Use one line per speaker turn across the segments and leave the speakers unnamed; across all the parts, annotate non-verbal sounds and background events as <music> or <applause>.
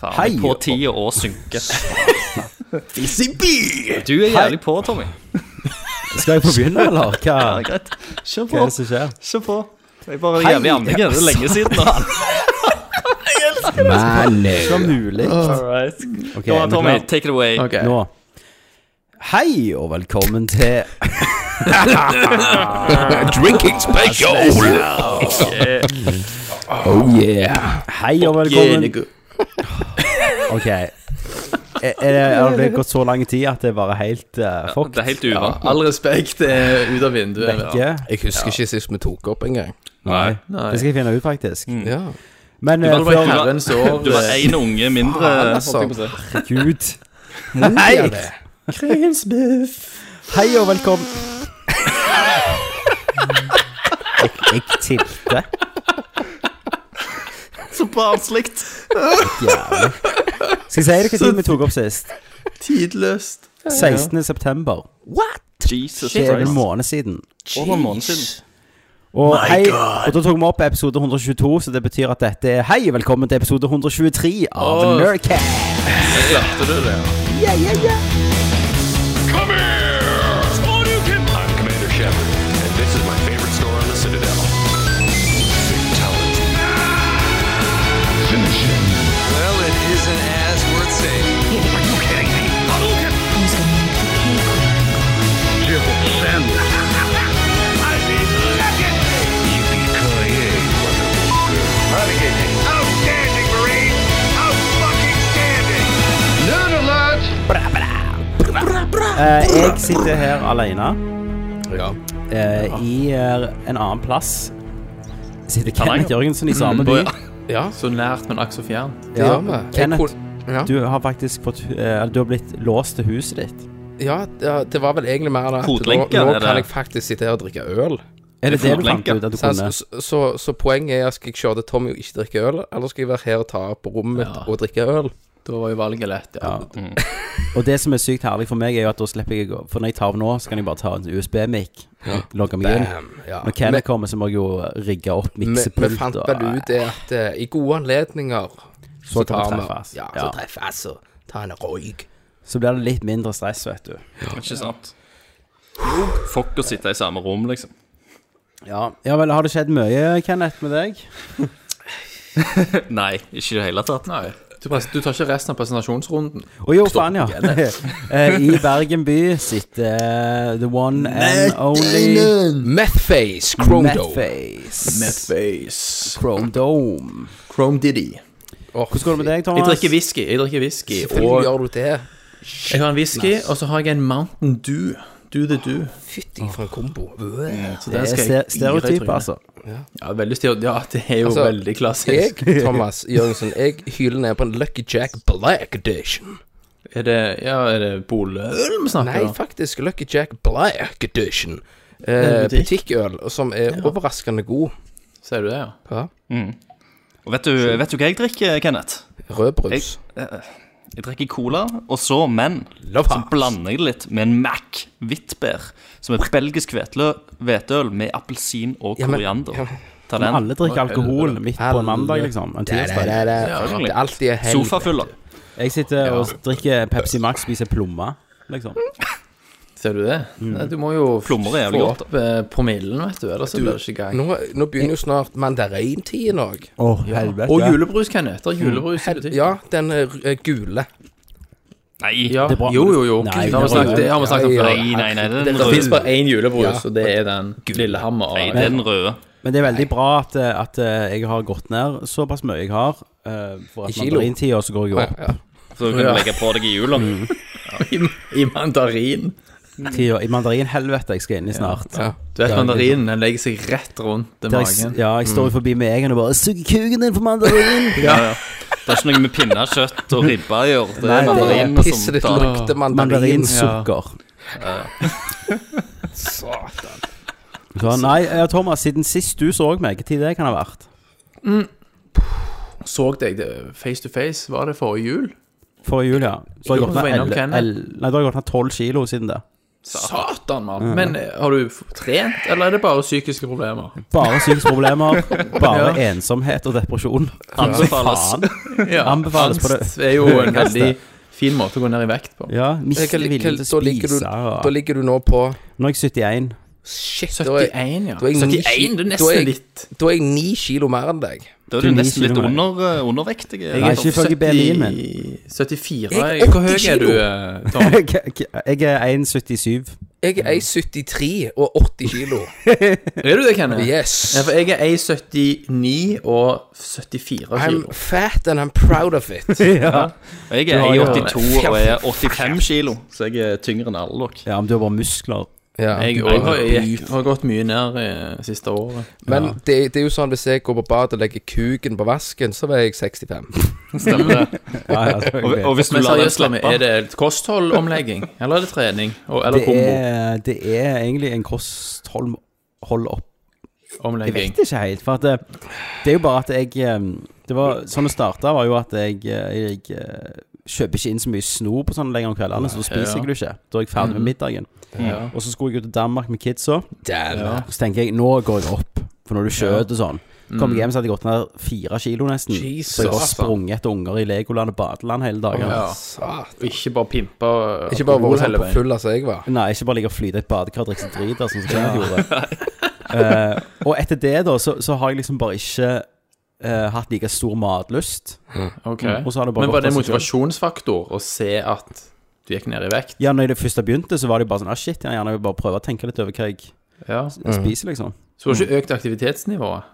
Faen,
Hei,
det er på
og-
tide å synke.
Fizzy-by!
Du er jævlig på, Tommy.
Skal jeg få begynne, eller? Hva,
Ja, det er greit. Kjør
hva
på.
er det som skjer?
Kjør på. Jeg er bare
Hei.
jævlig andingen. Det er lenge siden, da.
Det er mulig.
All right.
Ok,
Kom
er
an,
vi
Tommy.
klar?
Take it away.
Ok.
Nå. Hei, og velkommen til
<laughs> Drinking special! Oh yeah.
Hei, og velkommen Ok. Er, er det, har det gått så lang tid at det er bare helt uh, fucked?
Det er helt uvant.
All respekt er
eh,
ut av vinduet.
Vekke?
Jeg husker ikke sist vi tok opp engang.
Nei.
Nei.
Det skal jeg finne ut, faktisk.
Mm.
Ja.
Men
var
eh,
på
før
vei-
Herrens år
Du var
eh,
én unge mindre.
altså.
Gud.
Hei!
<laughs> Hei. Hei, og velkommen Jeg, jeg tilte.
Så barnslig.
Jævlig. Skal jeg si deg hva tid vi tok opp sist?
Tidløst.
16. september.
Jesus
Det er en
Christ.
måned siden.
Over en måned siden.
Og, hei, og da tok vi opp episode 122, så det betyr at dette er Hei, velkommen til episode 123 av
Åh.
Nerdcast.
Klarte du det?
Come here! I'm Commander Shepard, and this is my favorite store on the Citadel. Fatality.
Well, it isn't as worth saying.
Are you kidding me? Hadouken! Civil send. I mean, legendary! Yippee-ki-yay, motherfucker. Renegade. Outstanding, Marine! Out-fucking-standing! Nerd alert!
Eh, jeg sitter her alene
Ja.
eh, i eh, en annen plass. Sitter Kenneth Jørgensen i samme by.
ja.
Så nært, men akk så fjernt.
Det gjør vi. Jeg
Kenneth.
kon- Ja.
Du har faktisk fått hu- eh, Du har blitt låst til huset ditt.
ja, ja, det var vel egentlig mer det at nå,
Fotlenken,
nå
er det?
kan jeg faktisk sitte her og drikke øl.
Er det
Det er
det du fant
fotlenke.
ut at du
Så,
kunne?
så, så, så poenget er skal jeg se til Tommy og ikke drikke øl, eller skal jeg være her og ta på rommet mitt
Ja.
og drikke øl?
Da var jo valget lett, ja.
Og det som er sykt herlig for meg, er jo at da slipper jeg å gå. For når jeg tar av nå, så kan jeg bare ta en USB-mic og logge meg inn.
Ja.
Når Kenneth kommer, så må jeg jo rigge opp
Vi-
miksepult.
Vi fant
og-
vel ut det at eh, i gode anledninger
Så kan vi treffes.
Ja,
Ja.
så treffes og ta en røyk.
Så blir det litt mindre stress, vet du.
Ikke sant? Fuck å sitte i samme rom, liksom.
Ja, ja vel, har det skjedd mye, Kenneth, med deg?
Nei, ikke i det hele tatt.
Nei. Du, pres- du tar ikke resten av presentasjonsrunden.
Å jo, faen, ja. <laughs> Eh, I Bergen by sitter eh, the one and only
Methface Chrondo.
Metface.
Face.
Chrome Dome.
Chrome Diddy.
Hvordan går det med deg,
Jeg
Thomas?
drikker whisky. Jeg drikker whisky.
Selvfølgelig
Og
gjør du det.
jeg har en whisky, og så har jeg en Mountain Dew. Do the do.
Fytti for en kombo.
Så
Det
den
er
skal
ste
jeg gire i
stereotyp,
trynet.
altså.
Ja, veldig stereo- ja, det er jo
Altså,
veldig klassisk.
<laughs>
Jeg, Thomas Jørgensen, jeg hyler ned på en Lucky Jack Black Edition.
Er det, ja, er det boløl vi snakker
Nei,
om?
faktisk Lucky Jack Black Edition.
er
Eh,
en butikk.
butikkøl som er overraskende god.
Ser du det, ja?
Ja.
Og vet du, vet du hva jeg drikker, Kenneth?
Rødbrus.
Jeg drikker cola, og så, men
Love
Så
hearts.
blander jeg det litt med en Mac Hvitbær, som er belgisk hvetelø- hveteøl med appelsin og
Ja, men-
koriander.
ja.
Ta den.
Alle drikker alkohol midt på en mandag, liksom. En
Det er- det
tirsdag.
er- det er-
selvfølgelig.
det er alltid en helg.
Sofafyller.
Jeg sitter og drikker Pepsi Max, spiser plomme, liksom.
Ser du det? Nei, du må jo f-
Plommer er jævlig
få
godt,
opp eh, promillen, vet du. Ellers så blir det ikke gang.
Nå, nå begynner jo snart mandarintiden òg.
Å, helvete.
Og julebrus, Kenneth. Det er julebrus i butikken.
Ja, den eh, gule.
Nei,
Ja.
Det er bra.
Jo, jo, jo.
Nei,
det har vi snakket, det har vi snakket om
Ja,
før.
nei, nei, nei, det er
Det
den
finnes
røde.
bare én julebrus,
Ja.
og det er den Lillehammer.
Nei, det er den røde.
Men det er veldig bra at, eh, at eh, jeg har gått ned såpass mye jeg har. eh, For
I
at
kilo.
mandarintida så går jeg opp.
Så du kan
Ja.
legge på deg i jula.
I, <laughs> I mandarin.
Tida, I mandarinhelvete jeg skal inn i snart.
Ja.
Du vet mandarinen, den legger seg rett rundt
Der jeg,
magen.
s- ja, jeg står jo forbi med egen og bare 'Suger kuken din for mandarin!'
Ja, ja. Det er ikke noe med pinnekjøtt og ribbe å gjøre. Det
Nei,
er
det er
mandarin
Pisset
som
ditt
tar
lukter mandarin.
Mandarinsukker. <laughs>
Satan.
Så nei, eh, Thomas, siden sist du så meg, hva tid det kan ha vært?
Så deg det face to face? Var det forrige jul?
Forrige jul, ja. Så har jeg
Jo,
gått
du var
ned
innom
el-
Kenneth.
el- Nei, da har jeg gått ned 12 kilo siden det.
Satan, mann. Men eh, har du f- trent, eller er det bare psykiske problemer?
Bare psykiske problemer, bare
Ja.
ensomhet og depresjon.
Anbefales.
Faen.
Ja,
Anbefales på det
angst er
<laughs>
jo
høyeste.
en veldig fin måte å gå ned i vekt på.
Ja,
Eh,
miste
hva- hva-
viljen til å
da ligger du-
spise.
Da
og-
ligger du nå på
Nå er jeg 71.
Shit, da er,
71, ja.
da er jeg
71, det er
da er
nesten
jeg-
litt.
da er jeg ni kilo mer enn deg.
Da er du
Du er
nesten
ni
litt
kilo mer.
under, eh, undervektig.
Nei, ikke ifølge BMI-en min.
74.
Jeg er
Jeg- Hvor høy
80
er du,
kilo.
eh, <laughs> Tom?
<laughs> Jeg er 1,77.
Jeg er
Mhm.
1,73 og
<laughs>
80 kilo.
Er du det, Kenneth?
Yes.
Ja, for jeg er 1,79 og 74 kilo.
I'm fat and I'm proud
<laughs>
of it.
Jeg er
har jo-
82 og er 85 kilo, så jeg er tyngre enn alle dere.
Ja, men du har bare muskler.
Ja.
Jeg,
du-
jeg, har, jeg har gått mye ned eh, siste året.
Men det, det er jo sånn hvis jeg går på badet og legger kuken på vasken, så veier jeg 65.
Stemmer
<laughs>
det?
Ja, ja, det er
Og, og hvis du
Men
lar den
seriøst, Lamme,
slippe
er det kostholdomlegging, eller er det trening? Og, eller
det, er, det er egentlig en kosthold hold opp. Jeg
komboomlegging?
vet ikke helt, for at det, det er jo bare at jeg eh, det var, Sånn det starta, var jo at jeg, eh, jeg eh, kjøper ikke inn så mye snor på sånne lenger om kveldene, så da spiser jeg det ikke. Da er jeg ferdig med middagen.
Ja.
Og så skulle jeg jo til Danmark med kidsa,
Damn.
så tenker jeg nå går jeg opp, for når du skjøt og sånn. Kom jeg hjem, så hadde jeg gått ned fire kilo nesten. så jeg har
Jesus.
sprunget etter unger i Legoland og badeland hele dagen.
Ja.
Satan.
Og Ikke bare pimpe og
Ikke bare
alkohol
vært sånn
hele
på
veien.
full som jeg var.
Nei, ikke bare ligge og flyte i et badekar og drikke seg drit, sånn som jeg <laughs> gjorde. Eh, og etter det, da, så, så har jeg liksom bare ikke eh, hatt like stor matlyst.
Ok.
Og så har det bare
Men
gått
var
av seg
det en
selv.
motivasjonsfaktor å se at du gikk ned i vekt?
Ja, når jeg det første begynte, så var det jo bare sånn ah, shit, jeg gjerne vil bare prøve å tenke litt over hva jeg
Ja.
spiser, liksom.
Så du har ikke økt aktivitetsnivået?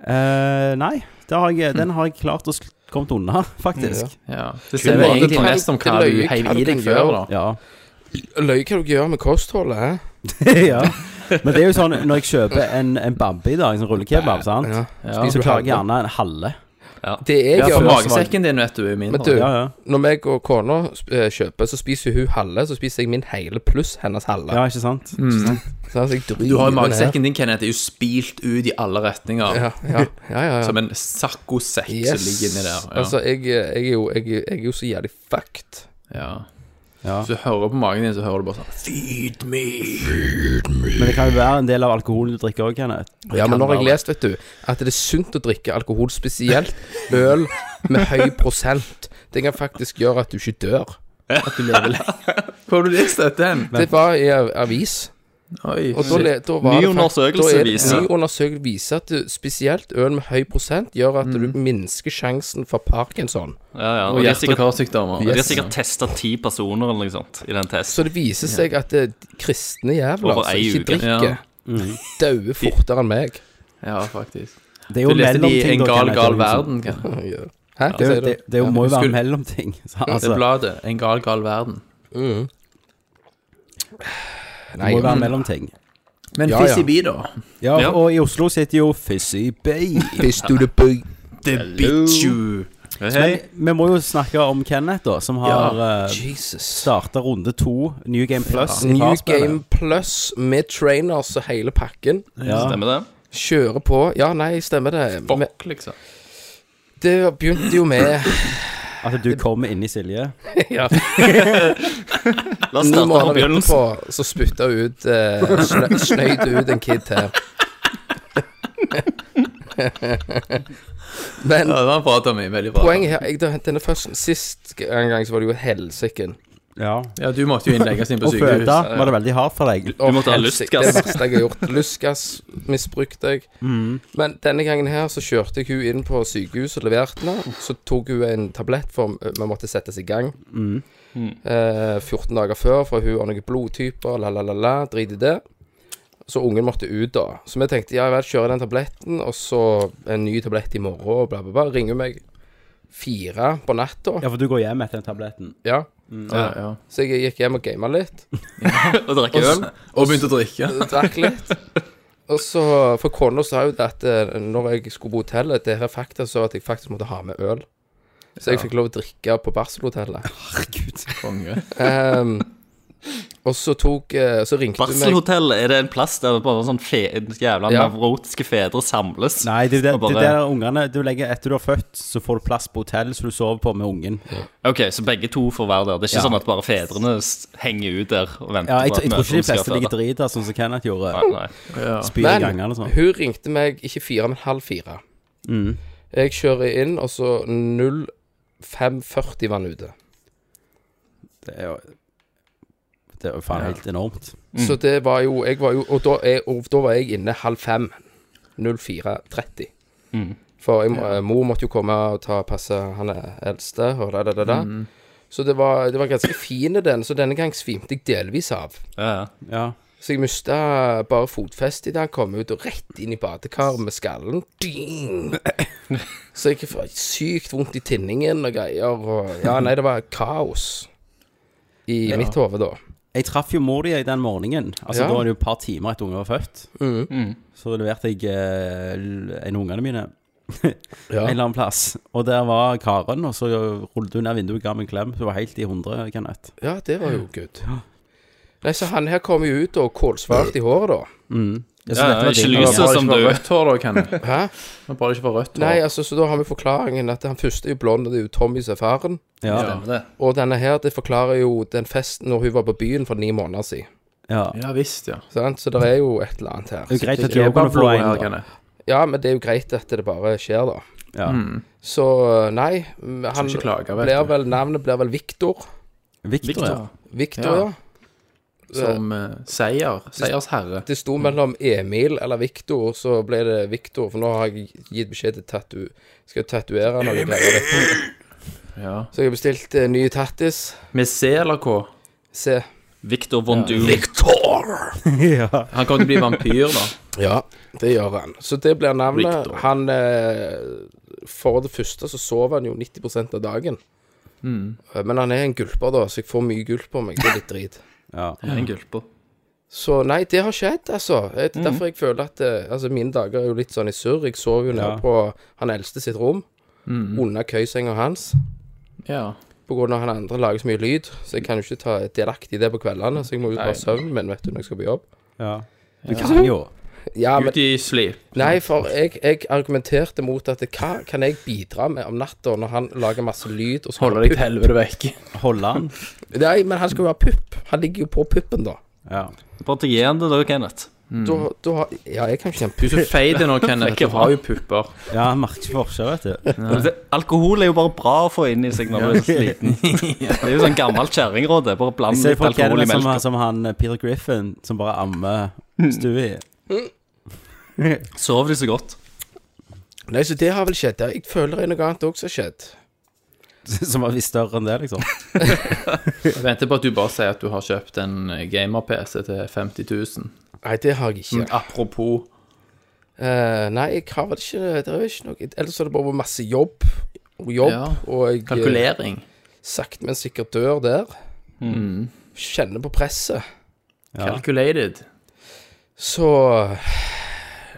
Eh, nei, det har jeg, den har jeg klart å sk- kommet unna, <laughs> faktisk.
Ja. Det sier vel
bare
egentlig
detalj-
mest om hva
detalj-
du
hva
heiv
du
i deg
kan
før,
gjøre.
da.
Ja. <laughs>
Løy hva du gjør med kostholdet, hæ?
ja. Men det er jo sånn, når jeg kjøper en, en babbe i dag, en sånn rullekebab, sant,
Ja.
Ja.
så klarer jeg gjerne en halve.
Det jeg
Ja, for
gjør
magesekken din vet du er
Men du,
mindre.
Ja, ja.
når jeg og kona eh, kjøper, så spiser hun halve, så spiser jeg min hele pluss hennes halve.
ja, ikke sant?
Så altså, jeg driter
Du har jo
i den her.
magesekken din, Kenneth, er jo spilt ut i alle retninger.
Ja, ja, ja, ja, ja.
<laughs> Som en saccosekk som ligger inni der. Ja.
Altså, jeg, jeg, er jo, jeg, jeg er jo så jævlig fucked.
ja.
Ja.
Hvis du hører på magen din, så hører du bare sånn Feed me!
Men det kan jo være en del av alkoholen du drikker òg, Kenneth.
Ja, men nå har jeg lest, vet du, at det er sunt å drikke alkohol, spesielt øl med høy prosent. Det kan faktisk gjøre at du ikke dør.
Hvor har du lest dette hen?
Det var i en avis.
Oi.
Og da, le- da var
Ny
det fakt-
undersøkelse
da er det-
viser.
Ny undersøkelse viser at du, spesielt øl med høy prosent gjør at
Mm.
du minsker sjansen for parkinson.
Ja, ja. Og
Og
de har
hjerte- og
sikkert,
karsykdommer.
de har sikkert testa ti personer eller noe sånt i den
Så
testen.
det viser seg at eh, kristne jævler
Over
som
ei
ikke
uke.
drikker,
Mm.
dauer fortere enn meg.
Ja, faktisk.
Det er jo
Du leste de
mellomting,
En
da,
gal,
Kenneth,
gal
det er jo liksom-
verden, Kenneth.
Hæ?
Det, er jo-
Hva sier du?
altså, det, det er jo- må jo være
Skulle-
mellomting. <laughs> så Altså,
Det
det
bladet. En gal, gal verden.
Nei,
må jo være mellomting.
Men
Ja, ja.
Fizzy ja. da?
Ja,
Ja.
og i Oslo sitter jo Fizzy Bay.
Hvis du det bøy
The bitch you.
Men vi må jo snakke om Kenneth, da, som har ja.
Jesus.
starta runde to, New Game Plus. i
New
farspillet.
Game Plus med trainers og hele pakken.
Ja.
Stemmer det?
Kjører på. Ja, nei, stemmer det. Men
Fuck, liksom.
det begynte
<laughs>
jo med
At du kommer inn i Silje.
ja,
La oss
Ni
starte fra
måneder
begynnelsen.
etterpå så spytta hun ut eh, snø- Snøyt ut en kid her. <laughs> Men
Ja, det var en bra, Tommy. Veldig bra.
poenget her jeg, Denne første, Sist gang så var det jo helsiken.
Ja.
Ja, du måtte jo innlegges inn på
Og
sykehus.
føde var det veldig hardt for deg.
Åh,
måtte ha lystgass.
helsike, Det er det verste jeg har gjort. Lystgass misbrukte jeg.
Mm.
Men denne gangen her så kjørte jeg hun inn på sykehuset og leverte henne. Så tok hun en tablett for vi måtte settes i gang.
Mm.
Eh, 14 dager før, for hun har noen blodtyper, la, la, la, la. Drit i det. Så ungen måtte ut, da. Så vi tenkte ja vel, kjører den tabletten, og så en ny tablett i morgen, og bla, bla, bla. Ringer hun meg fire på natta. Ja.
Ja, for du går hjem etter den tabletten.
Ja, ja.
Så jeg gikk hjem og gama litt.
Og drikke øl.
Og begynte å drikke.
drakk litt. Og så, For kona sa jo det at eh, når jeg skulle på hotellet Det her er fakta så at jeg faktisk måtte ha med øl. Så jeg fikk lov å drikke på barselhotellet.
Konge.
Ehm, Og så tok eh, Så ringte du meg
Barselhotell, er det en plass der bare sånn fe, jævla
Ja.
nevrotiske fedre samles?
Nei, det er jo det,
Og bare-
det er der ungene Du legger etter du har født, så får du plass på hotell som du sover på med ungen.
Ok, så begge to får være der. Det er ikke
Ja.
sånn at bare fedrene s- henger ut der og venter
Ja, jeg,
på at
jeg, tror ikke de
mødrene skal
fleste
føde.
ligger drita, sånn som Kenneth gjorde.
Nei.
Ja.
Spyr i
Men
gangene og sånn.
hun ringte meg ikke fire, men halv fire. Jeg kjører inn, og så 05.40 var han ute.
Det er jo Det er jo faen helt enormt.
Så det var jo, jeg var jo Og da, er, og da var jeg inne halv fem. 04.30. For jeg, må- mor måtte jo komme og ta passe han er eldste, og da, da, da, da. Så det var, det var ganske fin den, så denne gang svimte jeg delvis av.
Ja, ja.
Ja.
Så jeg mista bare fotfestet da han kom ut, og rett inn i badekaret med skallen. Ding! Så jeg fikk sykt vondt i tinningen og greier. Og ja, nei, det var kaos i mitt hode da.
Jeg traff jo mor di i den morgenen. Altså
Ja.
Da var det jo et par timer etter ungen var født. Så leverte jeg eh, l- en av ungene mine
Ja.
en eller annen plass. Og der var Karen, og så rullet hun ned vinduet og ga meg en klem. Hun var helt i hundre, Kenneth.
ja, det var jo good. Nei, så han her kom jo ut og kålsvart i håret, da.
Ja, så
Ja,
dette var
ikke
din-
Men
lys.
det
Lyset
var bare
som
ikke for
du-
rødt hår, da, Kenny.
Hæ?
Men bare ikke for rødt hår.
Nei, altså, så da har vi forklaringen at han første er jo blond, og det er jo Tommy som er faren.
Ja.
Og denne her, det forklarer jo den festen når hun var på byen for ni måneder siden.
ja.
Ja visst, ja.
Sant? Så det er jo et eller annet her.
Det er jo greit at
Det er
Joe
bare
kunne
blå
få en.
her,
da.
Kenny.
Ja, men det er jo greit at det bare skjer, da.
Ja.
Så nei, m- han
ikke klage, vet
blir
du.
vel, navnet blir vel Viktor.
Victor, ja.
Viktor,
Ja.
ja.
Som eh, seier. Seiersherre.
Det sto mellom Emil eller Viktor, så ble det Viktor. For nå har jeg gitt beskjed til tatu... Skal tatovere noe greier.
Ja.
Så jeg har bestilt eh, ny tattis.
Med C eller K?
Se.
Victor von Doom.
Han kommer til å bli vampyr, da. <laughs>
Ja, det gjør han. Så det blir navnet.
Viktor.
Han eh, For det første så sover han jo 90 av dagen. Eh, Men han er en gulper, da, så jeg får mye gulp på meg. Det er litt drit.
Ja.
Han er en gulpe.
Så nei, det har skjedd, altså. Det er derfor jeg føler at eh, altså, mine dager er jo litt sånn i surr. Jeg sover jo nede
Ja.
på han eldste sitt rom, under køysenga hans.
Ja.
På grunn av han andre lager så mye lyd, så jeg kan jo ikke ta delaktig i det på kveldene. Så jeg må jo ta søvnen min, vet du, når jeg skal på jobb.
ja. Du kan jo.
Ja, men
Ut i slip.
Nei, for jeg, jeg argumenterte mot at hva kan jeg bidra med om natta når han lager masse lyd og skal
Holde deg til helvete vekk.
Holde han.
Nei, men han skal jo ha pupp. Han ligger jo på puppen, da.
Ja.
Bare til gi han det da, Kenneth.
Da, da har Ja, jeg kan ikke
Mm. Du
kjempe
er så feit nå, Kenneth. Du har jo pupper.
ja, han merker ikke forskjell, vet du.
Det, alkohol er jo bare bra å få inn i seg når man er så sliten. Det er jo sånn gammelt kjerringråd. det er Bare bland
Se
litt
folk er
alkohol i
det som,
melka.
som han eh, Peter Griffin, som bare ammer
Mm.
Stewie.
Sover de så godt?
Nei, så det har vel skjedd. Jeg føler det er noe annet òg som har skjedd.
<laughs> Som var visst større enn det, liksom.
Jeg venter på at du bare sier at du har kjøpt en gamer-PC til 50 000.
Nei, det har jeg ikke.
Men apropos
Eh, nei, jeg har vel ikke Det er jo ikke noe Ellers har det bare vært masse jobb og jobb,
Ja.
og jeg eh,
kalkulering
sakte, men sikkert dør der. Kjenner på presset.
Calculated.
Så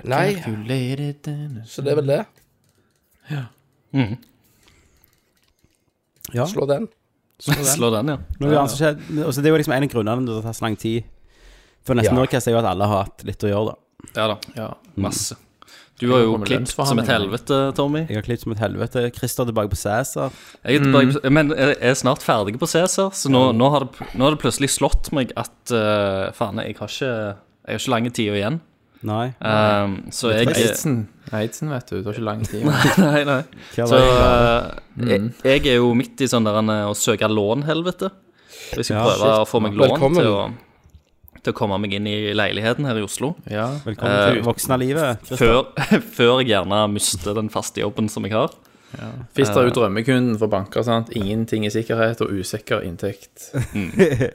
Nei,
Calculated
så det er vel det.
Mhm. Ja.
Slå den.
Slå den, ja.
Noe annet som skjedde. Altså, det er jo liksom en av grunnene til at det har tatt så lang tid. For nesten
Ja.
Nordcast er jo at alle har hatt litt å gjøre, da.
Ja da.
Ja.
Masse. Du har jo
kommer med
klippet som et
lønnsforhandlinger.
helvete, Tommy.
Jeg har klippet som et helvete. Christer er tilbake på Cæsar.
Jeg er
Mm.
tilbake, men jeg er snart ferdig på Cæsar, så nå, nå, har det, nå har det plutselig slått meg at uh, faen, jeg har ikke jeg har ikke lange tider igjen.
Nei.
Um, så jeg
Eidsen. Eidsen, vet du. Det tar ikke lang tid.
<laughs> Nei, nei.
Hva
Så
var Mm. det?
uh, jeg, jeg er jo midt i sånn der en, uh, å søke lån-helvete. Hvis jeg
Ja,
prøver å få meg lån
Velkommen.
til å, til å komme meg inn i leiligheten her i Oslo.
Ja.
Velkommen til voksenlivet.
<laughs>
Christer.
Før, <laughs> før jeg gjerne mister den faste jobben som jeg har.
Fist er jo drømmekunden for banker, sant. Ingenting i sikkerhet og usikker inntekt. <laughs>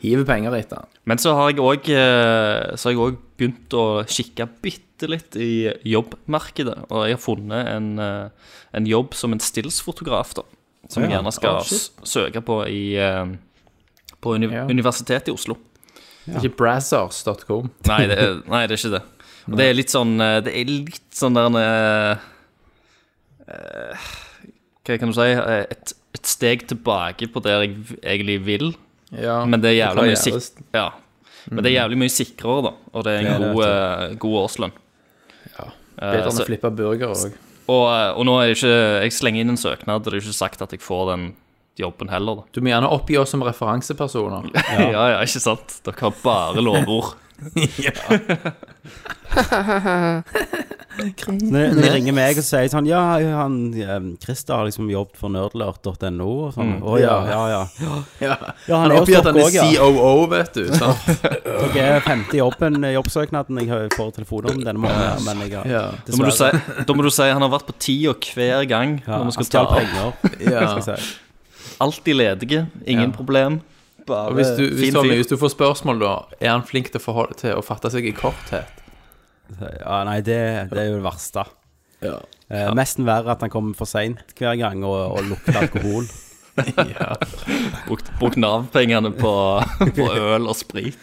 Hiver penger etter den.
Men så har jeg òg Så har jeg også begynt å kikke bitte litt i jobbmarkedet. Og jeg har funnet en, eh, en jobb som en stillsfotograf, da. Som jeg
Ja.
gjerne skal
Ah, shit.
s- søke på i eh, På uni
Ja.
Universitetet i Oslo.
Ikke brazzers.com.
Nei det, er, nei, det er ikke det. Og det er litt sånn eh, Det er litt sånn der en, eh, eh, Hva kan du si? Eh, Et, et steg tilbake på der jeg v- egentlig vil.
Ja,
Men det er jævlig mye, sik
karrieres-
ja. Men det er jævlig mye sikrere, da. Og det er en
Ja, det
god, eh, god årslønn. Eh,
Bedre enn
så-
å flippe burger òg.
og, eh, og nå er det ikke Jeg slenger inn en søknad, og det er ikke sagt at jeg får den jobben heller, da.
Du må gjerne oppgi oss som referansepersoner.
Ja, <laughs> ja, ikke sant? Dere har bare lovord.
Når, når de ringer meg og sier sånn Ja, han, eh, Christer har liksom jobbet for nerdlert.no og sånn. Å ja, ja, ja.
<laughs> Ja,
Ja,
Han
er jo
oppgir at han
stopp
er
også, ja.
COO, vet <laughs> du. Sant?
Jeg er femte i jobben, eh, jobbsøknaden. Jeg har- får telefoner om denne måneden, men jeg har
Ja,
Da må, du si, da må du si han har vært på tida hver gang.
ja,
når vi
han
skal ta
stjal
opp.
penger.
ja.
Skal jeg si.
Alltid ledige, ingen
Ja.
problem. Bare
Og hvis du, hvis,
Eh, fin
Tommy,
fyr.
hvis du får spørsmål, da, er han flink til å, forholde, til å fatte seg i korthet?
Ja, nei, det, det er jo det verste. Eh, Mest verre at han kom for seint hver gang og, og lukter alkohol.
Ja.
Brukt, brukt Nav-pengene på, <laughs> på øl og sprit.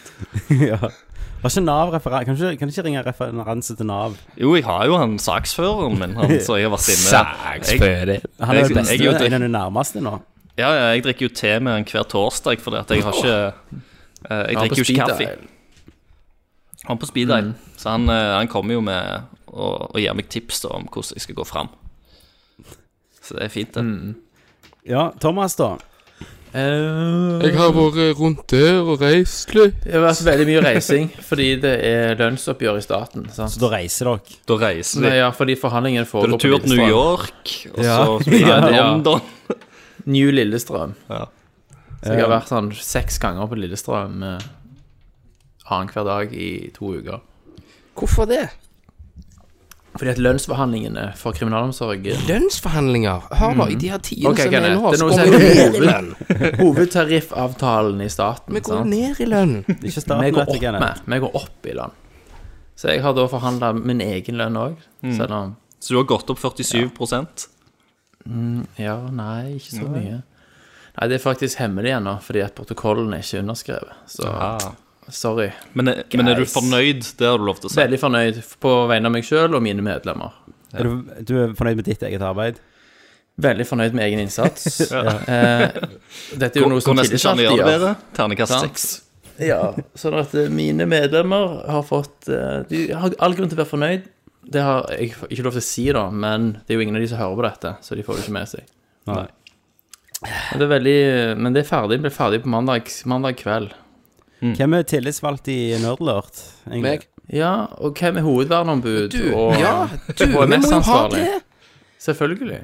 ja. Var ikke Nav referanse Kan du ikke, kan du ikke ringe referanse til Nav?
Jo, jeg har jo han saksføreren min, han som jeg har vært inne Jeg,
Han er
Jeg-
jo best,
jeg er jo
en av de nærmeste nå.
ja, ja, jeg drikker jo te med han hver torsdag, fordi at jeg har ikke eh, Jeg
Han er på
drikker jo ikke
speed
kaffe.
dial. Mm.
Han er på speed dial, så han, eh, han kommer jo med og, og gir meg tips da, om hvordan jeg skal gå fram. Så det er fint, det.
Mm.
Ja, Thomas, da.
Eh,
Jeg har vært rundt der og reist litt.
Det har vært veldig mye reising, <laughs> fordi det er lønnsoppgjør i staten.
Så
Sant?
da reiser dere.
Da reiser
Nei,
vi.
ja, fordi forhandlingene
Da er
foregår
det tur til New York, og
Ja.
så videre til
<laughs> Ja.
London.
New Lillestrøm.
Ja. Eh.
Så jeg har vært sånn seks ganger på Lillestrøm eh, annenhver dag i to uker.
Hvorfor det?
Fordi at lønnsforhandlingene for
<laughs>
eh, kriminalomsorgen
Lønnsforhandlinger. Hør nå, i de her tidene
Ok,
som er
Kenneth,
nå,
det er
så
noe
går
som
vi
er
ned i lønn.
Hovedtariffavtalen i staten.
Vi går
sant?
ned i lønn.
Ikke
Vi
staten,
går
vet du,
opp
Kenneth.
med. Vi går opp i lønn. Så jeg har da forhandla min egen lønn òg,
Mm.
selv om
Så du har gått opp 47
Ja, nei, ikke så mye. Nei, det er faktisk hemmelig ennå, fordi at protokollen er ikke underskrevet. Så sorry.
men, er- men er du
Ah. Guys.
fornøyd? Det har du lov til å si.
Veldig fornøyd på vegne av meg sjøl og mine medlemmer.
Er du, du er fornøyd med ditt eget arbeid?
Veldig fornøyd med egen
<laughs>
innsats. eh, dette er jo
Går-
noe som
går nesten ikke an å
tillitsvalgte
gjøre det
gjør.
bedre. Ternekast
Sant?
6.
Ja, sånn at eh, mine medlemmer har fått eh, De har all grunn til å være fornøyd. Det har jeg ikke lov til å si, da, men det er jo ingen av de som hører på dette, så de får det ikke med seg.
Nei.
Men det er, veldig, eh, men det er ferdig. Blir ferdig på mandag, mandag kveld.
Hvem er tillitsvalgt i Nerdlert? egentlig?
Meg.
Ja, og hvem er hovedverneombud?
Du,
og
ja, du, vi må jo ha
HMS-ansvarlig.
det.
Selvfølgelig.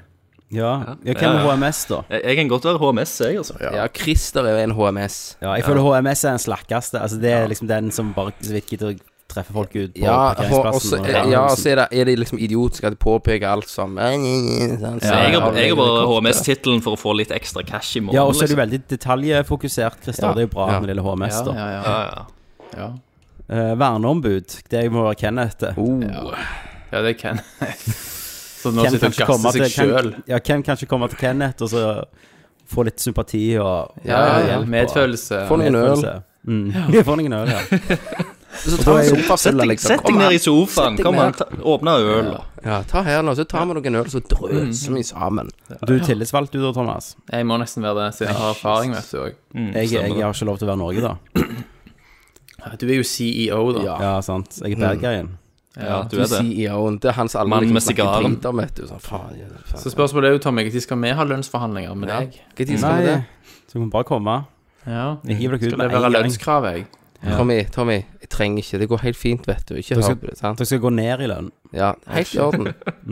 Ja. ja, hvem er HMS, da?
Jeg, jeg kan godt være HMS, jeg, altså.
Ja, Christer er jo en HMS.
Ja, jeg føler HMS er den slakkeste. Altså, det er liksom den som bare så vidt gidder å treffe folk ut på
Ja, og
parkeringsplassen.
så
og-
ja, og så er, det- er de liksom idiotiske at de påpeker alt som
Så jeg, har, jeg har bare
Ja.
HMS-tittelen for å få litt ekstra cash i morgen.
Ja, og så er du
liksom.
veldig detaljfokusert, Christer.
Ja.
Det er jo bra
Ja.
når det gjelder HMS, da.
ja, ja.
ja, ja.
ja.
Eh, verneombud, det må være Kenneth. det.
Oh,
ja det <laughs> kan Så nå
Hvem
sitter
kan
han
ikke
og
komme
gasser
til,
seg sjøl.
Ken, ja, hvem kan ikke komme til Kenneth og så få litt sympati og
Ja, ja, ja.
hjelp og-
Medfølelse.
Få noen øl.
Mm. Få noen øl, ja.
Så tar vi
Sett
sofafylla,
deg,
liksom.
sett deg
Kom
ned i
her.
sofaen.
Sett deg
Kom
ned.
an, ta- åpne øl.
Ja, ta her nå, så tar vi noen øl, så drøser vi sammen.
Du er tillitsvalgt, du da, Thomas.
Mm,
Jeg må nesten være det, siden jeg har erfaring, vet du òg.
Mm,
Jeg, jeg har ikke lov til å være Norge, da.
Du er jo CEO, da. Ja,
Ja, sant. Jeg er
Mm.
bad guyen.
Ja, du
Du
er det.
CEO-en, det er han som alle
Mannen
liksom
med
snakker
sigaren.
drit om, vet du. Sånn, faen, ja, faen.
Så spørsmålet er jo, Tommy, når skal vi ha lønnsforhandlinger med deg?
Hva tid skal vi det?
Nei, så kan vi bare komme.
Ja.
Jeg hiver dere ut
Skal det
med
være
en gang.
lønnskrav, jeg?
Tommy, Tommy, jeg trenger ikke. Det går helt fint, vet du. Ikke
Da skal-
hør på det. sant?
Dere skal gå ned i lønn.
Ja, helt i orden.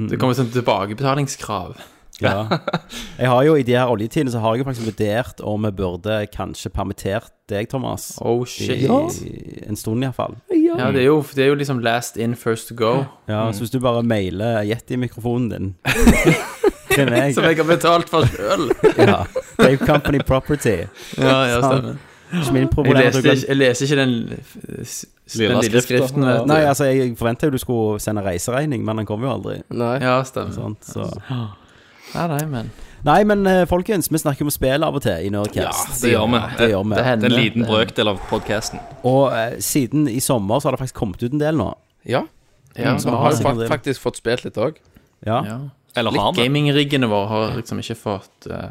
Det kommer sånn tilbakebetalingskrav.
Ja. Jeg har jo I de her oljetidene så har jeg jo faktisk vurdert om vi burde kanskje permittert deg, Thomas.
Oh
I,
shit.
i en stund, iallfall.
Ja, det er, jo, det er jo liksom last in, first to go.
Ja, Så hvis du bare mailer Yeti-mikrofonen
<laughs>
din til meg
Som jeg har betalt for sjøl.
ja. Dave Company Property.
Ja, <laughs> ja, stemmer.
Ikke min problem.
Jeg
at du
leste,
glemte-
ikke, jeg leste ikke den, s- den lille skriften. eh, vet du.
Nei, altså, jeg forventa jo du skulle sende reiseregning, men den kom jo aldri.
Nei.
Ja, stemmer.
Sant? Så.
Nei, nei, men
Nei, men eh, folkens, vi snakker om spill av og til i Nerdcast.
Det gjør vi.
det gjør vi.
Det
det
er
hender.
en liten brøkdel av podkasten.
Og eh, siden i sommer så har det faktisk kommet ut en del nå.
Ja,
Ja,
vi
så
har
har
jo
sikkert
fakt-
det.
faktisk fått spilt litt òg.
Ja,
ja.
Eller har vi?
Gamingraggene våre har liksom ikke fått eh,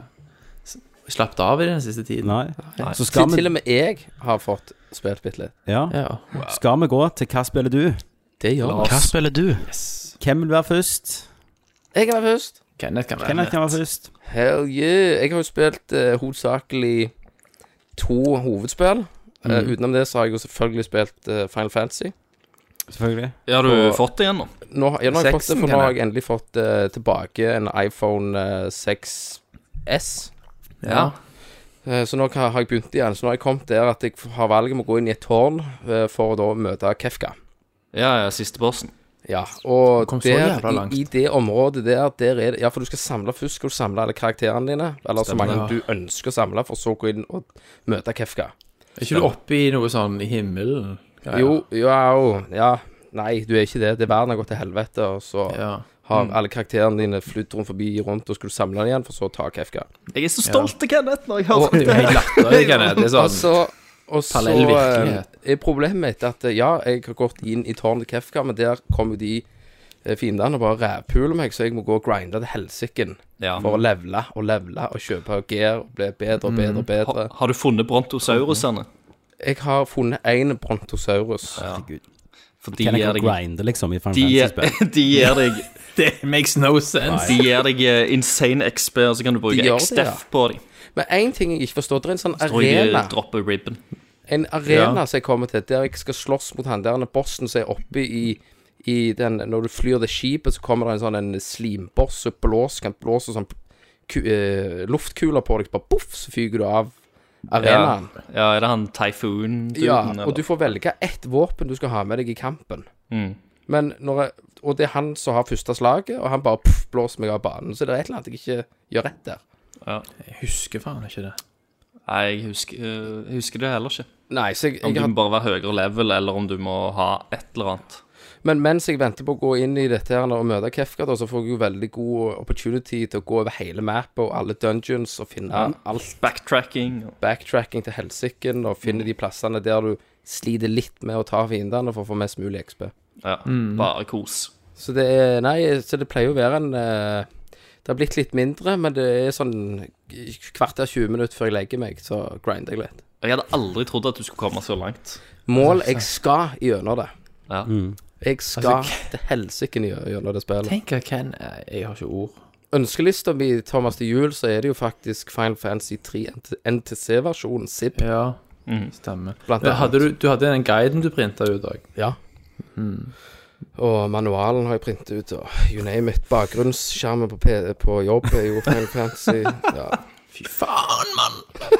s- slappet av i den siste tiden.
Nei.
Nei.
Så
Til,
skal vi,
til og med jeg har fått spilt bitte litt.
ja.
Ja.
skal vi gå til hva spiller du?
Det gjør
Lars.
jeg.
Hva spiller du?
Hvem vil være først?
Jeg kan være først.
Kenneth kan være
Kenneth
med.
kan være først.
Hell yeah. Jeg har jo spilt eh, hovedsakelig to hovedspill. Eh,
Mm.
utenom det så har jeg jo selvfølgelig spilt eh, Final Fantasy.
Selvfølgelig.
Ja, har du
Og-
fått det igjen nå?
Nå, har- ja, nå har jeg fått det,
Seksen,
for nå
kan
har
jeg.
jeg endelig fått eh, tilbake en iPhone eh, 6S.
Ja.
Eh, Så nå kan- har jeg begynt igjen. Så nå har jeg kommet der at jeg har valget om å gå inn i et tårn eh, for å da møte Kefka.
Ja, ja, siste bossen.
Ja, og
kom så jævla
der,
langt.
i, i det området der, der er det Ja, for du skal samle først skal du samle alle karakterene dine. Eller så
Stemmer
mange
det.
du ønsker å samle, for så å gå inn og møte Kefka.
Er ikke du oppe i noe sånn i himmelen? Ja, ja.
Jo, jo, au, ja. Nei, du er ikke det. Det er Verden har gått til helvete, og så
Ja. Mm.
har alle karakterene dine flydd rundt forbi rundt, og skal du samle dem igjen, for så å ta Kefka.
Jeg er så stolt av Kenneth når jeg hører
Og-
det. her. <laughs>
Latterlig, Kenneth. Det er sånn
Og så og så
Parallell virkelighet.
eh, er problemet mitt at eh, ja, jeg har gått inn i tårnet til Kefka, men der kommer jo de eh, fiendene og bare rævpuler meg, så jeg må gå og grinde til helsiken
Ja.
for å levele og levele og kjøpe gear og bli bedre og
Mm.
bedre og bedre.
Har, har du funnet brontosaurusene?
Jeg har funnet én brontosaurus.
Herregud.
For de
Kenneth
gir
kan
deg
grinde, liksom, i Final
De,
Fantasy-spill.
<laughs> de gir deg
Det makes no sense.
De gir deg eh, insane XP, og så kan du bruke
De gjør
XDF
det, ja.
på dem.
Men én ting jeg ikke forstår, det er en sånn
Tror jeg
arena.
de dropper ribben.
En arena som jeg kommer til, der jeg skal slåss mot han der bossen som er oppe i, i den Når du flyr det skipet, så kommer det en sånn en slimboss som blåser, kan blåse sånn ku, eh, luftkuler på deg, så bare poff, så fyker du av
Ja.
arenaen.
ja, er det han Typhoon?
Ja, og du får velge ett våpen du skal ha med deg i kampen.
Mm.
Men når jeg, og det er han som har første slaget, og han bare poff, blåser meg av banen. Så det er et eller annet jeg ikke gjør rett der.
Jeg husker faen ikke det.
Nei, jeg husker, eh, jeg husker det heller ikke.
Nei, så jeg,
Om
jeg
du
har
må bare være høyere level, eller om du må ha et eller annet.
Men mens jeg venter på å gå inn i dette her og møte Kefka, da, så får jeg jo veldig god opportunity til å gå over hele mappet og alle dungeons og finne alt
Backtracking. og-
backtracking til helsiken og finne de plassene der du sliter litt med å ta fiendene for å få mest mulig XP.
Ja,
Mm.
bare kos.
Så det er Nei, så det pleier å være en eh, Det har blitt litt mindre, men det er sånn kvarter 20 minutter før jeg legger meg, så grinder jeg litt.
Jeg hadde aldri trodd at du skulle komme så langt.
Mål jeg skal gjennom det.
Ja.
Jeg skal til helsiken gjennom det spillet.
Tenk hva Ken eh, Jeg har ikke ord.
ønskelista mi, Thomas, til jul, så er det jo faktisk Final Fantasy 3 NTC-versjonen, ZIP.
Ja.
Mhm.
Stemmer.
Blant
Men Hadde du,
annet.
du hadde den guiden du printa ut òg.
Ja. Og manualen har jeg printet ut, og you name it. Bakgrunnsskjermen på, P- på jobb er jo
<laughs>
Final Fantasy. Ja.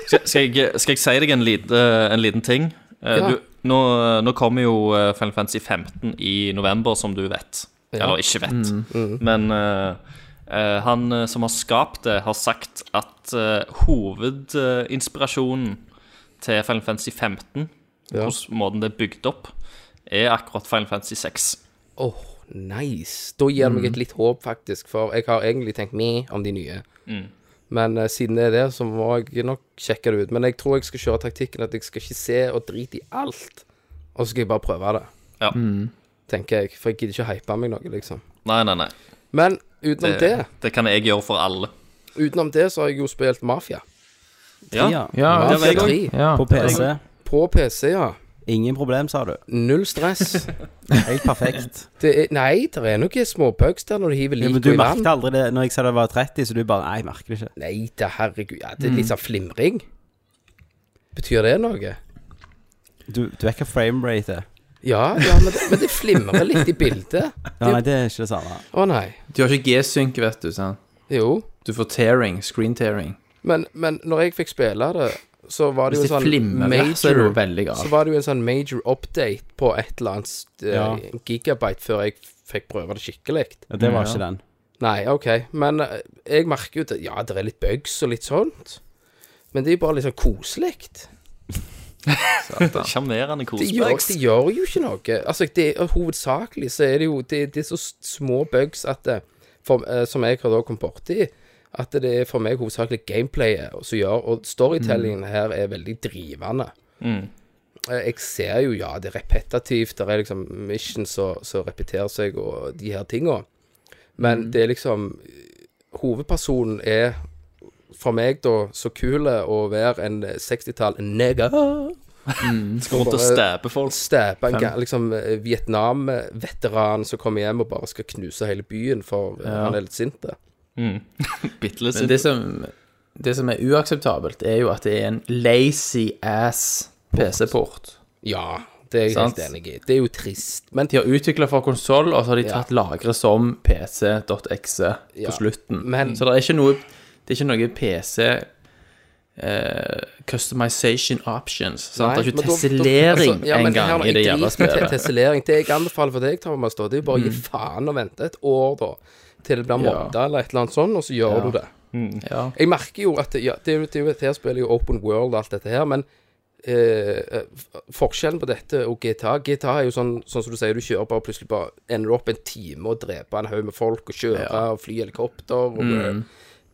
Skal, skal, jeg, skal jeg si deg en, lite, en liten ting? Eh,
Ja.
Du, nå, nå kommer jo eh, Final Fantasy 15 i november, som du vet.
Ja. Mm.
Eller ikke vet. Men eh, eh, han eh, som har skapt det, har sagt at eh, hovedinspirasjonen til Final Fantasy 15,
Ja.
hvordan måten det er bygd opp, er akkurat Final Fantasy 6.
Åh, nice. Da gir det meg et litt håp, faktisk, for jeg har egentlig tenkt mye om de nye. Men eh, siden det er det, så må jeg nok sjekke det ut. Men jeg tror jeg skal kjøre taktikken at jeg skal ikke se og drite i alt, og så skal jeg bare prøve det.
Ja.
Tenker jeg, for jeg gidder ikke hype meg noe, liksom.
Nei, nei, nei.
Men utenom det,
Det, det kan jeg gjøre for alle.
utenom det så har jeg jo spilt Mafia.
Ja,
Ja,
det var
Mafia
jeg òg.
3
ja.
På PC.
på PC, ja.
Ingen problem, sa du.
Null stress.
Helt perfekt.
Det er, nei, det er noen små bugs der når du hiver
Ja, men
liket
du
i vann.
merket aldri det når jeg sa det var 30, så du bare Nei, jeg merker det ikke.
Nei, det herregud. Ja, det er litt sånn flimring. Betyr det noe?
Du, du vet hva framerate er?
Ja, ja men, det, men det flimrer litt i bildet.
Ja, nei, det er ikke det samme.
Å nei.
Du har ikke G-synk, vet du. sant?
Jo.
Du får tearing. Screen tearing.
Men, men når jeg fikk spille det, så var det
Hvis
jo
det
en sånn
flimrer, så er det jo
major
veldig
Så
galt.
var det jo en sånn major update på et eller annet eh,
Ja.
gigabyte før jeg fikk prøve det skikkelig.
Ja, det var
Ja.
ikke den.
Nei, OK. Men eh, jeg merker jo at ja, det er litt bugs og litt sånt. Men det er jo bare litt sånn koselig.
Sjarmerende
Det, gjør-
koselig.
det gjør jo ikke noe. Altså, det, er- Hovedsakelig så er det jo Det, det er så s- små bugs at det, for, eh, som jeg har da kommet borti, at det er for meg hovedsakelig gameplayet som gjør Og storytellingen her er veldig drivende. Eh, Jeg ser jo, ja, det er repetitivt. Det er liksom missions som som repeterer seg, og de her tinga. Men det er liksom Hovedpersonen er for meg da så kul å være en 60-tall nega.
Skal rundt og
bare-
stabbe folk.
Stæpe en ga- liksom, eh, Vietnam-veteran som kommer hjem og bare skal knuse hele byen for eh, han er litt sint. da.
Bitte litt
Men
sint.
det som, det som er uakseptabelt, er jo at det er en lazy ass PC-port.
Ja, det er jeg
Sant.
helt enig i. Det er jo trist. Men
De har utvikla for konsoll, og så har de
Ja.
tatt lagre som pc.exe
Ja,
på slutten.
men-
så det er ikke noe, det er ikke noe PC eh, customization options. Sant? det er ikke
altså,
tessilering engang i det jævla spillet.
<laughs>
Mm.
Tessilering. Det jeg anbefaler for deg, Thomas, da, det er jo bare å gi faen og vente et år, da. Til det blir
Ja.
modda eller et eller annet sånt, og så gjør du det.
Ja.
Jeg merker jo at det- ja, det, er jo- det er jo et her spiller jo open world og alt dette her, men eh, eh, f- forskjellen på dette og GTA GTA er jo sånn, sånn som du sier, du kjører bare plutselig bare ender opp en time og dreper en haug med folk og kjører og fly helikopter og eh,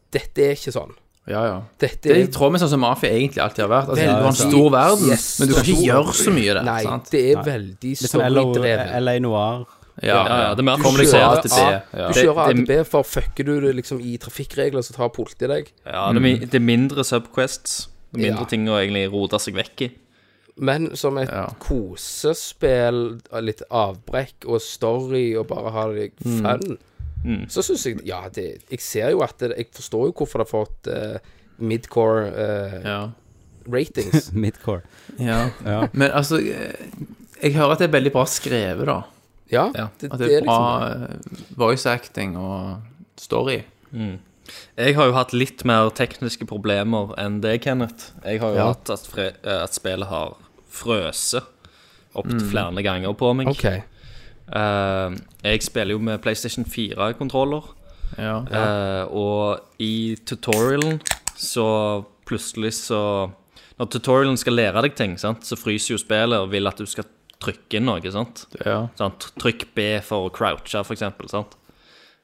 Dette er ikke sånn.
ja, ja. Mm.
Dette
Det er
er
i tråd med sånn som mafia egentlig alltid har vært. Altså,
Veldig.
du har en stor verden,
Yes.
men du kan ikke
Stor.
gjøre så mye der.
Nei,
sant?
det er veldig
Litt sånn LO
storydrevet.
LA Noir.
ja,
ja, ja, det er mer
Kommer deg fra A til B.
Du
Ja.
kjører
det-
ADB, for fucker du det liksom i trafikkregler, så tar politiet deg.
Ja, det er, mi- det er mindre subquests. Det er mindre
Ja.
ting å egentlig rote seg vekk i.
Men som et
Ja.
kosespill, litt avbrekk og story, og bare ha det
Mm.
fun, så syns jeg Ja, det, jeg ser jo at det, Jeg forstår jo hvorfor det har fått eh, midcore eh,
Ja.
<laughs> ratings.
Midcore.
Ja.
Ja.
Men altså, eh, jeg hører at det er veldig bra skrevet, da.
Ja, det,
At
det er liksom
bra eh, voice acting og story. Mm.
Jeg har jo hatt litt mer tekniske problemer enn det, Kenneth. Jeg har jo hatt at, fre eh, at spillet har frøset opptil flere ganger på meg.
Mm. OK.
Eh, jeg spiller jo med PlayStation 4-kontroller,
Ja.
Eh, og i tutorialen så plutselig så Når tutorialen skal lære deg ting, sant, så fryser jo spillet og vil at du skal trykke inn noe. sant?
ja.
Sånn, tr- trykk B for å crouche, for eksempel. Sant?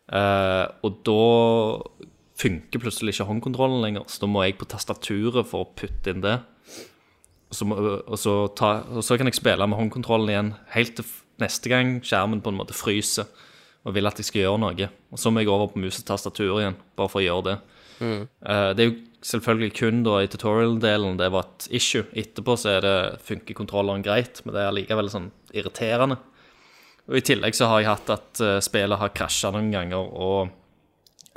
Eh, og da funker plutselig ikke håndkontrollen lenger, så da må jeg på tastaturet for å putte inn det. Og så, må, og så, ta, og så kan jeg spille med håndkontrollen igjen helt til f- neste gang skjermen på en måte fryser og vil at jeg skal gjøre noe. Og så må jeg over på mus og tastatur igjen, bare for å gjøre det. Eh, det er jo selvfølgelig kun da i tutorial-delen det var et issue. Etterpå så er det, funker kontrolleren greit, men det er likevel sånn irriterende. Og I tillegg så har jeg hatt at eh, spillet har krasja noen ganger, og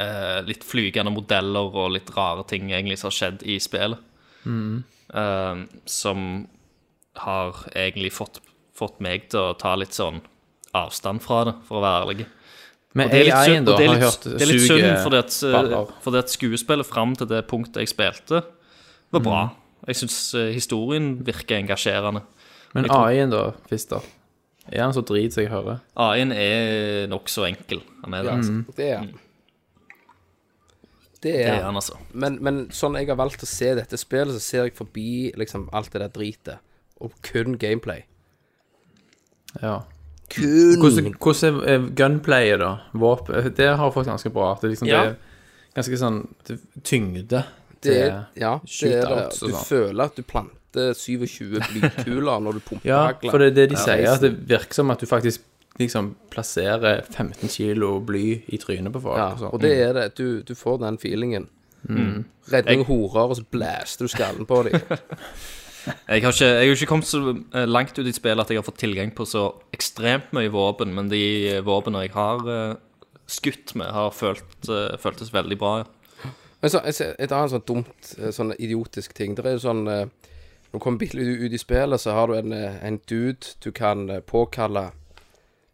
eh, litt flygende modeller og litt rare ting egentlig som har skjedd i spillet.
Mm.
Eh, som har egentlig fått, fått meg til å ta litt sånn avstand fra det, for å være ærlig.
Men
Og det er litt
AI-en,
synd,
da,
og det er
har jeg
litt,
hørt
det er litt synd
suger
fordi at,
baller.
eh, fordi at skuespillet fram til det punktet jeg spilte, var bra.
Mm.
Jeg syns historien virker engasjerende.
Men AI-en, da, Fister? Er han så
sånn
drit som jeg hører?
AI-en er nokså enkel. Han er det,
Ja,
Mm.
altså.
Det er Mm. Det
Det
er
er han, altså.
Men, men sånn jeg har valgt å se dette spillet, så ser jeg forbi liksom alt det der dritet. Og kun gameplay.
Ja.
Kun
Hvordan, hvordan er eh, gunplayet, da? Våpen eh, Det har folk ganske bra. Det er liksom
Ja.
det er ganske sånn det- tyngde.
det,
til-
ja, det er det.
shootouts og
Du
sånn.
føler at du planter 27 blykuler når du pumper
Ja,
hagler.
for det er det de sier,
reisen.
at det virker som at du faktisk liksom plasserer 15 kilo bly i trynet på folk.
ja,
og sånn.
og det er det. Du, du får den feelingen.
Mm.
Redd noen horer, og så blaster du skallen på dem.
Jeg har ikke, jeg har ikke kommet så eh, langt ut i spillet at jeg har fått tilgang på så ekstremt mye våpen, men de eh, våpnene jeg har eh, skutt med, har følt, eh, føltes veldig bra. Ja.
Men så, jeg ser- et annet sånn dumt, eh, sånn idiotisk ting Det er jo sånn eh, Når du kommer bitte litt ut i spillet, så har du en, eh, en dude du kan eh, påkalle.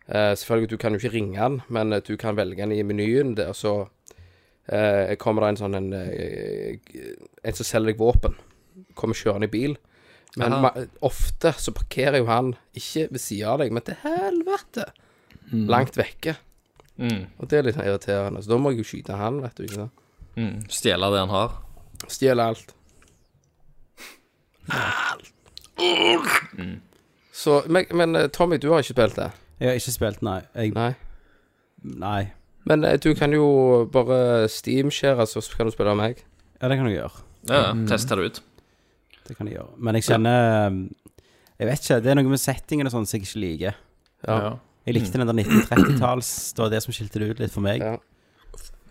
Eh, selvfølgelig, du kan jo ikke ringe han, men eh, du kan velge han i menyen der, så eh, kommer det en sånn en, eh, en som selger deg våpen. Kommer kjørende i bil. Men
Aha.
ma ofte så parkerer jo han ikke ved sida av deg, men til helvete! Langt vekke. Og det er litt irriterende. Så da må jeg jo skyte han, vet du. ikke sant?
Mm, Stjele det han har.
Stjele alt. Alt. Så, men, men eh, Tommy, du har ikke spilt det?
Jeg har ikke spilt, nei. Jeg,
Nei.
nei.
Men eh, du kan jo bare steamshare, så kan du spille av meg.
Ja, det kan du gjøre.
Ja, ja, Teste det ut.
Det kan jeg gjøre. Men jeg kjenner Jeg vet ikke. Det er noe med settingen og sånn som jeg ikke liker.
ja.
Jeg likte den der 1930-talls. Det var det som skilte det ut litt for meg.
Ja.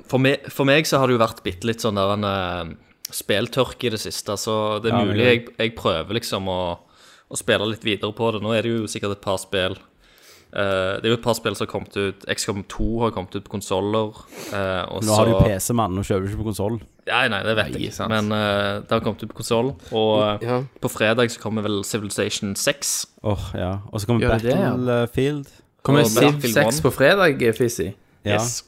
for, meg, for meg så har det jo vært bitte litt sånn der en eh, speltørke i det siste, så det er
Ja, men
mulig jeg,
det-
jeg prøver liksom å, å spille litt videre på det. Nå er det jo sikkert et par spill eh, Det er jo et par spill som har kommet ut. XCOM 2 har kommet ut på konsoller. eh, og
Nå har du
så-
PC, mann, og kjøper ikke på konsoll.
Nei, nei, det vet jeg.
sant.
Men eh, det har kommet ut på konsoll. Og eh,
Ja.
på fredag så kommer vel Civilization 6.
Åh, ja. Og så kommer
Gjør det det, ja?
Battlefield.
Kommer
Og
Civ
Battlefield
6
One.
på fredag, eh, Fizzy?
Ja.
Yes.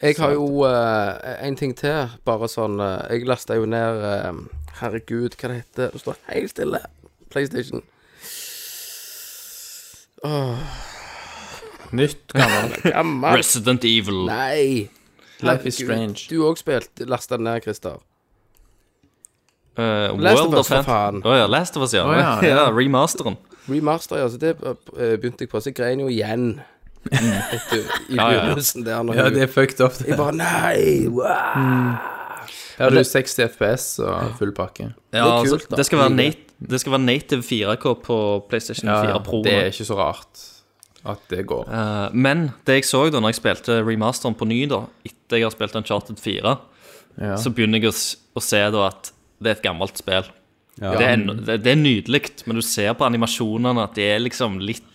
Jeg har jo eh, en ting til, bare sånn eh, Jeg lasta jo ned eh, Herregud, hva det heter Det står helt stille. PlayStation.
Nytt gammel.
Gammel.
Resident Evil.
Nei.
<laughs> Life is
Gud,
strange.
Du òg spilte lasta ned, Christer.
Eh,
Last
World
of Us,
of
for
Fantasy.
faen.
Å ja, Last of Us, ja.
Å ja,
<laughs> ja. remasteren.
Remaster, ja. Så det eh, begynte jeg på. Så jeg grein jo igjen. Vet du,
<laughs> Ja,
I
ja, ja.
begynnelsen der. Når
Ja,
hun-
det er fucked up. det.
Jeg bare Nei! Wow.
Her har du 60 FPS og full pakke.
Ja,
Det er kult,
altså,
da.
det, skal være
Liker det.
nat det skal være native 4K på PlayStation 4 Pro.
det er ikke så rart at det går.
Eh, men det jeg så da når jeg spilte remasteren på ny, da etter jeg har spilt Uncharted 4,
Ja.
så begynner jeg å, s å se da at det er et gammelt spill.
Ja.
Det er, en- det, det er nydelig, men du ser på animasjonene at det er liksom litt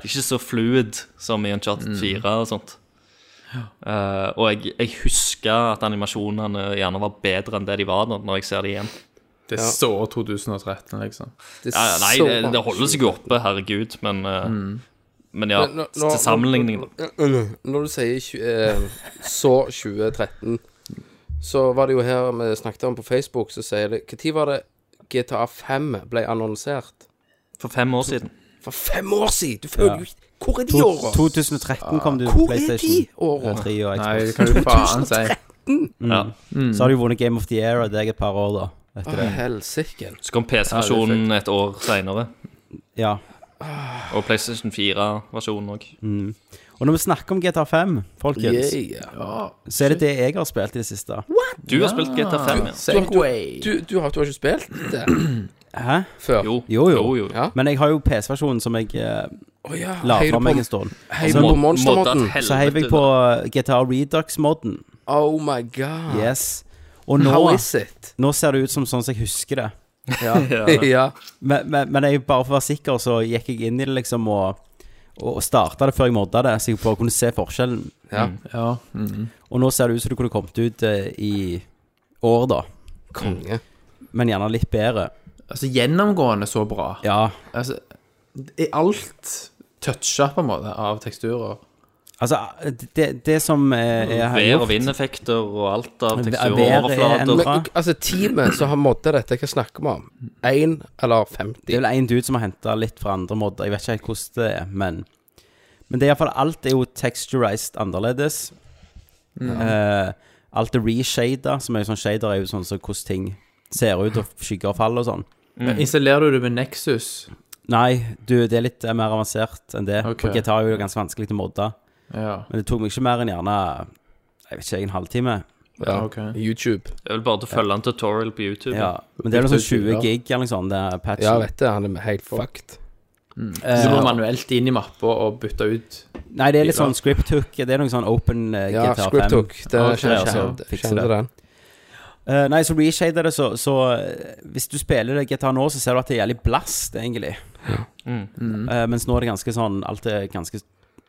Det er ikke så fluid som i Uncharted 4 og sånt. Eh, og jeg, jeg husker at animasjonene gjerne var bedre enn det de var da, når jeg ser det igjen.
Det er så 2013, liksom.
Det er
Ja, ja, nei,
så
det, det holder seg jo oppe, herregud, men eh, Men ja,
Men nå- nå-
til sammenligning, da.
Når du sier tju- eh, så 2013, så var det jo her vi snakket om på Facebook, så sier det Når var det GTA 5 ble annonsert?
For fem år siden.
For fem år siden! Du føler jo ikke Hvor er de
To-
åra?
2013 kom du til
Hvor er de
PlayStation.
åra?
3 og
Nei,
Xbox.
det kan du faen si.
Ja.
Så har du vunnet Game of the Year og deg et par år, da.
Ah.
Etter det.
Helsike.
Så kom PC-versjonen et år seinere,
Ja.
og PlayStation 4-versjonen òg.
Og når vi snakker om GTA5, folkens,
Yeah.
så er det det jeg har spilt i det siste.
Du har spilt GTA5, ja?
Segway.
Du, du, har, du har ikke spilt det
Hæ?
før?
Jo.
Jo, jo.
Ja.
Men jeg har jo PC-versjonen som jeg eh,
Å ja.
la
heier du
fra
på-
meg en Altså, stund.
heier
Så
du på
Mod- modda
monstermodden?
et
Så heiv jeg
helvete,
på eh, GTA Redux-modden.
Oh my god.
Yes. Og nå,
How is it?
nå ser det ut som sånn som jeg husker det.
da. Ja.
<laughs> ja.
Men, men, men jeg bare for å være sikker, så gikk jeg inn i det liksom og, og starta det før jeg modda det, så jeg bare kunne se forskjellen.
ja.
Ja. mhm.
Og nå ser det ut som det kunne kommet ut eh, i år, da.
Konge.
Men gjerne litt bedre.
Altså, gjennomgående så bra.
Ja.
Altså, i alt toucha på en måte av teksturer.
Altså, det, det som eh, er, er her
Vær- og
gjort
vindeffekter og alt av teksturer
Vær er
og overflater.
en-
Men altså, teamet som har modda dette, hva snakker vi om? Én eller
Det
50?
er vel en dude som har henta litt fra andre modder. Jeg vet ikke helt hvordan det er, men Men det er iallfall Alt er jo texturized annerledes.
Mm.
Eh, alt er reshada, som er jo sånn shader er jo sånn som hvordan ting ser ut, og skygger og fall og sånn.
Mm.
Men installerer du det med Nexus?
Nei, du, det er litt eh, mer avansert enn det.
Ok.
For GTA er jo ganske vanskelig til å modde.
Ja.
Men det tok meg ikke mer enn gjerne Jeg vet ikke, en halvtime.
Ja.
ok.
YouTube.
Det er vel bare til å følge en tutorial på YouTube.
Ja, Men det er jo sånn 20
Ja.
gig eller noe sånt, det er patchen.
Ja, vet du, han er helt fucked.
Så du må manuelt inn i mappa og bytte ut.
Nei, det er litt sånn script hook. Det er noe sånn open eh,
Ja,
GTA 5.
script hook. Det
Ok,
kjenner
altså,
kjenner-
fikser
kjenner
det.
den.
Eh, nei, så reshader det, så, så eh, Hvis du spiller det GTA nå, så ser du at det er jævlig blast, egentlig.
Mm.
Eh, mens nå er det ganske sånn Alt er ganske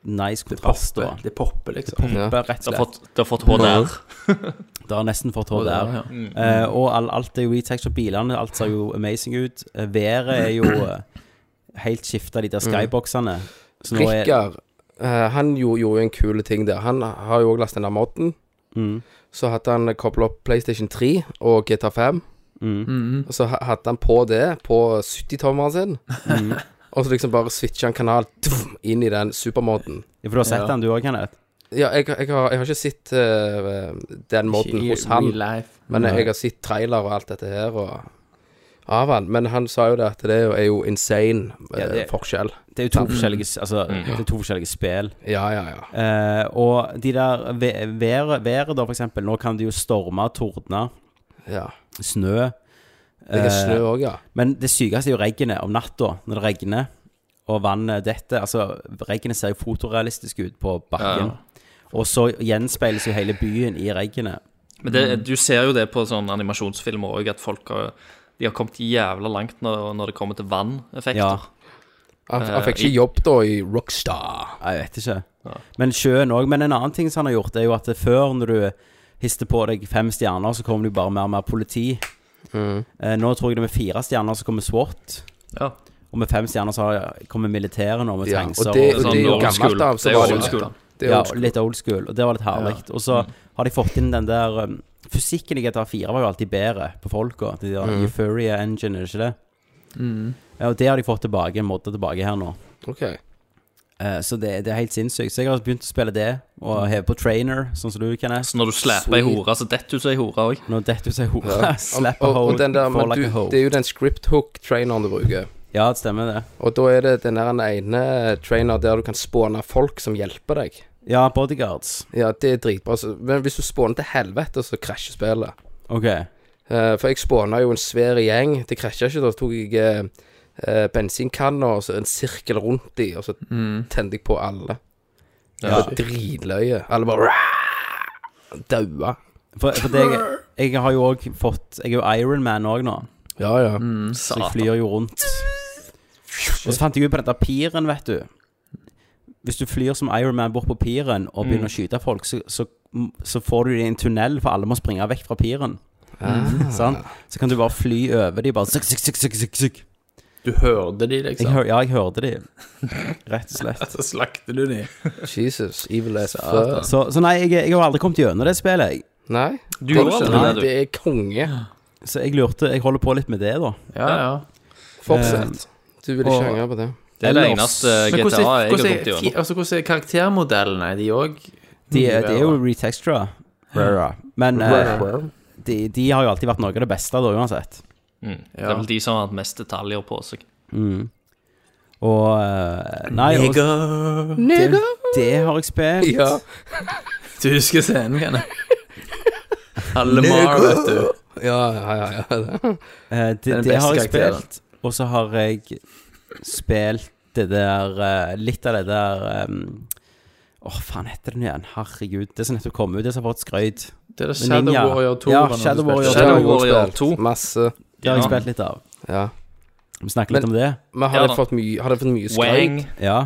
nice kontrast.
Popper.
og-
Mm. Det popper, liksom.
Ja.
Bare Rett
Det
og
har
slett.
fått, det har fått HDR.
Det har nesten fått hår der.
Ja.
Mm.
Eh, og all, alt er jo retextured. Bilene alt ser jo amazing ut. Eh, været er jo eh, helt skifta, de der skyboxene. Så nå er
Rikard, eh, han jo- gjorde jo en kul ting der. Han har jo òg lasta ned modden.
Mm.
Så hadde han kobla opp PlayStation 3 og GTA 5.
mm.
Mm.
Og så ha- hadde han på det på 70-tommeren sin.
Mm.
<laughs> Og så liksom bare switcha han kanal tvum, inn i den supermodden.
Ja, For du har sett
Ja.
den, du òg, Kenneth?
Ja, jeg, jeg, har, jeg har ikke sett eh, den modden hos han. Men jeg, jeg har sett trailer og alt dette her og av han. Men han sa jo det at det er jo, er jo insane eh,
Ja, det-
forskjell.
Det er jo to forskjellige s- Altså, det er to forskjellige spill.
Ja, ja, ja.
Eh, og de der ve- været, været da, for eksempel. Nå kan det jo storme, tordne,
ja.
snø.
Det er snø
Eh,
òg, ja.
Men det sykeste er jo regnet om natta, når det regner og vannet detter. Altså, regnet ser jo fotorealistisk ut på bakken. Og så gjenspeiles jo hele byen i reggene.
Men det, du ser jo det på sånne animasjonsfilmer òg, at folk har, de har kommet jævla langt når, når det kommer til vanneffekter.
Ja,
Han, han fikk
Eh, i-
ikke jobb da i Rockstar.
jeg vet ikke. Men sjøen òg. Men en annen ting som han har gjort, er jo at det før, når du hister på deg fem stjerner, så kommer det jo bare mer og mer politi. Eh, nå tror jeg det med fire stjerner så kommer SWAT.
Ja.
Og med fem stjerner så har- kommer militæret nå med
Ja,
tanks
og det-
Det er
jo
sånn old
gammelt
school.
av, så
Det er
var
old
det jo
school.
Det er
ja,
old school. Mm.
litt old school, og det var litt herlig. Og så har de fått inn den der um, Fysikken i GTA4 var jo alltid bedre på folka. De der
Mm.
Euphoria Engine, er det ikke det?
Mm.
Ja, og det har de fått tilbake, modda tilbake her nå. <laughs>
Ok.
Eh, så det, det er helt sinnssykt. Så jeg har begynt å spille det,
Mm.
og heve på trainer, sånn som du, Kenneth.
Så når du slapper ei hore, så detter du som ei hore òg.
Nå detter du seg i hodet. <laughs> Slap a
Og, og
hole,
den der, men
fall like a
du, det
hole.
er jo den script hook-traineren du bruker.
Ja, det stemmer, det.
Og da er det den der ene trainer der du kan spåne folk som hjelper deg.
Ja, bodyguards.
Ja, det er dritbra. så- Men hvis du spåner til helvete, så krasjer spillet.
OK.
Eh, for jeg spåna jo en svær gjeng. Det krasja ikke. Da tok jeg eh, eh, bensinkanner og så en sirkel rundt de, og så
Mm.
tente jeg på alle. Det var dritløye. Alle bare "Rah!" Daua.
For, for det, jeg,
<laughs>
jeg har jo òg fått Jeg er jo Ironman òg nå.
Ja, ja.
Mm.
Så jeg flyr jo rundt. Og så fant jeg ut på dette piren, vet du. Hvis du flyr som Ironman bort på piren og begynner å skyte folk, så, så, så får du det i en tunnel, for alle må springe vekk fra piren. Ah.
Mm.
Sant? Så kan du bare fly over de bare zuk, zuk, zuk, zuk, zuk, zuk.
Du hørte de,
Jeg,
liksom.
hør, Ja, jeg hørte de. Rett og slett.
<laughs> Så slakter du de.
Jesus. Evil as fuck.
Så, så nei, jeg, jeg har aldri kommet gjennom det spillet. jeg.
Nei.
Du gjorde aldri
Nei,
det, du.
det er konge.
Så jeg lurte Jeg holder på litt med det, da. Eh,
Ja, ja.
Fortsett.
Eh,
Du vil ikke
og-
angre på det.
Det er det
Ellers-
eneste
Men
GTA
hvordan,
jeg har
hvordan,
gått
fi-
gjennom.
altså, hvordan er karaktermodellene? Er de òg
De, er- de er jo retextra. Men eh, de, de har jo alltid vært noe av det beste, da, uansett.
Mm. Det er vel de som har hatt mest detaljer på seg.
Og eh, Nei, og- det, det har jeg spilt.
Ja.
Du husker scenen, kan jeg? Allemar, vet du.
Ja, ja, ja. ja.
<laughs>
det.
Eh,
er
det
den
det har jeg
beste karakteren.
spilt. Og så har jeg spilt det der eh, Litt av det der eh, Åh, faen heter den igjen? Herregud. Det som nettopp kom ut, det som har fått skryt.
Det er
Men
Shadow
Ninja.
Warrior 2.
Ja,
var noe
Shadow
du spilte.
Warrior
Det har
Shadow
jeg også
Warrior
spilt.
2.
Masse.
Det har jeg
Ja.
spilt litt av.
Ja.
Vi snakker litt
Men-
om det.
Men har
Ja
det
da.
fått mye, har det fått mye
Wang.
skryt?
Ja.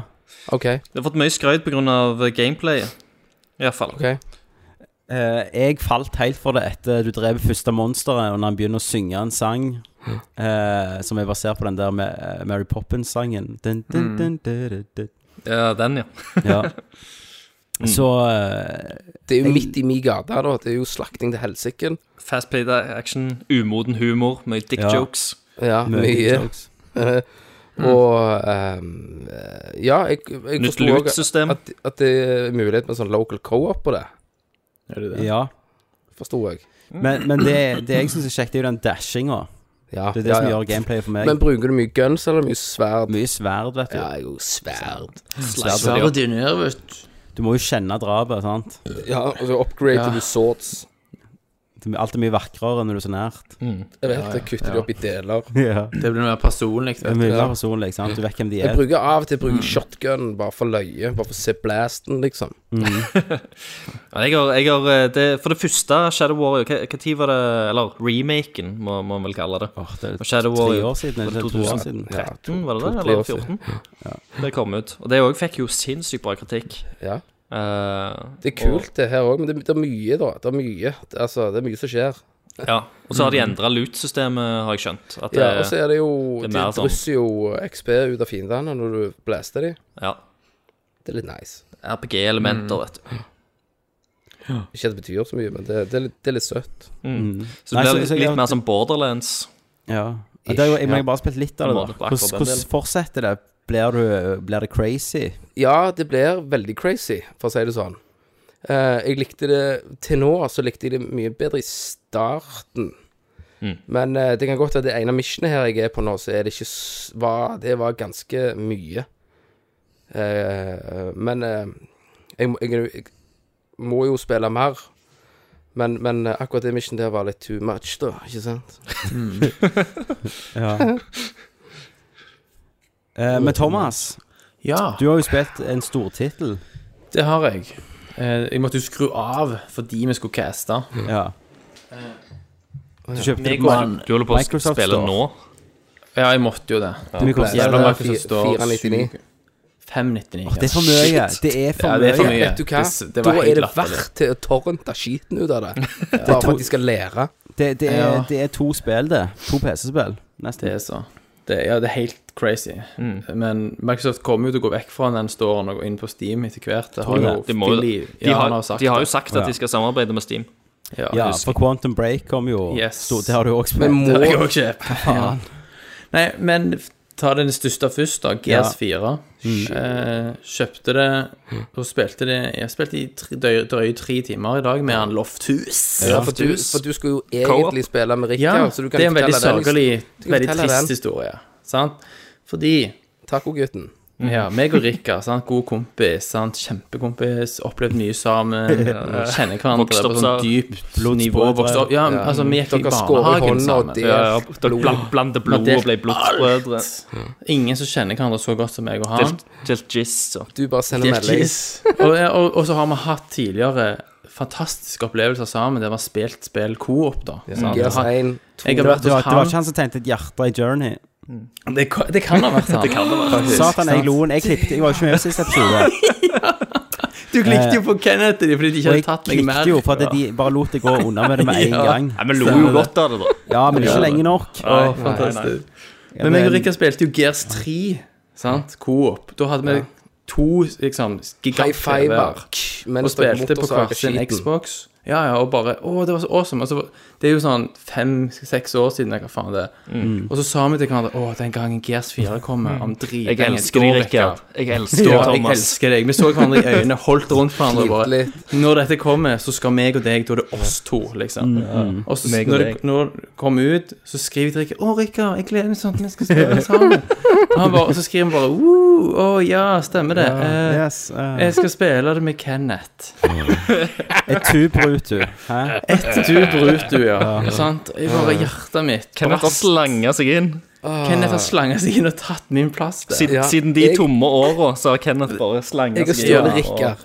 OK.
Det har fått mye skryt pga. gameplayet. Iallfall.
ok
Eh, jeg falt helt for det etter du drev første monsteret, og når han begynner å synge en sang eh, som er basert på den der med, eh, Mary Poppins-sangen. Dun, dun, dun, dun, dun, dun.
Ja, den, ja.
Ja.
Mm.
Så eh,
Det er jo midt i mi gate, da. Det er jo slakting til helsiken.
Fast play action, umoden humor, mye dick
Ja.
jokes.
Ja, mye.
jokes.
<laughs> Og ehm, eh, Ja, jeg, jeg
Nytt
forstår også
loot-system.
at, at det er mulighet med sånn local co-op på det.
Er det det?
Ja.
Forsto jeg.
Men, men det, det jeg syns er kjekt, er jo den dashinga.
Ja,
Det er det
ja,
som
ja.
gjør gameplayet for meg.
Men bruker du mye guns eller mye sverd?
Mye sverd, vet du.
Ja, Altså- jo, sverd.
Slicer de opp.
Sverdinør, vet du.
Du må jo kjenne drapet, sant.
Ja, og så upgrader
Ja.
du swords.
Det er- Alt er mye vakrere når du er så nært.
Mm.
Jeg vet, det kutter de opp i deler.
<laughs> Ja.
Det blir mer personlig.
Det er
Vet du.
mye mer personlig, sant. Du vet hvem de
Jeg
er.
bruker av og til
Mm.
bruker shotgun bare for løye. Bare for å se blasten, liksom.
Mm.
Ja, Jeg har, jeg har eh, det, For det første, Shadow Warrior hva- hva tid var det Eller remaken, må må man vel kalle det.
Åh, det er
Og Shadow
tre
Warrior
år siden, er det ikke to år siden.
2013, var det
to-
det?
tre år
Eller
siden.
14? Det kom ut. Og det òg fikk jo sinnssykt bra kritikk.
Ja.
Eh,
Det er kult, det her òg, men det, det er mye, da. Det er mye Det- altså, det er mye som skjer.
Ja, og så har de endra loot-systemet, har jeg skjønt. At eh, det,
Ja, og så er det jo
det er
De
mer sånn-
drysser jo XP ut av fiendene når du blaster dem.
ja,
Det er litt nice. Mm.
RPG-elementer, vet du.
Ikke at det betyr så mye, men det, det, er, litt, det er litt søtt.
Så
Mm. Nei,
det
så-
blir
så
litt,
jeg
litt
har-
mer sånn som borderlands.
Ja. Og Det er jo, jeg må
Ja.
jo bare spille litt av det.
Må
da
det på
Hvordan,
akkurat den
hvordan fortsetter det? Blir, du, blir det crazy?
Ja, det blir veldig crazy, for å si det sånn. Eh, jeg likte det Til nå så likte jeg det mye bedre i starten.
Mm.
Men eh, det kan godt være det ene missionet her jeg er på nå, så er det ikke s- var, Det var ganske mye. Eh, men eh, jeg, må- jeg, jeg må jo spille mer. Men, men eh, akkurat det missionet der var litt too much, da. Ikke sant?
Ja. <laughs> Eh, men Thomas,
Ja,
du har jo spilt en stortittel.
det har jeg. Eh, jeg måtte jo skru av fordi vi skulle caste.
Ja. Eh, Du kjøpte det
Meg
på
og
Mar-
han
Du holder på å
Microsoft
spille
Store.
nå?
Ja, jeg måtte jo det.
Hvor mye koster det?
Jævla
det er
mange som
fi-
står
499.
7 599.
Det er for mye. Det er for
Ja,
mye.
det er for mye.
Vet du hva?
Det- det var
da
helt
er det
latterlig.
verdt til å torrente skiten ut av det.
<laughs>
Bare for at de skal lære.
Det, det, er,
Ja.
det er to spill, det. To PC-spill.
Det
Nesten.
er så det, Ja, det er helt crazy.
Mm.
Men Microsoft kommer jo til å gå vekk fra den storen og gå inn på Steam etter hvert. Det har jo
De, må, jo-
Billy-
de,
ja,
har,
han har sagt
de har jo
det.
sagt at de skal samarbeide med Steam.
Ja,
Ja,
husker
for Quantum Break kom jo
Yes.
stort- Det har du jo også
Men
spilt.
må
Det har jeg òg kjøpt. Ja. Nei, men ta den største først, da.
Ja.
GS4.
Mm.
Eh, kjøpte det og spilte det Jeg spilte i tre, drøye, drøye tre timer i dag med han Lofthus.
Ja, for, du, for du skulle jo egentlig spille med
Ja,
Rikard, så du kan
det er en veldig
fortelle den.
sørgelig,
kan
veldig
fortelle
trist
den.
historie. Sant? Fordi
Tacogutten.
ja,
Mm.
meg og Rikka, sant? god kompis, sant? kjempekompis, opplevd mye
<laughs>
sammen, kjenner
Vokst
hverandre på
opp
sånn
sammen.
dypt nivå. Vokst opp, ja, altså, vi gikk i
Dere skårer i
barnehagen
hånda, og
sammen.
det
Ja,
er
ja, dere bland- blander blod
det-
og ble blodsbrødre.
Ingen som kjenner hverandre så godt som meg og han.
Delt- Delt jizz og
Du bare sender
Delt
melding.
jizz. <laughs> og, og, og så har vi hatt tidligere fantastiske opplevelser sammen, der vi har spilt spill coop, da. sant?
Gears
Jeg
1,
har vært
2
Det var,
hos
det var
han
ikke han som tegnte et hjerte i Journey.
Det, kan- <laughs> det kan ha vært han.
Satan, jeg lo. Jeg klippet Jeg var jo ikke med på siste
<laughs>
episode.
Du klikket jo på Kenneth i det, fordi de ikke
Eh, Og
hadde
jeg
tatt meg mer.
klippet jo for at de bare lot det gå unna med det med en
Ja.
gang.
Nei, men lo jo godt av det, da.
Ja, men ikke lenge nok.
Å, fantastisk.
Ja,
Men meg og
men-
Rikka spilte jo Gears 3, sant? Coop. Da hadde vi to liksom
High fiver.
gigant-TV-er.
Mens
og
dere
spilte på hver
motorsager
sin
skiten.
Xbox. Ja, ja, og bare Å, det var så awesome. Og så, var- det er jo sånn fem-seks år siden, eller hva faen det er. Og så sa vi til hverandre Å, den gangen Gears 4 kommer, om drit
Jeg elsker deg, Rikard. Jeg elsker
Ja,
deg,
jeg
Thomas.
elsker deg. Vi så hverandre i øynene, holdt rundt hverandre. og
Litt,
Bare,
litt.
når dette kommer, så skal meg og deg, da er det oss to, liksom.
Mm.
Og så
Meg og
når det
deg.
når det kommer ut, så skriver jeg til Rikard Å, Rikard, jeg gleder meg sånn til vi skal spille sammen. Og, han bare, og så skriver han bare Woo, Å ja, stemmer det. Eh,
Yes, eh,
jeg skal spille det med Kenneth.
Et tu brut, du. Hæ?
Du Bruto, ja. Eh. Sant? Jeg bare hjertet mitt
Kenneth har
brast.
slanga seg inn.
Kenneth har slanget seg inn og tatt min plass der.
Siden,
Ja,
siden de
jeg-
tomme åra så har Kenneth bare slanga
Jeg har
seg inn.
stjålet Rikard.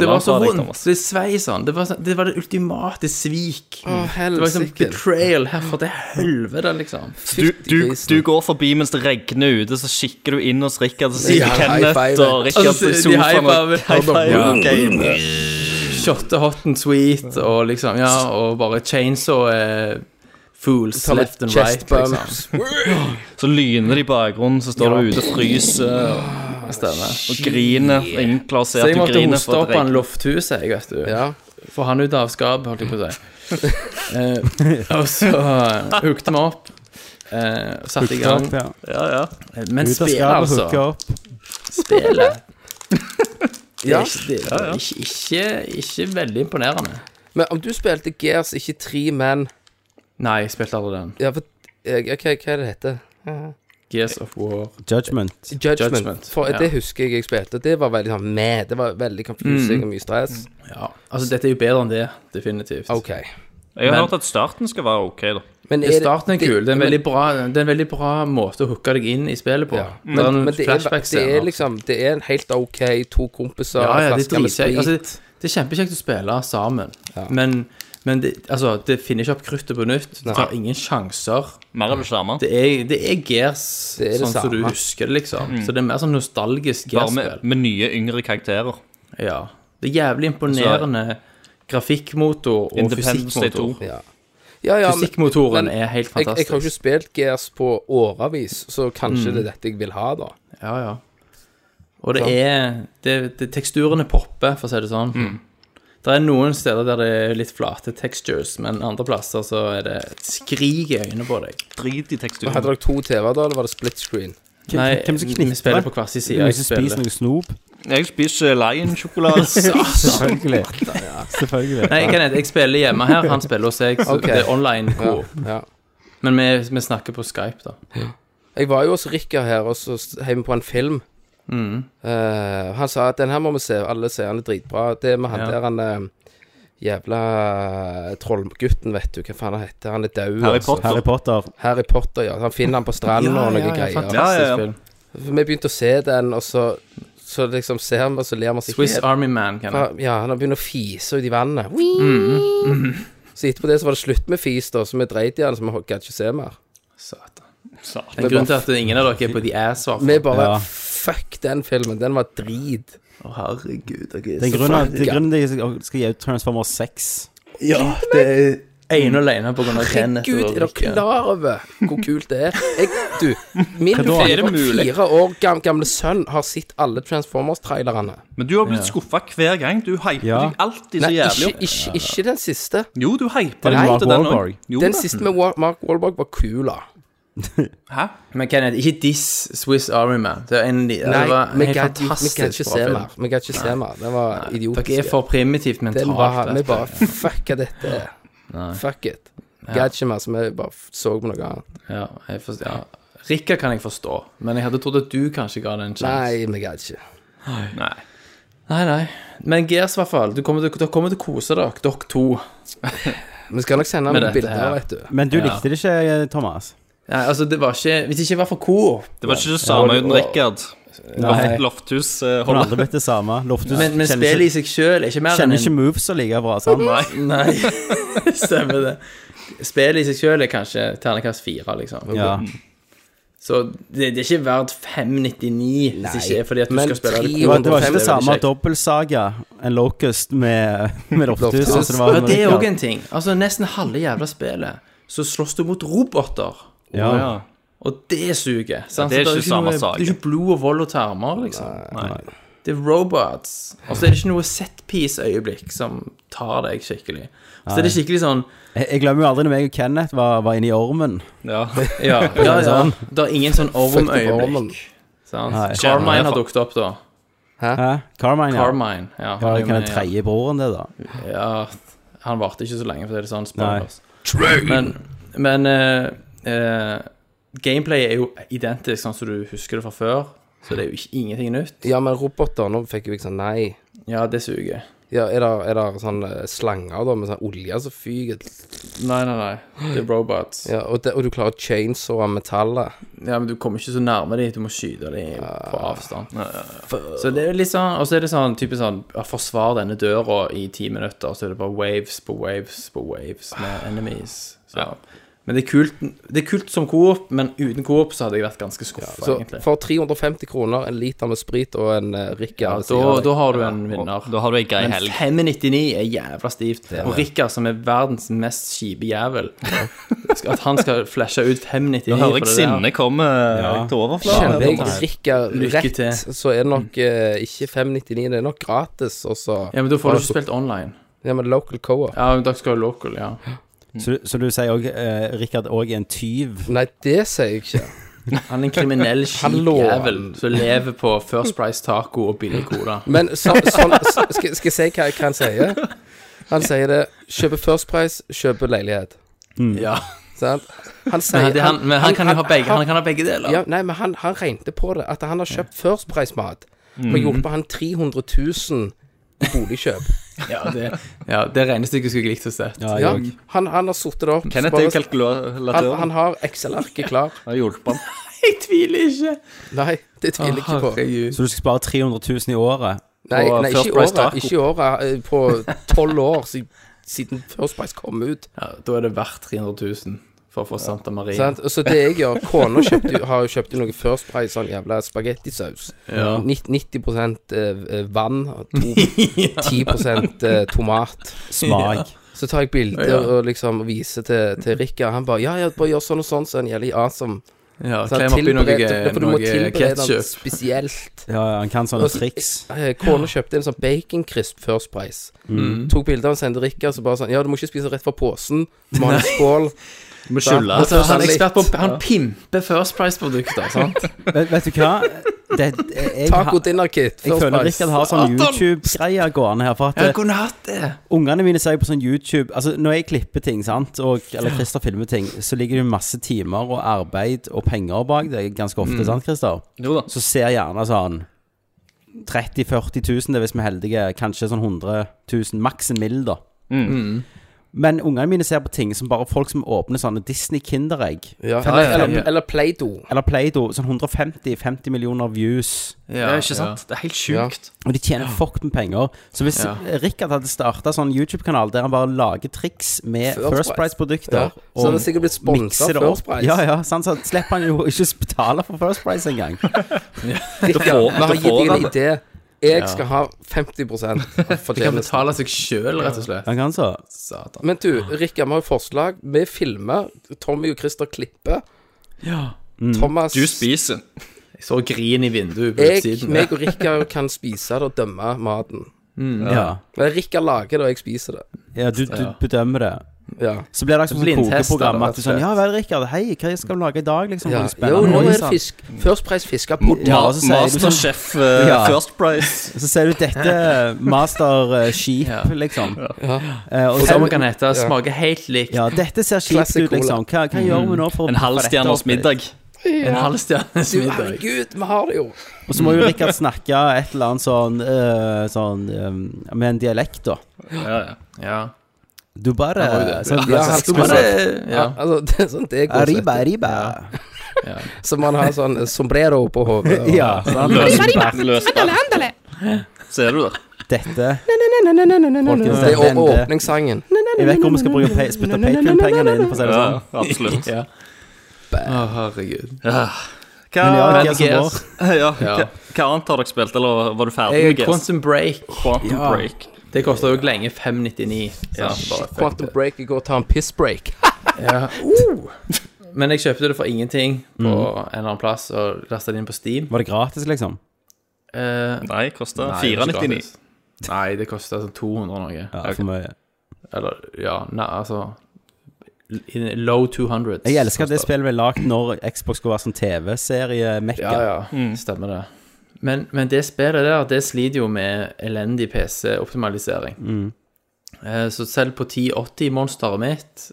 Det var så
vondt.
vondt. Det svei sånn. Det var, sånn- det var det ultimate svik.
Å,
Det var liksom
helsike.
betrayal herfra til helvete, liksom.
Du, du, du går forbi mens det regner ute, så kikker du inn hos Rikard, så sitter
Ja, high
Kenneth
five.
og
Og
Rikard
så
på
sier Altså, de high
sofaen og
five.
high five.
Game. Shotte hot and sweet og liksom Ja, og bare chainsaw eh, fools
Ta litt
left and right,
chest
liksom.
bumps.
Så lyner det i bakgrunnen, så står du ute og fryser
Stemmer.
og griner. Ingen klarer å se
Så
at
jeg
du
måtte
griner.
hoste
for
opp
at det
han
regner.
lofthuset, jeg, vet du.
Ja.
Få han ut av skapet, holdt jeg på å si. Eh, og så eh, hookte vi opp. eh, og satte i gang.
Opp, ja.
Ja, ja.
Eh, Men
Ut av
spillet,
skapet, hooke
altså.
opp.
Spillet. Det
Ja.
er ikke, det er ikke, ikke, ikke veldig imponerende.
Men om du spilte Gears, ikke tre menn
Nei, jeg spilte aldri den.
ja, for, eh, hva, hva er det heter?
Gears of War.
Judgment.
Judgment.
Judgment,
For
ja.
Det husker jeg jeg spilte. og Det var veldig sånn meh. Det var veldig
Mm.
confusing og mye stress.
Ja. Altså, dette er jo bedre enn det, definitivt.
OK.
Jeg har
Men-
hørt at starten skal være ok, da.
Men
Det- Starten er
det-
kul. Det er, en
men-
veldig bra, det er en veldig bra måte å hooke deg inn i spillet på.
Ja.
det er altså.
Men,
noen
men det, er, det er
flashback-scener.
liksom Det er en helt OK to kompiser,
Ja, ja, det
flasker
er
med sprit
dritkjekt. Altså, det- det er kjempekjekt å spille sammen, men, men det, altså, det finner ikke opp kruttet på nytt. Du tar ingen sjanser.
Mer er du skjerma.
Det er, det er Gears
Det er det
sånn som du
samme.
husker det, liksom. Så det er mer sånn nostalgisk
Mm. Bare med,
Gears-spill.
med nye, yngre karakterer.
Ja. Det er jævlig imponerende grafikkmotor og
Altså, Independence Day
fysikkmotor.
2.
Ja, ja, ja men
Fysikkmotoren
men
er helt
jeg, jeg har jo
fantastisk. Mm.
ikke spilt Gears på årevis, så kanskje det er dette jeg vil ha, da.
Ja, ja. Og det er det, det, Teksturene popper, for å si det sånn. Det er noen steder der det er litt flate textures, men andre plasser så er det et skrik i øynene på deg.
Drit i teksturen.
Hadde dere to TV-er da, eller var det split screen?
Hvem
Nei,
hvem som knipper?
vi spiller på hver sin side.
Noen
Jeg
som spiser
spiller.
noe snop?
Jeg spiser
<laughs>
Lion-sjokolade.
<laughs>
Selvfølgelig. Selvfølgelig.
Nei, Kenneth, jeg spiller hjemme her, han spiller hos seg. Så
Ok.
Det er online
Ja,
coop.
ja.
Men vi, vi snakker på Skype, da.
Jeg var jo hos Rikard her, og så heiv vi på en film.
Mm.
Eh, han sa at den her må vi se, alle ser han er dritbra. Det med han
Ja.
der han eh, jævla eh, trollgutten, vet du hva faen han heter. Han er død.
Harry
altså.
Potter.
Harry Potter.
Harry Potter, ja. Han finner han på stranden og noe greier.
fantastisk
Ja, ja, ja.
film.
Vi begynte å se den, og så så liksom ser vi, og så ler vi oss
Swiss
helt-
Army Man, kan jeg.
Ja, han begynner å fise ut i vannet. Whee! Så etterpå det så var det slutt med fis, da, så vi dreit i han, så vi gadd ikke se mer.
Satan.
Satan.
En grunn til at ingen av dere er på The Ass, var
Vi bare
Ja.
Fuck den filmen, den var drit.
Å, herregud, dere
Det er grunnen det er grunnen de skal gi ut Transformer 6.
Ja, det er ene og alene på grunn av Kenneth.
Herregud,
og
er dere
Rikke.
klar over hvor kult det er? Jeg, du, min
da?
Er det mulig?
fire år gam, gamle sønn har sett alle Transformers-trailerne.
Men du har blitt skuffa hver gang. Du hyper
Ja.
deg alltid så
Nei,
jævlig
ikke,
opp.
ikke, ikke den siste.
Jo, du hyper deg
det Mark
alltid den
Wahlberg?
òg. Jo
Den
da.
siste med Wa- Mark Wahlberg var kul, da.
Hæ?
Men Kenneth, ikke diss Swiss Army Man. Det er en, det
Nei,
var en
vi
helt
gadd jo- vi gadd ikke
fantastisk bra
se
film.
mer. Vi gadd ikke se mer. Den var idiotisk.
Dere er for primitivt
Den
mentalt.
var, vi
dette.
bare fucka dette. Fuck it. Gadd ikke mer, så vi bare så på noe annet.
Ja, jeg forstår, ja. Rikka kan jeg forstå, men jeg hadde trodd at du kanskje ga den en sjanse.
Nei, vi gadd ikke.
Nei.
Nei, nei. Men Gears, i hvert fall. du kommer til- Dere kommer til å kose dere, dere to.
Vi skal nok sende
Med
noen
dette
bilder,
her.
vet du.
Men du likte det ikke, eh, Thomas?
Nei, altså, det var ikke Hvis det ikke var for Coop
Det var ikke det samme uten Richard.
Nei.
Lofthus eh,
Hun har
holder
aldri blitt det samme. Loftus
Men, men
kjenner
spillet i
ikke,
seg sjøl er ikke mer enn
kjenner ikke
en
moves så like bra sammen.
Nei.
Nei, <laughs> stemmer det. Spillet i seg sjøl er kanskje ternekast fire, liksom.
Ja.
Så det, det er ikke verdt 599 hvis det ikke er fordi at du
men
skal spille
tre-
det
Det var, det var
Fem
ikke
er
det samme
veldig kjekt.
dobbeltsaga, en locust med, med Loftus.
Loftus.
sånn som
Ja, det er
med
òg en ting. Altså, nesten halve jævla spillet, så slåss du mot roboter.
Ja.
Ja.
Og det suger. sant?
Ja, det er
Så
ikke samme
noe-
sak.
Det er ikke blod og vold og tarmer, liksom.
Nei.
Det er robots. Og så er det ikke noe setpiece-øyeblikk som tar deg skikkelig. Så er det skikkelig sånn
Jeg, jeg glemmer jo aldri når meg og Kenneth var, var inne i ormen.
Ja.
Ja, ja, ja. Det er ingen sånn
Fuck the
orm-øyeblikk.
Bormann.
Nei.
Sant? Carmine har dukket opp, da.
Hæ? Carmine, ja.
Carmine. Ja,
ja
han er jo
kan
med,
den tredje broren det, da?
Ja, han varte ikke så lenge, for det er sånn
Nei.
spoilers. Men, men eh, eh, gameplayet er jo identisk sånn som du husker det fra før, så det er jo ikke, ingenting nytt.
Ja, men roboter, nå fikk jo jeg sånn nei.
Ja, det suger.
Ja, er det, er det sånne slanger da, med sånn olje som fyker?
Nei, nei, nei. Det er robots. Ja,
Ja, og, det, og du klarer å chainsaw metallet.
men du kommer ikke så nærme dem, du må skyte dem på avstand. Så det er litt sånn, og så er det sånn typisk sånn ja, Forsvar denne døra i ti minutter, så er det bare waves på waves på waves med enemies. Så. Men det er, kult, det er kult som coop, men uten coop så hadde jeg vært ganske skuffa,
Så
egentlig.
for 350 kroner, en liter med sprit og en uh,
Ja,
Rikard
da, da har du en vinner.
Da har du ei grei
Men
helg.
599 er jævla stivt. Og Rikard, som er altså verdens mest kjipe jævel, at han skal flashe ut 599
Da hører jeg
på det der.
sinnet komme eh, til
Kjenner jeg
overflaten.
Rikard
Lykke
rett,
til.
så er det nok eh, ikke 599, det er nok gratis, og så
Ja, men da får du ikke spilt online.
Ja, men local co-op.
Ja, men dere skal jo local, ja.
Mm.
Så, så du sier òg eh, Rikard òg er en tyv?
Nei, det sier jeg ikke.
Han er en
<laughs>
kriminell kjip
Hallo.
jævel som lever på First Price taco og billig cola.
Men så, sånn, så, skal, skal jeg si hva, hva han sier? Han sier det Kjøpe First Price, kjøpe leilighet.
Ja.
Sant? Mm. Han
Men
sier
han, han, men han kan jo ha begge, han kan ha begge deler.
ja, Nei, men han, han regnet på det. At han har kjøpt First Price-mat. Og
Mm.
hjulpet han 300 000 i
<laughs>
boligkjøp.
Ja, det, ja, det regnestykket skulle jeg likt å se.
Ja, han, han har sortet det opp.
Kenneth
Bare-
er jo
han,
kalkulatør.
han har Excel-arket klar.
Har hjulpet han.
Jeg tviler ikke.
Nei, det
Å,
tviler jeg ikke på.
Herregud.
Så du skal spare 300 000 i året?
Nei,
på
nei
First
ikke i
Price
året.
Taco.
Ikke i året. eh, På tolv år si- siden First Price kom ut.
Ja, da er det verdt 300 000 for å få Santa Maria.
Sant? Så det jeg gjør Kona kjøpte, jo- har jo kjøpt noe First Price, sånn jævla spagettisaus.
Ja.
90 eh, vann, og
<laughs>
to- 10 eh, tomat. <laughs>
Smak.
Så tar jeg bilder
Ja.
og liksom viser til, til Rikard. Han bare 'Ja, ja, bare gjør sånn og sånn', så han gjelder awesome.
Ja,
Så han
klem oppi noe,
tilbereder- for du må
noe
tilberede den
ketchup.
spesielt.
Ja, han kan sånne triks.
Eh, Kona kjøpte en sånn bacon crisp First Price.
Mm.
Tok bilder og sendte Rikard, så bare sånn 'Ja, du må ikke spise rett fra posen'. Du må ha en skål.
Du må skylde.
Da-
Altså, han er
litt.
ekspert på Han pimper First Price-produkter, sant?
Vet, vet du hva? Det, <laughs> jeg,
Taco
jeg,
dinner kit.
jeg
First
føler
Price.
Rikard har sånn YouTube-greier gående her. For at
Jeg
eh,
kunne hatt det.
Ungene mine ser jo på sånn YouTube Altså Når jeg klipper ting, sant og, eller Christer filmer ting, så ligger det jo masse timer og arbeid og penger bak det ganske
Mm.
ofte. sant, Christer?
Jo da.
Så ser jeg gjerne sånn
Mm.
30 000-40 000, det er hvis vi er heldige. Kanskje sånn 100 000, maks en mill., da. Men ungene mine ser på ting som bare folk som åpner sånne Disney-kinderegg.
Ja,
Ja.
ja, ja.
Eller, eller Play-Doh.
Eller Play-Doh. Sånn 150-50 millioner views.
Det er ikke sant? Det er helt sjukt.
Og de tjener fuck med penger. Så hvis
Ja.
Rikard hadde starta sånn YouTube-kanal der han bare lager triks med
First
First
Ja.
Price-produkter
Så han er sikkert blitt sponsa
mikser det opp.
First Price.
Ja, ja, sant, så slipper han jo ikke betale for First Price engang.
Da
Stikker.
får-
Vi har
da får
gitt deg
han
en idé. Jeg skal ha
<laughs>
50 for
De kan
tjenesten.
betale seg sjøl, rett og slett.
Han kan så.
Satan.
Men du, Rikard, vi har jo forslag. Vi filmer. Tommy og Christer klipper. Thomas
Du spiser.
Jeg så grin i vinduet på
jeg,
utsiden.
meg og Rikard kan spise det og dømme maten.
Ja.
Men Rikard lager det, og jeg spiser det.
ja, du, du bedømmer det.
Ja.
Så blir det akkurat som
Blindtester,
kokeprogram. At
rett
du
og
sånn
slett.
Ja vel, Rikard. Hei, hva skal vi lage i dag, liksom?
ja.
Noe
Jo,
spennende.
nå
Oi,
er det
sant.
fisk. First Price fisker på
Ja, og
mat.
så sier du sånn
Masterchef <laughs> eh,
Ja.
First Price.
Så ser du
<laughs>
dette master eh, skip, liksom. Eh, og så,
Som kan hete smaker helt likt.
ja, dette ser kjipt
Classic
ut, liksom. Hva, hva gjør vi nå for å
En halv
få dette
stjerners
opp litt?
middag.
En halv stjernes
Du,
middag.
herregud, vi har det jo.
Og så må jo Rikard snakke et eller annet sånn, eh, sånn eh, med en dialekt, da.
Ja, ja.
Ja.
Du bare sånn,
Ja,
sånn,
han skal
Men
bare
det, ja.
Altså, det er sånn det går.
Arriba, arriba.
Så man har sånn sombrero på hodet. og-
Ja. sånn.
Løsbart. Ser du det?
Dette
Folkens, det er å- åpningssangen.
Jeg vet ikke om vi skal bruke pa- spytte Patrion-pengene inn, for å si det
Ja,
sånn.
absolutt.
Ja. Å, herregud.
Ja. Hva,
Men ja,
<laughs> ja,
hva som går.
hva, hva annet har dere spilt, eller var du ferdig
Jeg
med
er
Guess?
Quantum Break.
Quantum Break.
Det koster jo lenge 599. så bare fuck
Quantum
det.
break, jeg går og tar en piss break.
Ja. Men jeg kjøpte det for ingenting på en eller annen plass og lasta det inn på Steam.
Var det gratis, liksom?
Eh,
Nei, kosta
nei, det er ikke
499.
gratis. Nei, det kosta sånn 200 og noe.
Ja, for mye.
Eller ja, nei, altså in Low 200.
Jeg elsker at det spillet ble lagd når Xbox skulle være sånn TV-serie-mekka.
Ja, ja.
Mm.
Stemmer det. Men, men det spillet der, det sliter jo med elendig PC-optimalisering.
Mm.
Eh, så selv på 1080-monsteret mitt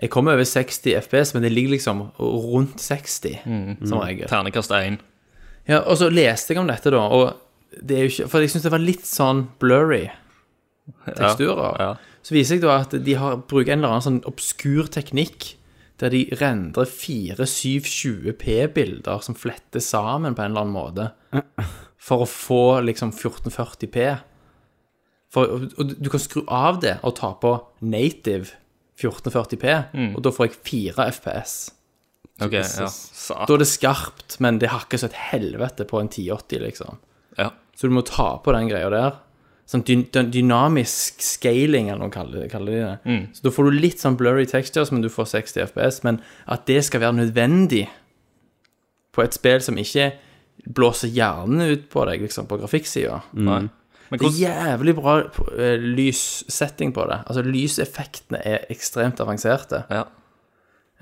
Jeg kommer over 60 FPS, men det ligger liksom rundt 60
Mm.
som regel.
Ternekast 1.
Ja, og så leste jeg om dette da, og det er jo ikke, for jeg synes det var litt sånn blurry teksturer.
Ja.
Så viser jeg da at de har, bruker en eller annen sånn obskur teknikk, der de rendrer 4720p-bilder som fletter sammen på en eller annen måte, for å få liksom 1440p. For, og, og du kan skru av det og ta på native 1440p, og da får jeg 4 FPS.
Ok, ja. Sa-
Da er det skarpt, men det hakker så et helvete på en 1080, liksom.
Ja.
Så du må ta på den greia der. Sånn dy dy- dynamisk scaling, eller noe kaller, kaller de det. Så da får du litt sånn blurry textures, men du får 60 FPS. Men at det skal være nødvendig på et spill som ikke blåser hjernen ut på deg, liksom, på grafikksida.
Nei. Men
Det er
hvordan,
jævlig bra eh, lyssetting på det. Altså, lyseffektene er ekstremt avanserte.
ja.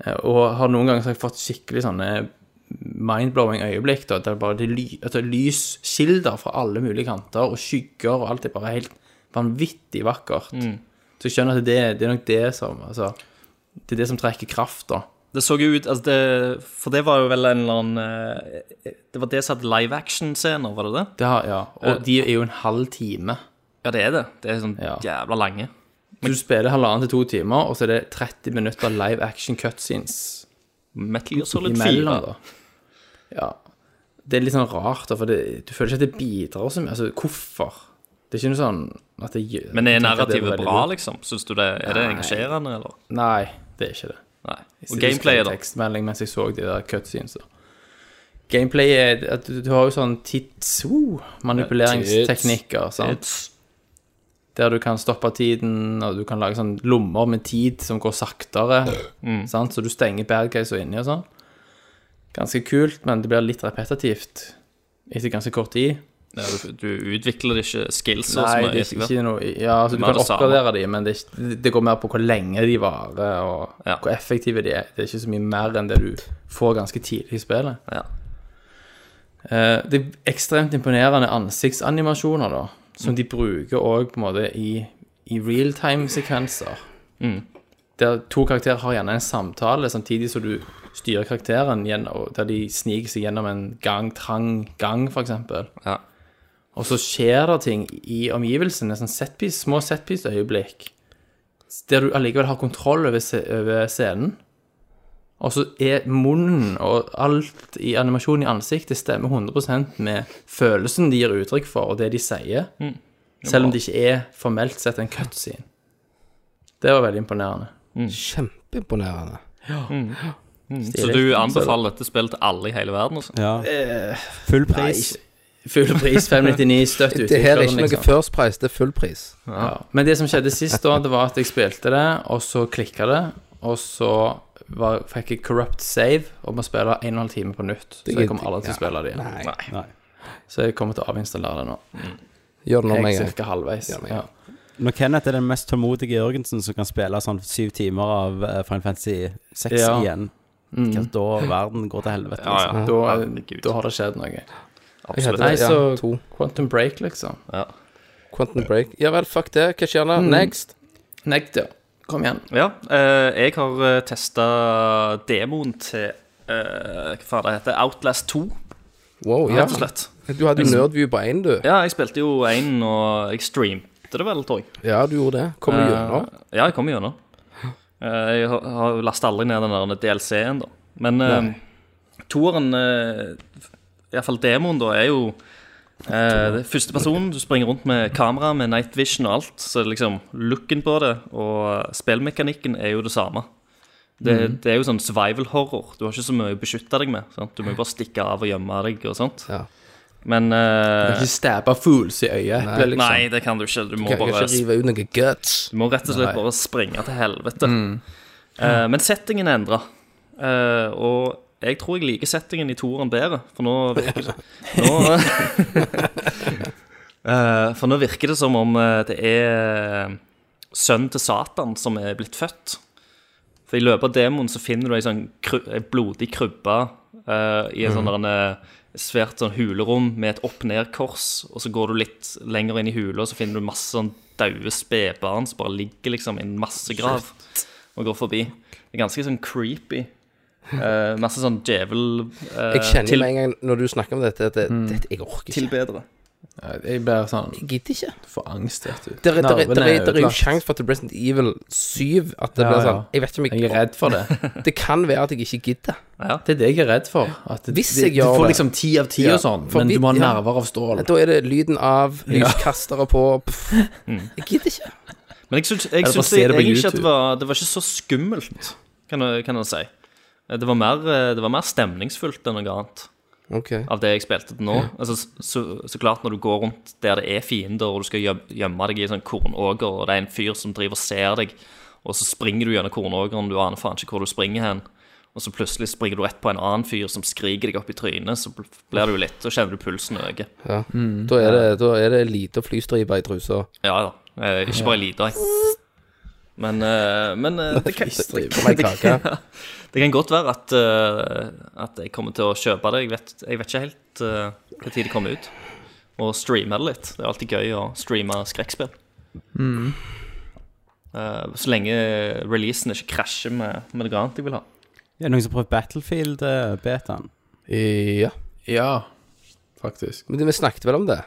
Eh, Og har noen ganger så har jeg fått skikkelig sånne mindblowing øyeblikk. Da, der bare det, ly, at det er lyskilder fra alle mulige kanter, og skygger og alt er bare helt vanvittig vakkert.
Mm.
Så jeg skjønner at det, det er nok det som altså, Det er det som trekker kraft, da.
Det så jo ut altså det, For det var jo vel en eller annen eh, Det var det som hadde live action-scener, var det det?
Det har, ja.
Eh.
Og de er jo en halv time.
Ja, det er det. Det er sånn
Ja.
jævla lange.
Du spiller halvannen til to timer, og så er det 30 minutter live action cutscenes.
Metal Gear Solid 4.
imellom, da. Ja. Det er litt sånn rart, da, for det, du føler ikke at det bidrar så mye. Altså, hvorfor? Det er ikke noe sånn at det gjør
Men er
jeg tenker at det
narrativet
veldig
bra,
lurt.
liksom? Syns du det Er det engasjerende, eller?
Nei, det er ikke det.
Nei. Og
Jeg sitter skrev
gameplayet, da?
tekstmelding mens jeg så de der cutscenes. da. Gameplayet er at du, du har jo sånn tids-manipuleringsteknikker, sant?
It's-
der du kan stoppe tiden, og du kan lage sånn lommer med tid som går saktere,
Mm.
sant? så du stenger bad guys og inni og sånn. Ganske kult, men det blir litt repetitivt etter ganske kort tid.
Ja, du, du utvikler ikke skills og
Nei,
sånn.
det er ikke, ikke noe Ja, altså, du
Mer
kan
det samme.
oppgradere de, men det, er ikke, det går mer på hvor lenge de varer, og
Ja.
hvor effektive de er. Det er ikke så mye mer enn det du får ganske tidlig i spillet.
Ja.
Eh, det er ekstremt imponerende ansiktsanimasjoner, da, som de bruker òg på en måte i, i realtime-sekvenser. Der to karakterer har gjerne en samtale samtidig som du styrer karakteren, gjennom, og der de sniker seg gjennom en gang, trang gang, for eksempel.
Ja.
Og så skjer det ting i omgivelsene, sånn setpiece, små setpiece-øyeblikk, der du allikevel har kontroll over, se- over scenen. Og så er munnen og alt i animasjonen i ansiktet stemmer 100 med følelsen de gir uttrykk for, og det de sier. Selv om Mm. det ikke er formelt sett en cutscene. Det var veldig imponerende.
Kjempeimponerende. Mm.
Så du anbefaler dette spillet til alle i hele verden? Altså.
Ja. Full pris.
Full pris 599, støtt utvikleren.
<laughs> Det her er ikke noe
liksom.
first price, det er full pris.
Ja. Men det som skjedde sist da, det var at jeg spilte det, og så klikka det, og så var, fikk jeg corrupt save og må spille 1 12 timer på nytt. Så jeg kommer aldri til å spille det igjen.
Nei.
Så jeg kommer til å avinstallere det nå.
Gjør det nå med
Jeg
en
er
gang.
ca. halvveis.
men
Ja.
Når Kenneth er den mest tålmodige Jørgensen som kan spille sånn syv timer av eh, Final Fantasy 6
Ja.
igjen, hva da verden går til helvete,
Ja,
liksom.
ja.
Da,
Herregud.
da har det skjedd noe.
Jeg hadde
Nei,
det, ja,
så-
to.
Quantum break, liksom.
Quantum Break. Ja vel, fuck det. Hva skjer da? Next.
Nekt, ja. Kom igjen.
Ja, eh, jeg har testa demoen til eh, Hva faen det heter Outlast 2,
Wow, ja.
rett og slett.
Du hadde jo Nerdview på én, du.
Ja, jeg spilte jo én, og jeg streamte det vel, tror jeg.
Ja, du gjorde det. Kommer du gjennom?
Eh, Ja, jeg kom
<laughs>
gjennom. Eh, Jeg har- har lasta aldri ned den der DLC-en, da. Men eh, toeren, eh, iallfall demoen, da, er jo eh, det er første person, Du springer rundt med kamera med night vision og alt. Så liksom looken på det og spillmekanikken er jo det samme. Det,
Mhm.
det er jo sånn survival horror. Du har ikke så mye å beskytte deg med. Sant? Du må jo bare stikke av og gjemme deg og sånt.
Ja.
Men
Du
eh,
kan ikke stabbe fools i øyet. Nei, liksom.
Nei, det kan du ikke. Du må
sånn. Kan
bare
ikke rive ut noe guts.
du må rett og slett bare springe til helvete. Eh, men settingen er endra. og jeg tror jeg liker settingen i toeren bedre, for nå virker det nå, <laughs> Eh, For nå virker det som om eh, det er sønnen til Satan som er blitt født. For i løpet av demoen så finner du ei sånn kru, ei blodig krybbe eh, i et sånn
Mhm.
der en, eh, svært sånn hulerom med et opp-ned-kors, og så går du litt lenger inn i hula, og så finner du masse sånn daue spedbarn som bare ligger liksom i en massegrav og går forbi. Det er ganske sånn creepy. Eh, masse sånn eh,
Jeg kjenner
djevel-tilbedere.
med en gang når du snakker om dette, at det, dette jeg orker ikke.
Jeg blir sånn
Jeg gidder ikke.
for angst, vet du.
Det er, der er-
Nervene
der er, der er jo
ødelagt.
sjanse for at Resident Evil 7 At det
Ja,
blir
ja.
sånn Jeg vet ikke om jeg,
Jeg er redd for
<laughs>
det.
Det kan være at jeg ikke gidder.
Det er det jeg er redd for. At det-
Hvis
det-
jeg gjør
du får
det.
liksom ti av ti
Ja,
og sånn,
for
men du
vi-
må ha
ja.
nerver av stål.
Da er det lyden av lyskastere på pff,
Mm.
Jeg gidder ikke.
Men jeg syns, jeg
bare
syns
se det på
egentlig ikke at det
YouTube.
var, det var ikke så skummelt, kan jeg, kan jeg si. Det var, mer, eh, det var mer stemningsfullt enn noe annet
Ok.
av det jeg spilte til nå. Altså, så, så klart når du går rundt der det er fiender, og du skal gjem- gjemme deg i en sånn kornåger, og det er en fyr som driver og ser deg, og så springer du gjennom kornågeren, du aner faen ikke hvor du springer hen, og så plutselig springer du rett på en annen fyr som skriker deg opp i trynet, så bl- blir det jo litt, og kjenner du pulsen øke.
Ja. Da, er det, da er det lite flystripe i trusa.
Ja, ja. Eh, Ikke bare lite, jeg. Men, eh, men eh, det, kan, det,
Det kommer ei kake.
Det kan godt være at, eh, at jeg kommer til å kjøpe det. Jeg vet, jeg vet ikke helt uh, hva tid det kommer ut. Og streame det litt. Det er alltid gøy å streame skrekkspill. Mm. Eh, så lenge releasen ikke krasjer med, med noe annet jeg vil ha.
Er det noen som prøver eh, Battlefield-betaen?
Ja.
Ja, faktisk.
Men det- vi snakket vel om det?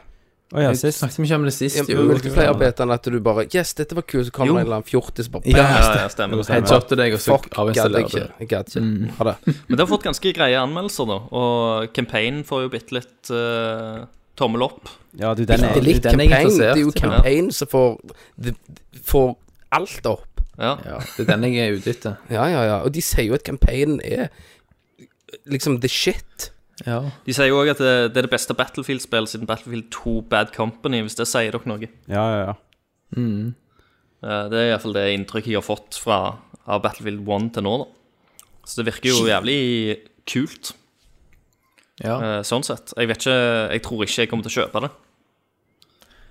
Å ja,
Jeg
sist.
snakket mye om det sist,
I multiplayer-betaen at du bare Yes, dette var kult, så kommer det en eller annen fjortis bare
Ja,
bam.
Ja, ja, stemmer. det.
Headshotte deg, og så
Fuck, gadd jeg
avinstallerte
ikke.
det.
Jeg gadd ikke. Ha det.
Men det har fått ganske greie anmeldelser, da. Og campaignen får jo bitte litt eh, tommel opp.
Ja, du, den
Det er
er
litt
Den er jeg
campaign. Det
interessert
er jo
i.
campaign som får det- får alt opp.
Ja.
Ja, det er den jeg er ute etter.
Ja, ja, ja. Og de sier jo at campaignen er liksom the shit.
Ja.
De sier jo òg at det, det er det beste Battlefield-spillet siden Battlefield 2 Bad Company, hvis det sier dere noe.
Ja, ja, ja.
Mm,
Eh, Det er iallfall det inntrykket jeg har fått fra av Battlefield 1 til nå. da Så det virker jo jævlig kult,
ja.
eh, sånn sett. Jeg vet ikke, jeg tror ikke jeg kommer til å kjøpe det.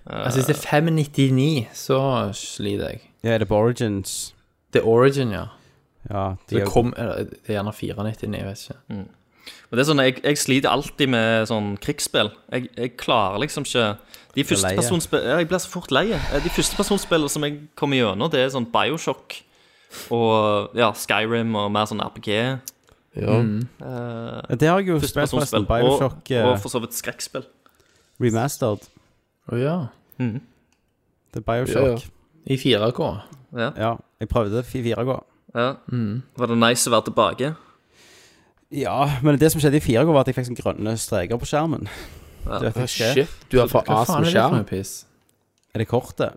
Altså, hvis det er 599, så sliter jeg.
Ja, er det på Origins?
Det er Origin, ja.
Ja, de
Det,
er jo
kom, eller, det er gjerne 499, jeg vet ikke.
Men det er sånn, jeg, jeg sliter alltid med sånn krigsspill. Jeg, jeg klarer liksom ikke De førstepersonsspill ja, Jeg blir så fort lei. Eh, De førstepersonsspillene som jeg kommer gjennom, det er sånn Bioshock og ja, Skyrim og mer sånn RPG.
Ja.
Ja, Det har jeg jo spilt, forresten.
Førstepersonsspill. Og,
Bioshock eh,
og for så vidt skrekkspill.
Remastered.
Å ja.
Det er Bioshock.
I 4K.
Ja, Mm. jeg prøvde 4K.
Ja. Var det nice å være tilbake?
Ja, men det som skjedde i 4K, var at jeg fikk sånne grønne streker på skjermen. Du vet hva skjer?
Ah, Shit, du har for
Hva faen
asen
er det for
skjerm.
noe piss?
Er det kortet?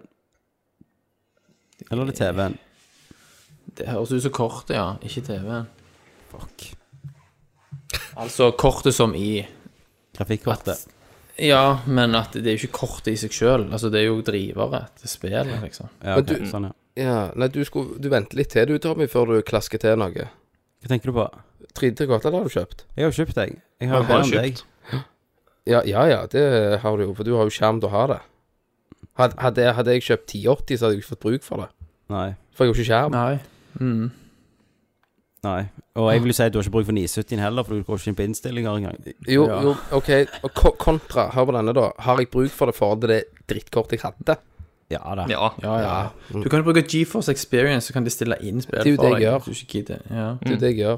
Eller er det TV-en?
Det høres ut som kortet, ja. Ikke TV-en. Fuck. Altså kortet som i
Grafikkortet.
Ja, men at det er jo ikke kortet i seg sjøl. Altså, det er jo drivere til spillet, liksom.
Ja,
Men
ok,
du-
sånn, ja.
Ja, nei, du, skulle, du venter litt til du, Tommy, før du klasker til noe.
Hva tenker du på?
3D-kort, eller har du kjøpt?
Jeg har jo kjøpt deg. Jeg har jo
har
flere enn deg.
Ja, ja, ja, det har du jo, for du har jo skjerm til å ha det. Had- Hadde, jeg- hadde jeg kjøpt 1080, så hadde jeg ikke fått bruk for det.
Nei.
For jeg har jo ikke skjerm.
Nei. Mm.
Nei. Og jeg vil jo si at du har ikke bruk for 970 heller, for du går ikke inn på innstillinger engang.
Jo, jo, OK. Og ko- kontra, hør på denne, da. Har jeg bruk for det for det drittkortet jeg hadde?
Ja da.
Ja.
Ja, ja. Du kan jo bruke GeForce Experience, så kan de stille inn spill
Det er jo
for
det
deg.
jeg gjør.
hvis Du ikke gidder. Ja.
Det er det jeg gjør.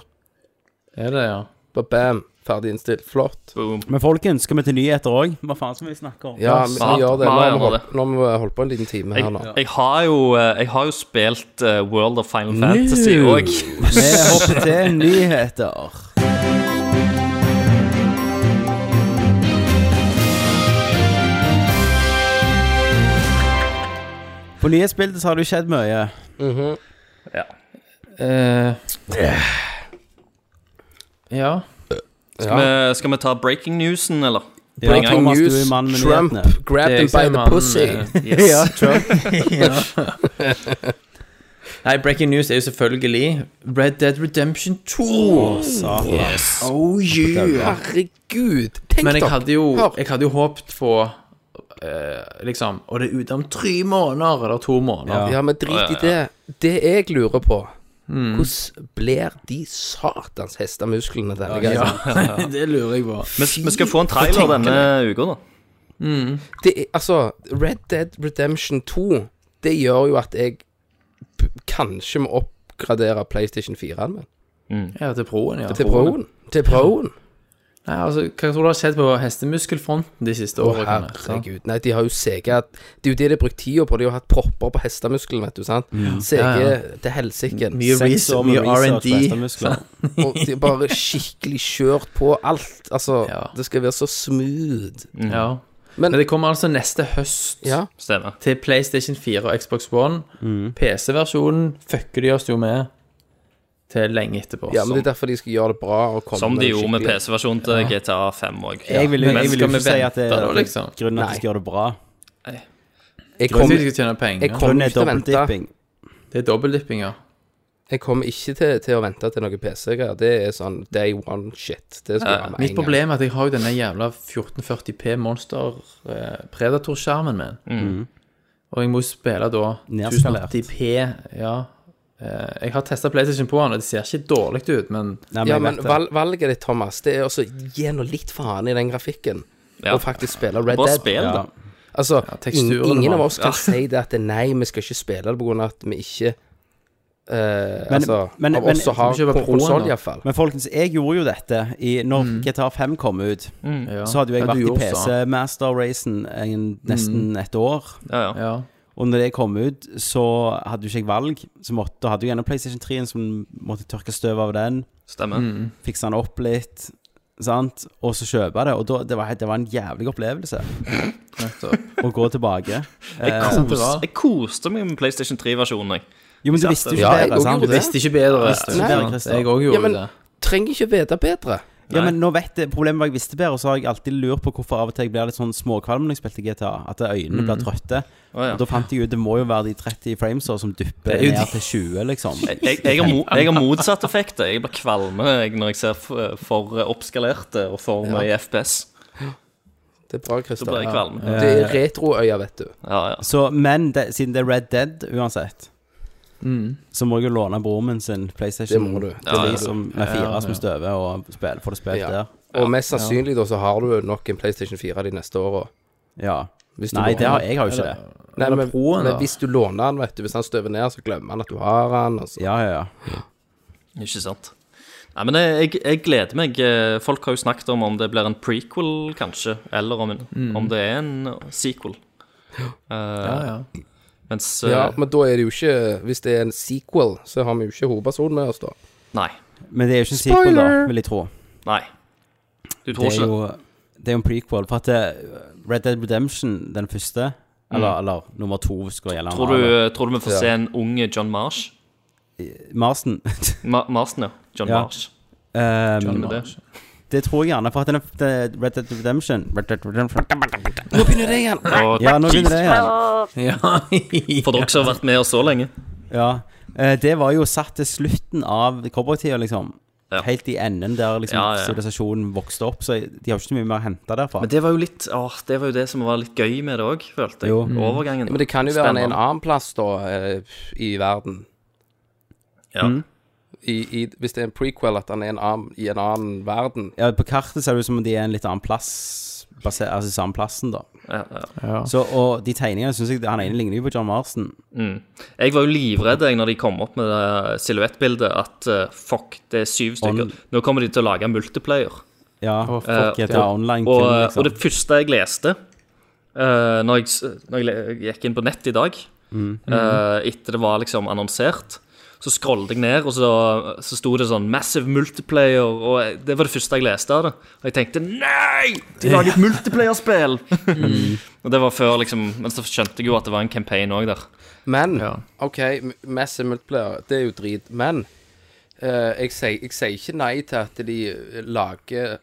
Er det, ja.
Bare bam, ferdig innstilt. Flott.
Boom.
Men folkens, skal vi til nyheter òg? Hva faen skal vi snakke om?
Ja, vi, vi
sant.
gjør det.
Ja,
Nå har
jeg
vi
må
holdt, nå har vi holdt på en liten time her
Jeg,
nå.
jeg, har jo, eh, jeg har jo spilt eh, World of Final Fantasy òg.
Vi hopper til nyheter. På nyhetsbildet så har det jo skjedd mye.
Eh, ja.
Skal, vi- skal vi ta breaking newsen, eller?
Ja,
Breaking
Thomas, du
News,
er mann med
Trump
nyhetene.
grabbed
Det er
him by
ikke
the
mannen,
pussy.
eh, <laughs>
Yes.
Ja, Trump.
Nei, breaking news er jo selvfølgelig Red Dead Redemption 2.
Satan.
Oh, yeah.
Herregud, tenk
Men jeg
dere.
hadde jo,
Hør.
jeg hadde jo håpet på eh, liksom Og det er ute om tre måneder eller to måneder.
Ja, men drit i det. Det jeg lurer på, hvordan blir de satans hestemusklene denne
<laughs>
gangen?
det lurer jeg på.
Vi, vi skal få en trailer denne uka, da.
Det er, altså, Red Dead Redemption 2, det gjør jo at jeg p- kanskje må oppgradere PlayStation 4-en min.
Ja, til proen, ja.
Til Proen. Til Proen.
Nei, altså, Hva tror du har skjedd på hestemuskelfronten de siste
Å,
årene? sant?
herregud. Nei, de har jo sega Det er jo det de har brukt tida på. De har hatt propper på hestemuskelen, vet du, sant. Sege
Ja, ja.
til helsike.
Mye
Seks år
research,
med
mye
research på
R&D.
hestemuskler.
Og de har bare skikkelig kjørt på alt. Altså,
Ja.
det skal være så smooth.
Ja.
Men-
Men det kommer altså neste høst.
Ja.
Stemmer.
til PlayStation 4 og Xbox One. PC-versjonen fucker de oss jo med til lenge etterpå.
ja,
sånn.
men det er derfor de skal gjøre det bra. Og komme
Som de
det
gjorde med
skikkelig-
PC-versjonen til GTA 5 òg.
Jeg vil jo
Men
jeg vil jo
skal vi
ikke si at det
vente da,
er
liksom?
grunnen at de
Nei.
skal gjøre det bra.
Jeg
Jeg tror
kommer
ikke de skal tjene penger.
jeg kom-
Grunnen
vi
er
skal vente.
dobbeltdipping.
Det er dobbeltdipping, ja.
jeg kommer ikke til, til å vente til noen PC-greier. Det er sånn day one-shit. Det skal være med
Mitt
en gang.
problem er at jeg har jo denne jævla 1440P Monster eh, Predator-skjermen min. Og jeg må jo spille da
Nedskalert.
1080P. Ja. Eh, jeg har testa PlayStation på den, og det ser ikke dårlig ut, men
Nei, men
Ja,
jeg
men
vet det.
val valget ditt, Thomas, det er også gi nå litt faen i den grafikken.
Ja.
Og faktisk spille Red
Bare
Dead.
spill,
Ja.
da.
Altså,
teksturen
ing- ingen
var-
av oss kan si det at det- nei, vi skal ikke spille det pga. at vi ikke eh,
Men-
Altså,
men-
av
men-
oss som har
skal vi kjøpe Pro-en
konsoll,
da?
iallfall.
Men folkens, jeg gjorde jo dette i, Når
Mm.
GTA 5 kom ut,
ja.
så hadde jo jeg
Ja, du
vært i
gjorde så.
PC-master-racen nesten et år.
Ja, ja.
Ja.
Og når det kom ut, så hadde jo ikke jeg valg. Så måtte, da hadde jeg gjerne PlayStation 3, en som måtte tørke støv av den,
Stemmer.
fikse den opp litt, sant? og så kjøpe det. Og da, det, var, det var en jævlig opplevelse
nettopp.
å gå tilbake.
Jeg,
Eh,
det
kos,
var-
jeg koste meg med PlayStation 3-versjonen. jeg.
jo, men du visste jo
Ja,
ikke
jeg
bedre,
gjorde
sant?
Du visste ikke bedre.
ikke
Nei,
bedre, Christer.
Jeg òg gjorde
Ja, men-
det.
Trenger ikke vite bedre.
Ja,
Nei.
men nå vet jeg, Problemet var jeg visste bedre, og så har jeg alltid lurt på hvorfor av og til jeg blir litt sånn småkvalm når jeg spilte GTA. At øynene blir trøtte.
Å, ja.
Og Da fant jeg ut det må jo være de 30 framesa som dupper
Det er jo
ned
de-
til 20, liksom.
Jeg, jeg, jeg, har, mo- jeg har motsatt effekt. jeg. Jeg blir kvalme jeg, når jeg ser for, for oppskalerte og for mye FPS.
Det er bra,
Da
Christer.
blir jeg kvalm.
Det er retroøya, vet du.
Ja, ja.
Så, men det, siden det er Red Dead uansett, så må jeg jo låne broren min sin PlayStation.
Det må du. Det
Til
må
de
du.
som er fire som støver, og spiller, får det spilt
Ja.
der.
Og mest sannsynlig da så har du nok en PlayStation 4 de neste åra.
Ja.
Hvis du
Nei,
låner
det har, jeg har jo ikke det.
Nei,
Eller
men,
Proen,
men
da.
hvis du låner den, vet du, hvis han støver ned, så glemmer han at du har den. Og så.
Ja, ja, ja.
Ikke sant. Nei, men jeg, jeg, jeg gleder meg. Eh, Folk har jo snakket om om det blir en prequel,
Mm.
kanskje, eller om, en, om det er en sequel. Eh,
Ja, ja.
Mens
Ja,
eh,
men da er det jo ikke Hvis det er en sequel, så har vi jo ikke hovedpersonen med oss, da.
Nei.
Men det er jo ikke en sequel, da, vil jeg tro.
Nei. Du tror
Det er
ikke det?
jo det er jo en prequel. For at det, Red Dead Redemption, den første, eller, eller nummer to, hvis det skal gjelde
Tror du, tror du vi får se en ung John Marsh?
<laughs> Marsen.
Ma Marsen, ja. John
Ja.
Marsh.
Ehm,
Tror vi det?
det tror jeg gjerne, for at den, den Red Dead Redemption Red Dead Redemption
Og,
Ja, nå begynner det igjen.
Mm.
For dere som har vært med oss så lenge.
Ja. Eh, det var jo satt til slutten av cowboytida, liksom.
Ja.
Helt i enden der liksom
Ja, ja.
sivilisasjonen vokste opp, så de har ikke så mye mer å hente derfra.
Men det var jo litt åh, det var jo det som var litt gøy med det òg, følte jeg.
Jo.
Overgangen.
Ja, men det kan jo være en,
Mm. Spennende.
en annen plass, da, eh, i verden.
Ja.
Mm.
I, i, hvis det er en prequel, at han er en annen, i en annen verden.
Ja, på kartet ser det ut som om de er en litt annen plass, baser, altså samme plassen, da.
Ja, ja.
Så, og de tegningene syns jeg Han ene ligner jo på John Marston.
Jeg var jo livredd jeg, når de kom opp med det silhuettbildet, at eh, fuck, det er syv stykker.
On-
Nå kommer de til å lage multiplayer.
Ja.
fuck,
GTA
ja.
Online.
Eh, Og, eh,
kun, liksom.
og det første jeg leste eh, når, jeg, s- når jeg le- gikk inn på nett i dag, eh, etter det var liksom annonsert, så scrollet jeg ned, og så, så sto det sånn 'Massive Multiplayer', og jeg- det var det første jeg leste av det. Og jeg tenkte 'Nei! De lager et multiplayerspill!' og det var før, liksom Men så skjønte jeg jo at det var en campaign òg der.
Men OK, m- massive multiplayer, det er jo drit. Men eh, jeg, sier, jeg sier ikke nei til at de lager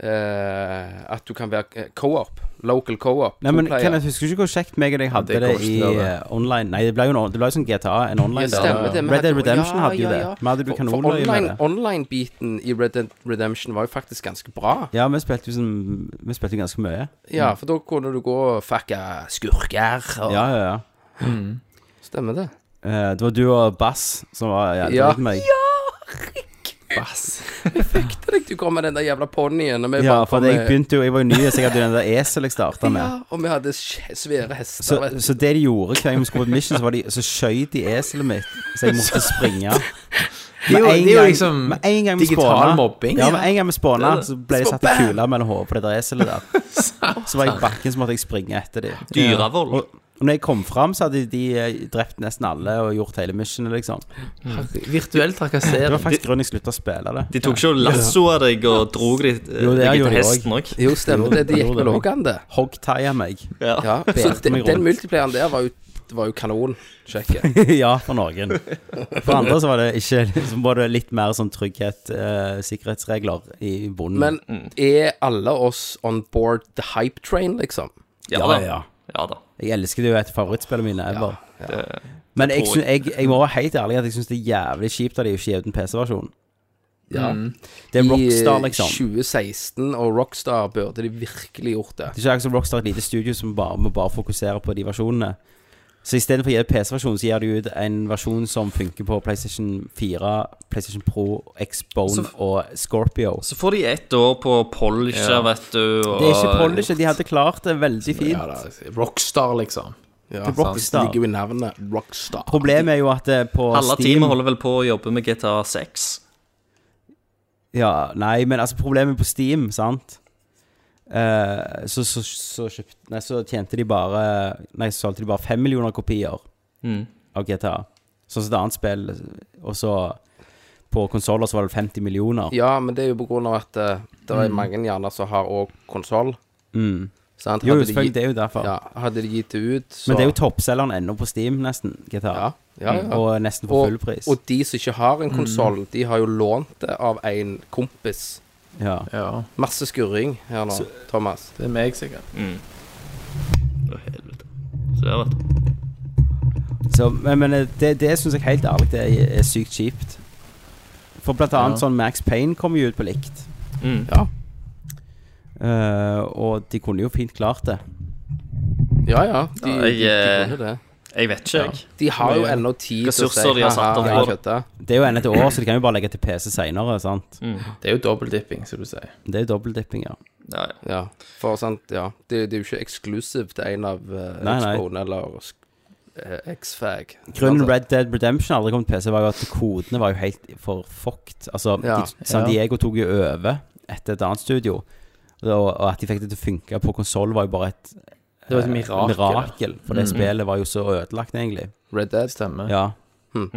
eh, At du kan være eh, co-op. Local co-op.
Nei, men
to-player.
Kenneth, husker du ikke hvor kjekt meg og deg hadde
Det
det,
kommer ikke
i
til å
eh, online? Nei, det ble jo en, on- det ble jo sånn GTA, en online
Ja, stemmer det, men
Red Dead
hadde-
Redemption
ja,
hadde jo
ja,
det.
ja.
Vi hadde jo
For, for
kanonløye med
online-
det.
online-biten i Red Dead Redemption var jo faktisk ganske bra.
Ja, vi spilte jo sånn- vi spilte jo ganske mye.
Ja, for da kunne du gå og fucka skurker og
Ja, ja, ja.
Stemmer det.
Eh, Det var du og Bass som var jævlig
Ja.
ja. meg.
Tenkte deg du kom med den der jævla ponnien, og vi
Ja,
bare
for
kom
jeg
med-
begynte jo Jeg var jo ny, så jeg hadde jo den der esel jeg starta
Ja,
med.
og vi hadde sj- svære hester.
Så,
vet du.
så det de gjorde hver gang vi skulle på et mission, så, var de, så skjøt de eselet mitt, så jeg måtte springe.
er jo-
Med en
<laughs> det er jo
gang-
liksom
med en gang vi
digital
spåna-
mobbing.
Ja, med en gang vi spåna, så ble jeg
Så
satt en
bam!
kule mellom hodet på det der eselet
<laughs>
der. Så var jeg i bakken, så måtte jeg springe etter dem.
Dyrevold.
Og, og når jeg kom fram, så hadde de eh, drept nesten alle og gjort hele missionet, liksom.
Virtuell
Det
trakassering.
var faktisk grunnen jeg slutta å spille det.
De tok ikke og lassoa deg og drog deg, eh,
Jo, det
deg til
gjorde de
hesten òg.
Jo, stemmer
<laughs>
det. De gikk vel òg an, det.
Hogtie meg.
Ja, så
Belte
den,
meg
den
rundt.
multiplayeren der var jo, var jo kanon. Sjekke.
<laughs> ja, for noen. For andre så var det ikke Så var det litt mer sånn trygghet, eh, sikkerhetsregler i bunnen.
Men er alle oss on board the hype train, liksom?
Ja,
ja,
da.
ja.
Ja da.
Jeg elsker det jo et av favorittspillene mine ever. Men jeg, syns- jeg, jeg må være helt ærlig at jeg syns det er jævlig kjipt at de ikke gir ut en PC-versjon.
Ja.
Det er
I
Rockstar,
eh,
liksom.
2016 og Rockstar burde de virkelig gjort det.
Det er ikke akkurat som Rockstar et lite studio som bare må bare fokusere på de versjonene. Så istedenfor å gi ut PC-versjon, så gir de ut en versjon som funker på PlayStation 4, PlayStation Pro, Xbone og Scorpio.
Så får de ett år på å polish, vet du. Og...
Det er ikke polish, de hadde klart det veldig fint.
Ja, da, Rockstar, liksom.
Ja,
Rockstar.
sant. Det ligger jo i navnet Rockstar.
Problemet er jo at eh, på
Alle
Steam
teamet holder vel på å jobbe med GTA 6.
Ja, nei, men altså problemet på Steam, sant Eh, så, så, så, kjøpt, nei, så tjente de bare Nei, så solgte de bare 5 millioner kopier
Mm.
Av GTA Sånn som et annet spill Og så på konsoler så var det 50 millioner
Ja, men det er jo på grunn av at eh, det
Mm.
er mange gjerne som har òg konsoll. Sant?
Jo,
Hadde de
selvfølgelig,
gitt-
det er jo derfor
Ja, hadde de gitt det ut, så
Men det er jo toppselleren enda på Steam nesten, GTA
Ja, ja, ja.
Og Mm. nesten for full pris
og de som ikke har en konsoll, de har jo lånt det av en kompis.
ja.
Ja,
Masse skurring her nå, Thomas.
det er meg, sikkert.
Mm. Å, helvete. Så det vet du.
Så, men, men det, det synes jeg helt ærlig Det er, er sykt kjipt For blant annet sånn Max Payne kom jo ut på likt
Mm.
Ja.
Eh, og de kunne jo fint klart det.
Ja, ja. De,
Ja,
de,
jeg, eh,
de, kunne det.
Jeg vet ikke, jeg.
de har jo ennå tid til å si
ressurser de har satt av
«Haha,
for det».
kjøttet.
Det er jo ennå et år, så de kan jo bare legge til PC seinere.
Det er jo dobbeltdipping, som du sier.
Det er jo dobbeltdipping, ja.
Mm. Ja, ja.
Ja, for sant, ja. Det, det er jo ikke eksklusiv til en av uh,
Nei, nei.
Xbone eller uh, Xfag.
Grunnen
Altså,
Red Dead Redemption aldri kom til PC, var jo at kodene var jo helt for fucked. Altså,
Ja.
de, San Diego tok jo over etter et annet studio, og, og at de fikk det til å funke på konsoll, var jo bare et
Det var et
mirakel,
mirakel.
for det spillet var jo så ødelagt, egentlig.
Red Dead.
Stemmer.
Ja.
Hmm.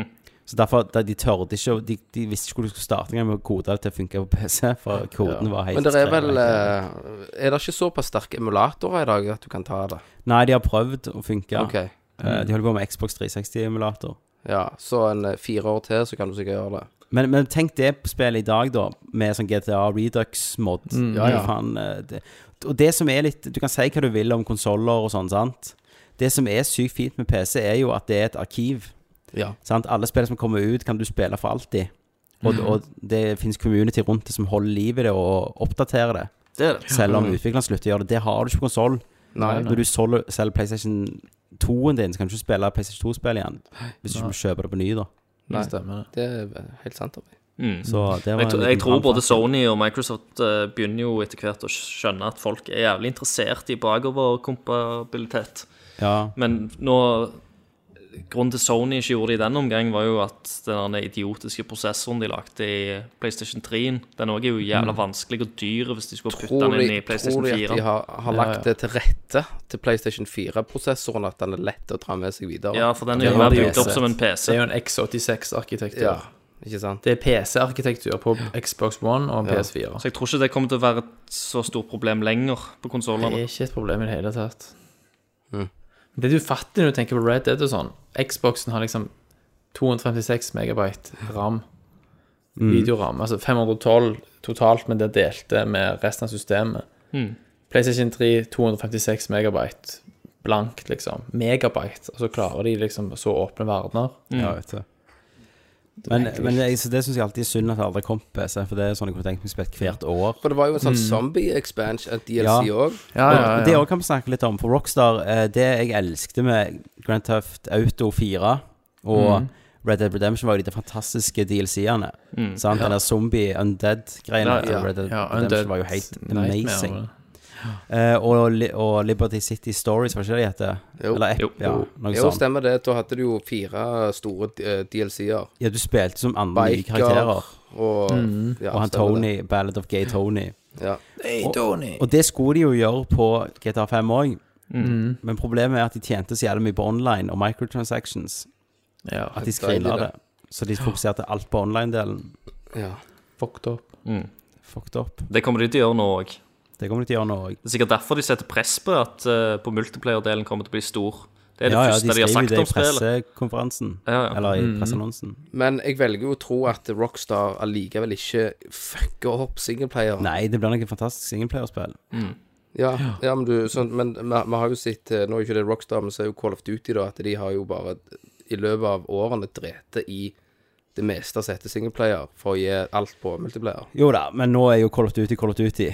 Så derfor da De tørde ikke å- de, de visste ikke hvor de skulle starte engang med å kode det til å funke på PC, for koden var helt
Men det er vel
skrevet.
eh, Er det ikke såpass sterke emulatorer i dag at du kan ta det?
Nei, de har prøvd å funke.
Ok.
Eh, de holder på med Xbox 360-emulator.
Ja, så en eh, fire år til, så kan du sikkert gjøre det.
Men, men tenk det på spillet i dag, da, med sånn GTA Redux-mod.
ja, ja.
Faen, eh, det- Og det som er litt Du kan si hva du vil om konsoller og sånn, sant. Det som er sykt fint med PC, er jo at det er et arkiv.
Ja.
Sant? Alle spill som kommer ut, kan du spille for alltid. Og, og det finnes community rundt det som holder liv i det og oppdaterer det.
Det er det.
Selv om utvikleren slutter å gjøre det. Det har du ikke på konsoll.
Nei,
Når du sol- selger PlayStation 2-en din, så kan du ikke spille PlayStation 2-spill igjen. Hvis du ikke kjøper det på ny, da.
nei.
Stemmer det.
Det er helt sant. Tommy.
Mm.
Så det
Jeg,
var en
tror-
liten
jeg tror både
brannfakkel.
Sony og Microsoft eh, begynner jo etter hvert å skjønne at folk er jævlig interessert i bakoverkompabilitet.
Ja.
Men nå Grunnen til Sony ikke gjorde det i den omgang, var jo at den der idiotiske prosessoren de lagde i PlayStation 3-en, den også er jo jævla vanskelig og dyr hvis de skulle putte
Tror
den inn
de,
i
tror
PlayStation
de at
4.
de har, har lagt det til rette til PlayStation 4-prosessoren, at den er lett å dra med seg videre?
Ja, for den
Det
er jo
var
mer
det
bygd opp
uansett.
som en
Det er
PC.
jo en X86-arkitektur.
Ja, ikke sant?
Det er PC-arkitektur på Xbox One og PS4.
Så jeg tror ikke det kommer til å være et så stort problem lenger på
Det er
konsollene.
ikke et Mm. problem i det hele tatt.
Mhm.
Det er jo fattig når du tenker på Red Dead og sånn. Xboxen har liksom 256 megabyte ram. Videoram. Altså 512 totalt, men det delte med resten av systemet.
Mm.
PlayStation 3 256 megabyte blankt, liksom. Megabyte. Og så klarer de liksom så åpne verdener.
Mm.
Ja, vet du. Men, men det, så det syns jeg alltid er synd at det aldri kom på PC, for det er sånn jeg kunne tenkt meg spilt hvert år.
For det var jo en sånn eh, zombie-expansion, en DLC
Mm. Ja.
òg.
Ja, ja,
Og Det også kan vi snakke litt om, for Rockstar eh, Det jeg elskte med Grand Theft Auto 4 og
Mm.
Red Dead Redemption, var jo de fantastiske DLC-ene.
Mm.
Sant? Den der zombie undead-greia.
Ja, ja.
Red Dead
Ja, Undead
Redemption var jo helt
Nightmare,
amazing.
var det.
Eh, og, Li- og Liberty City Stories, var ikke det de heter?
Jo.
Eller App,
Jo.
ja, noe
Jo,
sånt.
stemmer det. Da hadde du jo fire store eh, DLC-er.
Ja, du spilte som andre nye
Biker
karakterer. Mm.
og ja,
Og han
stemmer det.
Tony, Ballad of Gay Tony.
Ja.
Og det skulle de jo gjøre på GTA 5 òg.
Mm.
Mm.
Men problemet er at de tjente så jævlig mye på online og microtransactions.
Ja,
At de screena
deilig,
det. Så de fokuserte alt på online-delen.
ja.
fucked up.
Fucked up.
Det kommer de til å gjøre nå òg.
Det kommer de til å gjøre nå òg.
Det er sikkert derfor de setter press på at eh, på multiplayer-delen kommer til å bli stor. Det er det
Ja, ja,
første
de
de, har
skrev jo
sagt
det
om
i
spillet.
pressekonferansen.
Ja, ja.
Eller i presseannonsen.
Men jeg velger jo å tro at Rockstar allikevel ikke fucker opp singleplayer.
Nei, det blir noe fantastisk singleplayerspill.
Ja, ja, men, du, sånn, men vi, vi har jo sett eh, Nå er jo ikke det Rockstar, men så er jo Call of Duty, da, at de har jo bare i løpet av årene drete i det meste som heter singleplayer, for å gi alt på multiplayer.
Jo da, men nå er jo Call of Duty Call of Duty.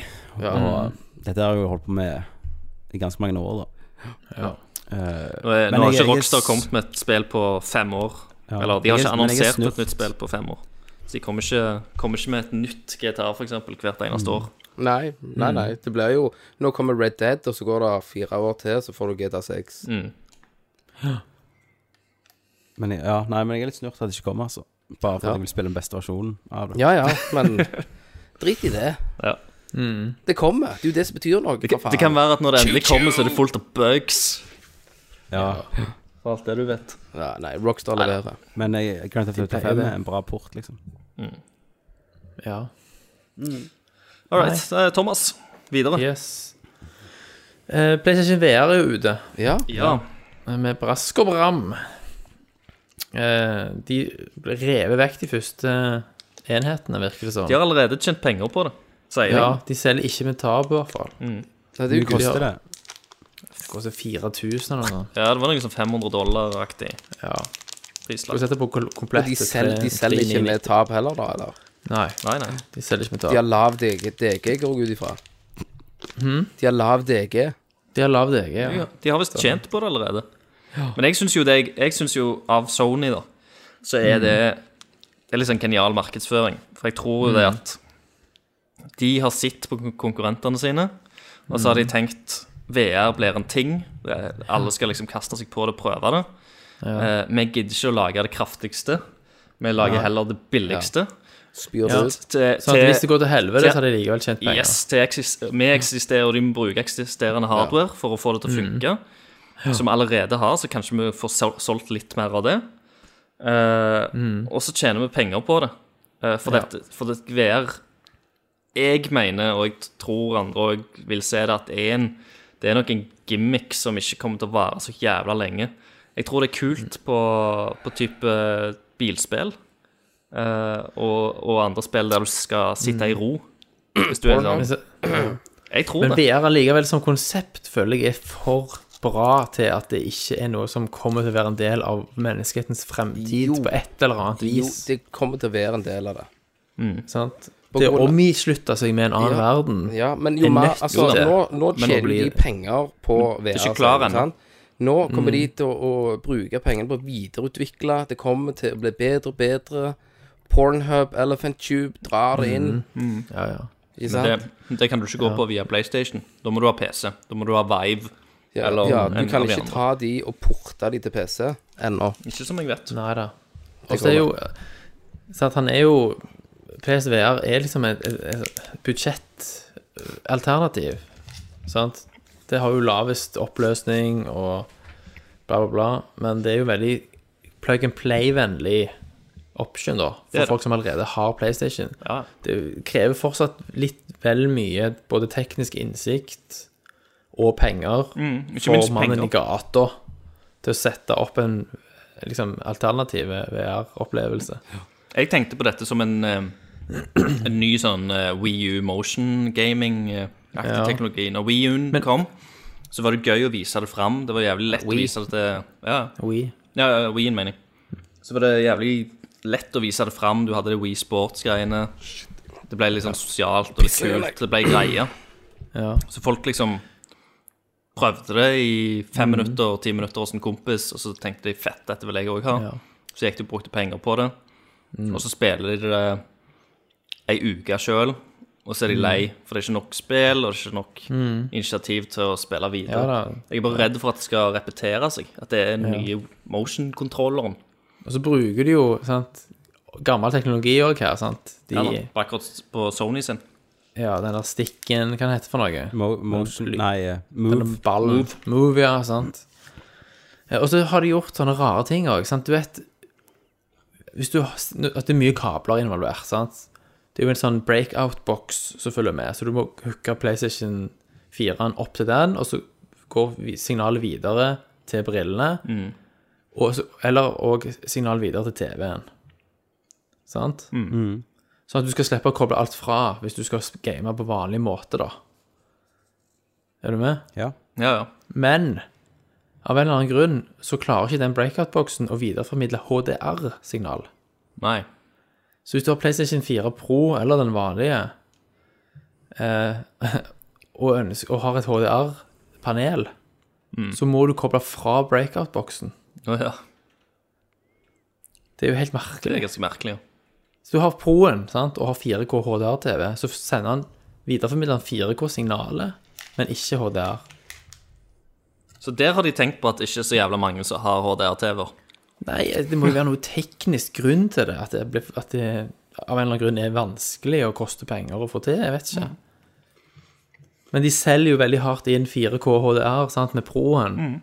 Ja.
Mm.
Og dette har jeg jo holdt på med i ganske mange år, da. Eh,
Nå, er,
Men
eh, nå har ikke
jeg- jeg-
Rockstar kommet med et spill på fem år.
Ja.
Eller de har
Jeg-
ikke
men jeg er
annonsert
snurt.
et nytt spill på fem år. Så de kommer ikke, kommer ikke med et nytt GTA for eksempel, hvert eneste år.
Nei, nei,
Mm.
nei. Det blir jo Nå kommer Red Dead, og så går det fire år til, så får du GTA6.
Mm.
Men, jeg- ja, nei, men jeg er litt snurt at det ikke kommer, altså. Bare for at jeg vil spille den beste versjonen av det.
Ja ja,
<laughs>
men drit i det.
Ja.
Det kommer. Det er jo det som betyr noe.
Det,
for
kan- det kan
faen.
være at når det endelig kommer, så er det fullt av bugs.
Ja.
For alt det du vet.
ja, nei, Rockstar leverer.
Men jeg, Grand Theft Auto
pleier
5
det.
er en bra port, liksom.
Ja.
All right, eh, Thomas. Videre.
Yes. Eh, PlayStation VR er jo ute. eh,
Ja.
Ja.
med brask og bram. Eh, de rever vekk de første enhetene, virker det som.
De har allerede tjent penger på det, sier
ja,
jeg.
de selger ikke med tap, i hvert fall.
Mm.
Nei, det
Hvor
er
mye
jo kult.
koster det?
Det koster 4000 eller noe.
Ja, det var noe sånn 500 dollar-aktig
Ja. Skal vi
prislag.
sette på kol-
Og
komplette
de selger,
tre-
de selger
399.
ikke med tap heller, da? eller?
Nei,
Nei, nei.
de selger ikke med
De har
tap.
lav DG, DG går jeg ut ifra. De har lav DG.
De har lav DG, ja. Sånn.
Ja, de har visst tjent på det allerede. Men jeg syns jo, det, jeg synes jo av Sony, da, så er det
Mm.
Det er litt sånn genial markedsføring. For jeg tror jo det at de har sett på kon- konkurrentene sine, og så har de
Mm.
tenkt VR blir en ting. Det- Alle skal liksom kaste seg på det og prøve det. Eh, vi gidder ikke å lage det kraftigste. Vi lager heller det billigste. eh,
Spyr det
Ja.
ut.
Til,
Sånn at hvis det
til,
går til helvete,
til-
så har de likevel tjent penger.
yes, til eksis, vi eksisterer, og de må bruke eksisterende hardware for å få det til å funke. Som vi allerede har, så kanskje vi får sol- solgt litt mer av det. Eh, Og så tjener vi penger på det. Eh, for, dette, for det VR Jeg mener, og jeg tror andre òg vil se det, at det er, en, det er nok en gimmick som ikke kommer til å vare så jævla lenge. Jeg tror det er kult på, på type bilspill eh, og, og andre spill der du skal sitte i ro. Hvis du er
Men
sånn.
så-
Jeg tror
Men
det.
VR allikevel som konsept føler jeg er for bra til at det ikke er noe som kommer til å være en del av menneskehetens fremtid
Jo.
på et eller annet
Jo,
vis.
det kommer til å være en del av det.
sant?
På
Det å
grunn av-
omslutte seg med en annen
Ja.
verden.
Ja, men
Det
jo
er
mer
nødt
Altså,
til det.
nå, nå
Men nå
tjener
blir
de
det-
penger på VR.
ikke klar ennå.
sant? Nå kommer de til å, å bruke pengene på å videreutvikle. Det kommer til å bli bedre og bedre. Pornhub, Elephant Tube drar det inn.
Ja, ja.
Ikke
Men
sant?
det, det kan du ikke gå på via PlayStation. Da må du ha PC. Da må du ha Vive.
Ja,
eller
ja,
en
du kan
av de
ikke
andre.
ta de og porte de til PC ennå.
Ikke som jeg vet.
Nei da.
Det
Og så er
går
jo så at han er jo PSVR er liksom et, et, et budsjettalternativ. Sant? Det har jo lavest oppløsning og bla, bla, bla. Men det er jo veldig plug and play-vennlig option, da.
Det er det.
For folk som allerede har PlayStation.
Ja.
Det krever fortsatt litt vel mye både teknisk innsikt og penger
Mm, Ikke
for
minst
mannen i
penger.
gata til å sette opp en liksom, alternativ VR-opplevelse.
Jeg tenkte på dette som en, eh, <clears throat> en ny sånn Wii U motion gaming-aktig
Ja.
teknologi. Når Wii U-en kom, så var det gøy å vise det fram. Det var jævlig lett
Wii.
å vise det til Ja,
Oui.
ja, ja Wii-en, mener jeg. Så var det jævlig lett å vise det fram. Du hadde det Wii Sports-greiene. Det ble litt sånn sosialt og litt kult. Det ble greier.
Ja.
Så folk liksom prøvde det i fem
Mm.
minutter og ti minutter hos en kompis, og så tenkte de fett, dette vil jeg òg ha.
Ja. Mm.
Så gikk de og brukte penger på det. Og så spiller de det ei uke sjøl, og
Mm.
så er de lei, for det er ikke nok spill, og det er ikke nok initiativ til å spille
ja
videre.
da.
jeg er bare redd for at det skal repetere seg, at det er den nye motion-kontrolleren.
Og så bruker de jo sant, gammel teknologi òg her. Sant? De,
Ja, da, akkurat på Sony sin.
ja, den der stikken, hva den heter for noe?
Mo motion
Lyd.
Nei, eh,
Eller
move.
ball. Move. ja, sant. Ja, Og så har de gjort sånne rare ting òg, sant. Du vet hvis du, har- At det er mye kabler involvert, sant. Det er jo en sånn breakout-boks som følger med, så du må hooke PlayStation 4-en opp til den, og så går vi- signalet videre til brillene. Og så, eller òg signal videre til TV-en. Sant? Sånn at du skal slippe å koble alt fra hvis du skal game på vanlig måte, da. Er du med?
Ja.
Ja, ja.
Men av en eller annen grunn så klarer ikke den breakout-boksen å videreformidle HDR-signal.
Nei.
Så hvis du har PlayStation 4 Pro eller den vanlige, eh, <laughs> og, ønsker, og har et HDR-panel,
Mm.
så må du koble fra breakout-boksen.
Å ja.
Det er jo helt
Det
merkelig.
er ganske merkelig. Ja.
Så du har Proen sant, og har 4K HDR-TV, så sender han videreformidler han 4K-signalet, men ikke HDR.
Så der har de tenkt på at det ikke er så jævla mange som har HDR-TV-er.
Nei, det må jo være noe teknisk grunn til det. At det, ble, at det av en eller annen grunn er vanskelig og koster penger å få til. Jeg vet ikke. Men de selger jo veldig hardt inn 4K HDR sant, med Pro-en.
Mm.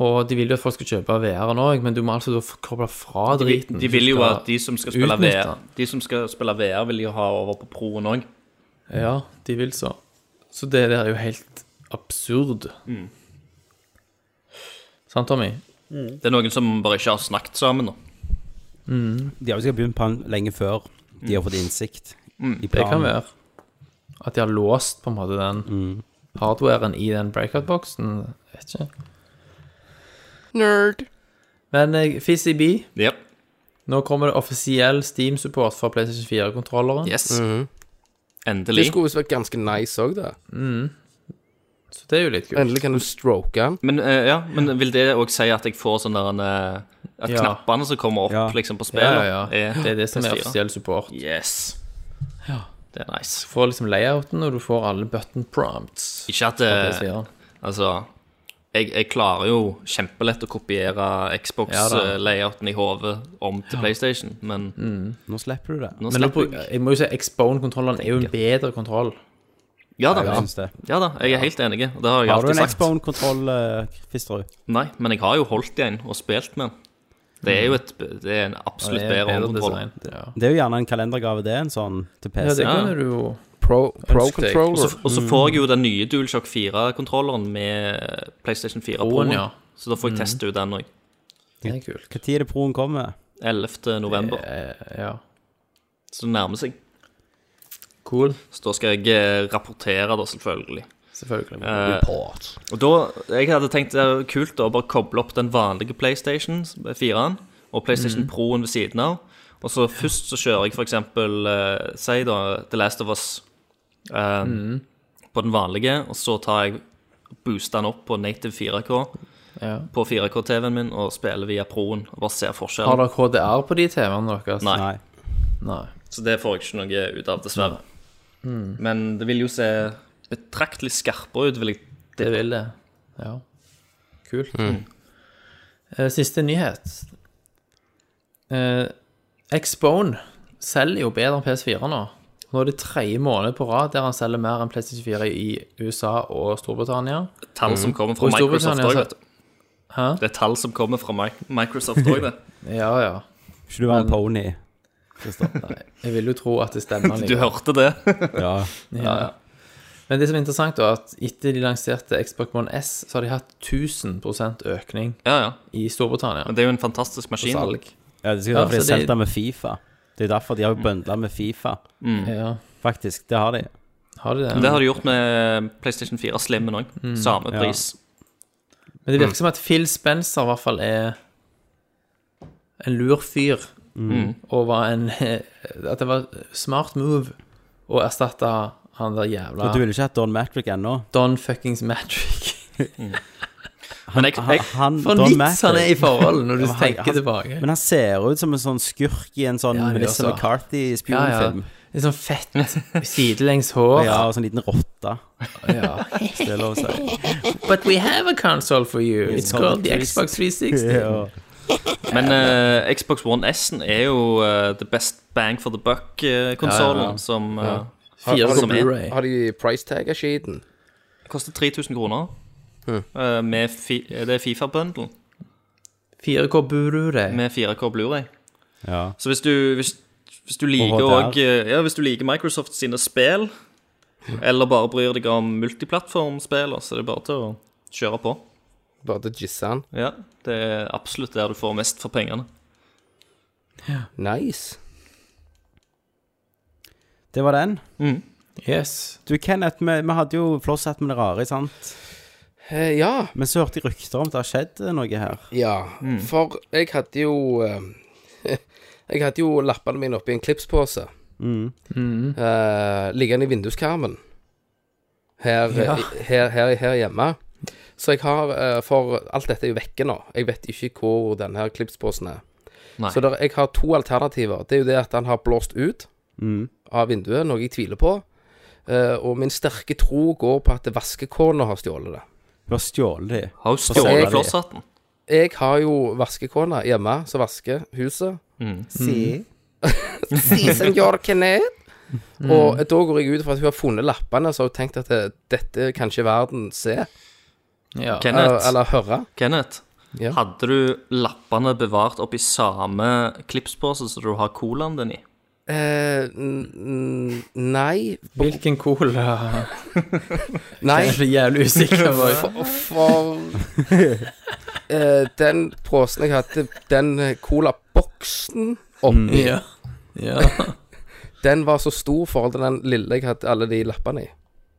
Og de vil jo at folk skal kjøpe VR-en òg, men du må altså da f- koble fra driten.
De vil jo at de som skal spille
utnytte
VR, De som skal spille VR vil jo ha over på Pro-en òg.
Ja, de vil så. Så det der er jo helt absurd.
Mm.
Sant, Tommy?
Det er noen som bare ikke har snakket sammen. nå
De har jo sikkert begynt på den lenge før de har fått innsikt i
Mm. Det kan
planen.
være. At de har låst på en måte den hardwaren i den breakout-boksen. Jeg Vet ikke.
Nerd.
Men eh, FizzyB,
Ja.
nå kommer det offisiell Steam-support for PlayStation 4-kontrolleren.
Yes.
Mhm. Det
Endelig.
skulle visst vært ganske nice òg, det.
Så det er jo litt kult.
Endelig kan du stroke den.
Men, eh, ja, men vil det òg si at jeg får sånn der en eh, At
Ja.
knappene som kommer opp
Ja.
liksom på
Ja,
spillet,
ja, ja. Det er det som er
PS4.
offisiell support.
Yes. Det er
Du
nice. eh,
får liksom layouten, og du får alle button prompts.
Ikke at
på
eh,
PS4.
Altså jeg, jeg klarer jo kjempelett å kopiere Xbox-layouten i hodet om til PlayStation, men
Nå slipper du det.
nå
Men nå,
slipper jeg.
bru- jeg må jo si Xbone-kontrolleren er jo en bedre kontroll.
Ja da,
Jeg synes det.
ja da, jeg er helt enig. Det har jeg
Har du
alltid
en
sagt.
Xbone-kontroll, eh, Fisterud?
Nei, men jeg har jo holdt i en og spilt med den. Det er jo et, det er en absolutt
Det er
bedre
bedre
håndkontroll.
design. Ja.
Det er jo gjerne en kalendergave, det, en sånn til PC.
Ja, det
Ja.
kunne du jo
Pro, pro
Ønsker deg.
Og
controller.
så- Og så
Mm.
får jeg jo den nye DualShock 4-kontrolleren med PlayStation 4 Pro.
Broen, ja. Mm.
Så da får jeg teste ut den òg.
Det er kult.
Når er det Proen kommer?
11. november.
Eh, Ja.
Så det nærmer seg.
Cool.
Så da skal jeg eh, rapportere, da, selvfølgelig.
Selvfølgelig.
Eh,
Report.
Og da, Jeg hadde tenkt det var kult å bare koble opp den vanlige PlayStation 4-en og PlayStation
Mhm.
Pro-en ved siden av. Og så Først så kjører jeg f.eks. Uh, si da The Last of Us eh,
Mhm.
på den vanlige, og så tar jeg booster den opp på native 4K
Ja.
på 4K-TV-en min og spiller via Pro-en og bare ser
Har
forskjellen.
dere HDR på de TV-ene deres?
Sånn. Nei.
Nei.
Nei.
Så det får jeg ikke noe ut av, dessverre.
Mhm.
Men det vil jo se betraktelig skarpere ut, vil jeg
Det vil det. Ja. Kult.
Mm.
Eh, Siste nyhet. Eh, Xbone selger jo bedre enn PS4 nå. Nå er det tredje måned på rad der han selger mer enn PlayStation 4 i USA og Storbritannia.
Tall som kommer fra
Og i
Microsoft
Storbritannia
òg,
så-
vet du.
Hæ?
Det er tall som kommer fra Mi- Microsoft òg, det.
Ja, ja.
Ikke du være en pony?
Nei, jeg vil jo tro at det stemmer.
<laughs> Du hørte det.
Ja.
Ja, ja. Men det som er interessant, da, er at etter de lanserte Xbox One S, så har de hatt 1000 økning
Ja, ja.
i Storbritannia.
Men det er jo en fantastisk
på
maskin.
salg.
ja det er sikkert
Ja,
derfor de har
så det- Mm.
solgt den med Fifa. Det er derfor de har jo bøndla med Fifa.
Mm.
Ja,
Faktisk, det har de.
har de det?
Men Det har de gjort med eh, PlayStation 4 Slimmen òg.
Mm.
Samme
Ja.
pris.
Men det virker
Mm.
som at Phil Spencer i hvert fall er en lur fyr.
Mm.
Og var en <laughs> At det var smart move å erstatte han der jævla
Og du ville ikke hatt Don Matrick ennå?
Don fuckings Matrick.
<laughs>
Men jeg, jeg,
Han,
For en
Don
vits han er i forhold, når du
<laughs> Ja, han-
tenker
han-
tilbake.
Men han ser ut som en sånn skurk i en sånn
Ja, han gjør
Melissa
så. Ja, ja.
McCarthy-spionfilm. <laughs> Ja,
Litt sånn fett sidelengs hår.
og sånn liten
<laughs>
rotte. hvis Det er lov å si.
But we have a console for you. It's
called
called the
the
Xbox 360.
Ja.
men eh, Xbox One S-en er jo eh, the best bang for the buck-konsollen
Ja, ja.
som eh,
Har,
Fire
har,
som
som er.
de,
Blu-ray.
har de pricetagga skiten?
koster 3000 kroner.
Mm.
Eh, med fi, det er Fifa-bundle
4K Blu-ray.
med 4K Blu-ray
Ja.
Så hvis du, hvis, hvis du liker
Og HDR.
og, ja, Hvis du liker Microsoft sine spill, eller bare bryr deg om multiplattformspill, så er det bare til å kjøre på.
Bare til Jissan.
Ja, Det er absolutt der du får mest for pengene.
Nice.
Det var den.
Mm.
Yes.
Du, Kenneth, vi, vi hadde jo flosshatt med det rare, sant?
Eh, ja.
Men så hørte jeg rykter om at det har skjedd eh, noe her.
Ja. For jeg hadde jo eh, <laughs> Jeg hadde jo lappene mine oppi en klipspose. Eh, liggende i vinduskarmen. Her, her, her, her hjemme. Så jeg har eh, For alt dette er jo vekke nå. Jeg vet ikke hvor denne her klipsposen er.
Nei.
Så der, jeg har to alternativer. Det er jo det at han har blåst ut av vinduet, noe jeg tviler på. Eh, og min sterke tro går på at vaskekona har stjålet det.
Du har stjålet de.
Har hun
selger
stjålet
de.
flosshatten?
Jeg har jo vaskekona hjemme som vasker huset.
Si.
<laughs> Si, senor Kenneth. Mm. Og da går jeg ut fra at hun har funnet lappene, så har hun tenkt at det, dette kan ikke verden se
Ja.
eller,
Kenneth,
eller høre.
Kenneth
Ja.
hadde du lappene bevart oppi samme klipspose som du har colaen din i?
Eh, n- n- nei
Hvilken cola? <laughs> Jeg
Nei.
er så jævlig usikker på
<laughs>
For, for eh, den posen jeg hadde, den colaboksen oppi,
Ja. ja.
den var så stor i forhold til den lille jeg hadde alle de lappene i.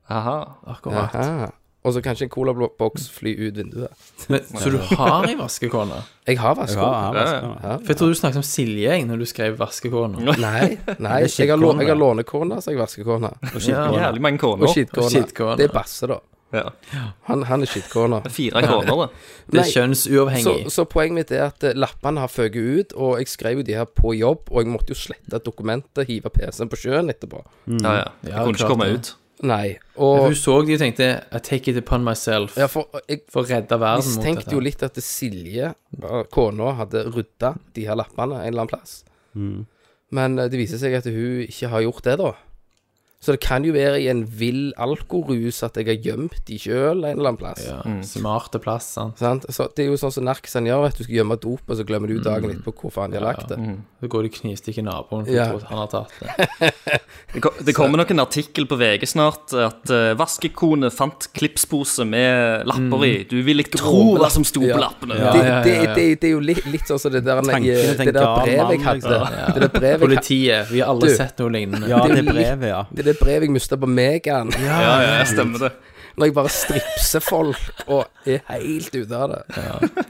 Aha.
<laughs> Akkurat.
Aha. Og så kan ikke en colaboks fly ut vinduet.
Men, så du har ei vaskekone?
Jeg har vasko.
Ja, han vasker den.
For jeg trodde du snakket om Silje jeg, når du skrev vaskekone.
Nei,
<laughs>
nei
Det er
jeg har, lå-
skittkone,
jeg har
det.
lånekone, så jeg vasker kona.
Ja.
Jævlig mange
Og
kroner.
og
skittkone.
skittkone.
Det er Basse, da.
Ja.
Han, han er
<laughs>
skittkona.
Fire kroner, det.
Det er
Nei, så,
kjønnsuavhengig.
så poenget mitt er at eh, lappene har føket ut, og jeg skrev jo de her på jobb, og jeg måtte jo slette dokumentet, hive PC-en på sjøen etterpå.
Ja, ja. Jeg
Mm. Ja,
kunne ikke
klart
komme
det.
ut.
Nei. Og
Hun så det og tenkte I take it upon myself
ja, for, jeg
for å redde verden mot
mistenkte jo litt at Silje, eh, kona, hadde rydda de her lappene en eller annen plass. Men eh, det viser seg at hun ikke har gjort det, da. Så det kan jo være i en vill alkorus at jeg har gjemt de sjøl en eller annen plass.
Ja, Smarte plass, sant.
Sant? Så det er jo sånn som narkisen gjør, vet du. Du skal gjemme dop, og så glemmer du dagen litt på hvor faen de har lagt det.
Så går de og knivstikker naboen for
Ja.
å tro at han har tatt det.
Det, ko- det kommer nok en artikkel på VG snart at eh, vaskekone fant klipspose med lapper i. Du vil ikke tro hva som sto på
Ja.
lappene.
ja,
Det,
ja,
det,
ja.
det, det er jo litt, litt sånn som det der,
Tankene
eh,
til en
det der
gal
brevet jeg
mann,
hadde.
liksom.
Det der brevet jeg hadde.
Politiet. Vi har aldri
Du.
sett noe lignende.
Ja, det
Det er litt-
brevet, ja.
Det er det brevet jeg mista på Megan.
Ja, ja, ja, stemmer det.
Når jeg bare stripser folk og er helt ute av det.
Det, var,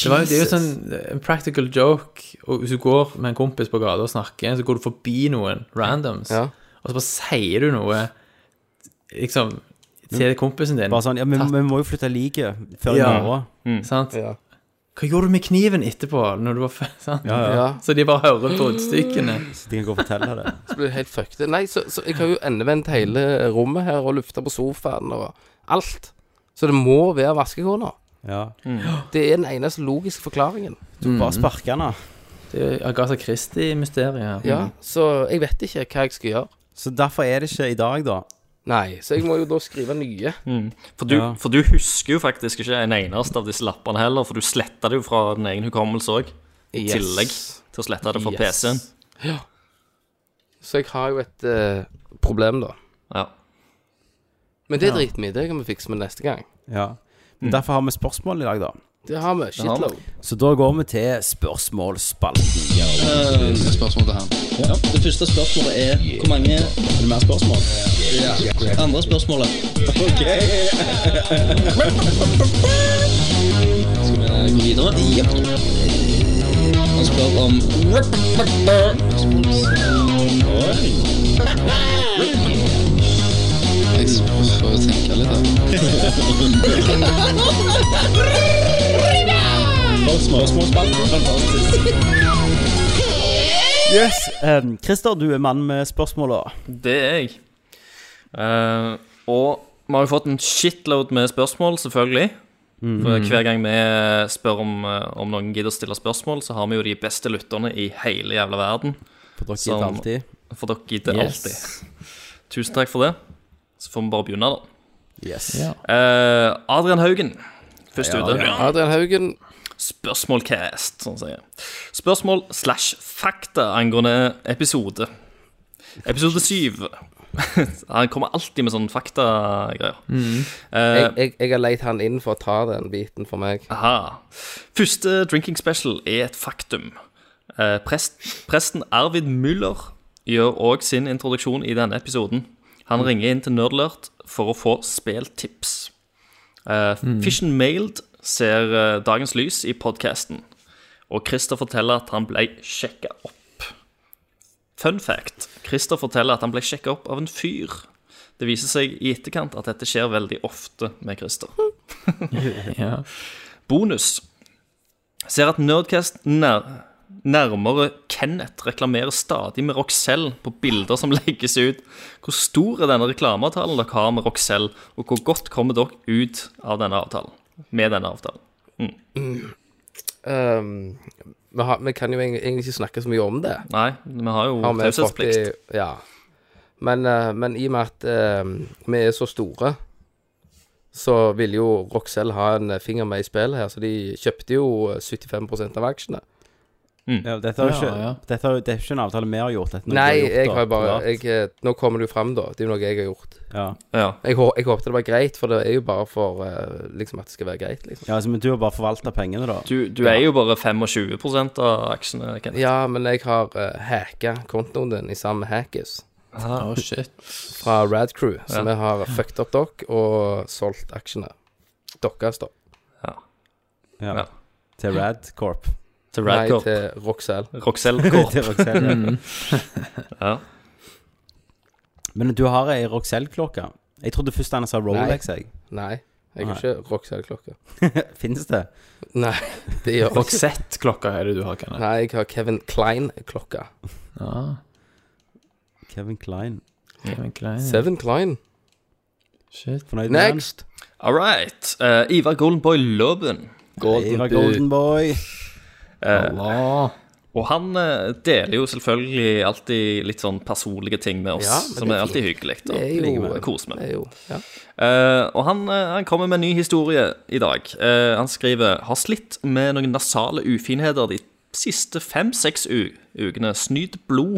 jo- det er jo sånn eh, en practical joke. Og hvis du går med en kompis på gata og snakker, så går du forbi noen randoms,
Ja.
og så bare sier du noe liksom til kompisen din.
Bare sånn Ja, men vi må jo flytte liket før i
Ja.
morgen.
sant?
Ja.
Hva gjorde du med kniven etterpå? Når du var f- <laughs> sant?
ja.
Så de bare hører bruddstykkene.
Så de kan gå og fortelle det.
Så blir det helt fucked. Nei, så, så jeg har jo endevendt hele rommet her og lufta på sofaen og alt. Så det må være vaskekona.
Ja.
Det er den eneste logiske forklaringen.
Du bare sparker den, da.
Det er Agatha Christie-mysteriet her.
Ja, så jeg vet ikke hva jeg skal gjøre.
Så derfor er det ikke i dag, da.
Nei, så jeg må jo da skrive nye.
For du,
Ja.
for du husker jo faktisk ikke en eneste av disse lappene heller, for du sletta det jo fra din egen hukommelse òg. I
Yes.
tillegg til å slette det fra
Yes.
PC-en.
Så jeg har jo et eh, problem, da.
Ja.
Men det driter vi i. Det kan vi fikse med neste gang.
Ja. Men Derfor har vi spørsmål i dag, da.
Det har vi.
har vi.
Shitload.
Så da går vi til spørsmålsspalten.
Det første spørsmålet er Hvor mange Er det mer spørsmål? Andre spørsmålet <laughs> Skal vi gå videre? Jep Han spør om Oi. Jeg får jo tenke litt da Spørsmål, Fantastisk
Yes. Um, Christer, du er mann med spørsmåla.
Det er jeg. Eh, og vi har jo fått en shitload med spørsmål, selvfølgelig. For hver gang vi spør om, eh, om noen gidder å stille spørsmål, så har vi jo de beste lytterne i hele jævla verden.
For dere
Som-
gidder alltid.
For dere gidder
Yes.
alltid. Tusen takk for det. Så får vi bare begynne, da.
Yes.
Ja.
Eh, Adrian Haugen, først ute.
Adrian Haugen.
Spørsmålcast, sånn sier jeg. Spørsmål slash fakta angående episode. Episode syv. <laughs> Han kommer alltid med sånne faktagreier.
Jeg,
Eh,
jeg, jeg har leid han inn for å ta den biten for meg.
aha. Første drinking special er et faktum. Eh, prest, presten Arvid Müller gjør òg sin introduksjon i denne episoden. Han ringer inn til Nerdlert for å få speltips. Eh, Fish and Mailed ser eh, dagens lys i podkasten, og Christer forteller at han ble sjekka opp. Fun fact Christer forteller at han ble sjekka opp av en fyr. Det viser seg i etterkant at dette skjer veldig ofte med Christer.
Ja.
Bonus. Ser at Nerdcast nær, nærmere Kenneth reklamerer stadig med Roxelle på bilder som <laughs> legges ut. Hvor stor er denne reklameavtalen dere har med Roxelle, og hvor godt kommer dere ut av denne avtalen? Med denne avtalen.
Ehm, vi, har, vi kan jo egentlig egentlig ikke snakke så mye om det.
Nei, vi har jo
Har vi fått i,
Mm. taushetsplikt.
ja. men, eh, men i og med at ehm, vi er så store, så ville jo Roxelle ha en finger med i spillet her, så de kjøpte jo 75 av aksjene.
Ja, dette er jo ikke,
Ja, ja.
Dette er, jo- det er ikke en avtale vi har gjort. Dette er noe
Nei,
du gjort,
jeg
da,
har bare
privat.
jeg, eh, Nå kommer det jo fram, da. Det er jo noe jeg har gjort.
ja.
Ja.
Jeg, hå- jeg håpte det var greit, for det er jo bare for eh, liksom at det skal være greit, liksom.
ja, altså, men du har bare forvalta pengene, da.
Du, du er jo bare 25 av aksjene, Kenneth.
Ja, men jeg har uh, hacka kontoen din i sammen med Hackers.
Oh, shit.
fra Rad Crew, så
Ja.
vi har fucked up dere og solgt aksjene deres, da.
Ja.
Ja.
Til Rad Corp.
Til
Nei,
Radcorp.
til Roxelle.
Roxelle
<laughs>
Corp.
til Roxelle.
Mm.
Ja.
Men du har ei Roxelle-klokke. Jeg trodde først han sa Rolex, jeg. <laughs>
Nei,
Nei.
jeg har ikke Roxelle-klokke.
Fins det?
Nei, det gjør jeg ikke.
Roxette-klokka er det du har, Kenneth.
Nei, jeg har Kevin Klein-klokka.
Ja,
Kevin Klein.
Kevin Klein.
Seven Klein.
Shit.
Fornøyd med den?
Next.
All right. Eh, Ivar Goldenboy Loven.
Ira Golden Boy.
Og han eh, deler jo selvfølgelig alltid litt sånn personlige ting med oss,
Ja, men
som er
det er
alltid hyggelig. da.
Det er jo- eh,
Kos med.
Det er jo ja.
Eh, og han, eh, han kommer med en ny historie i dag. Eh, han skriver har slitt med noen nasale ufinheter de siste fem-seks u- ukene. Snyt blod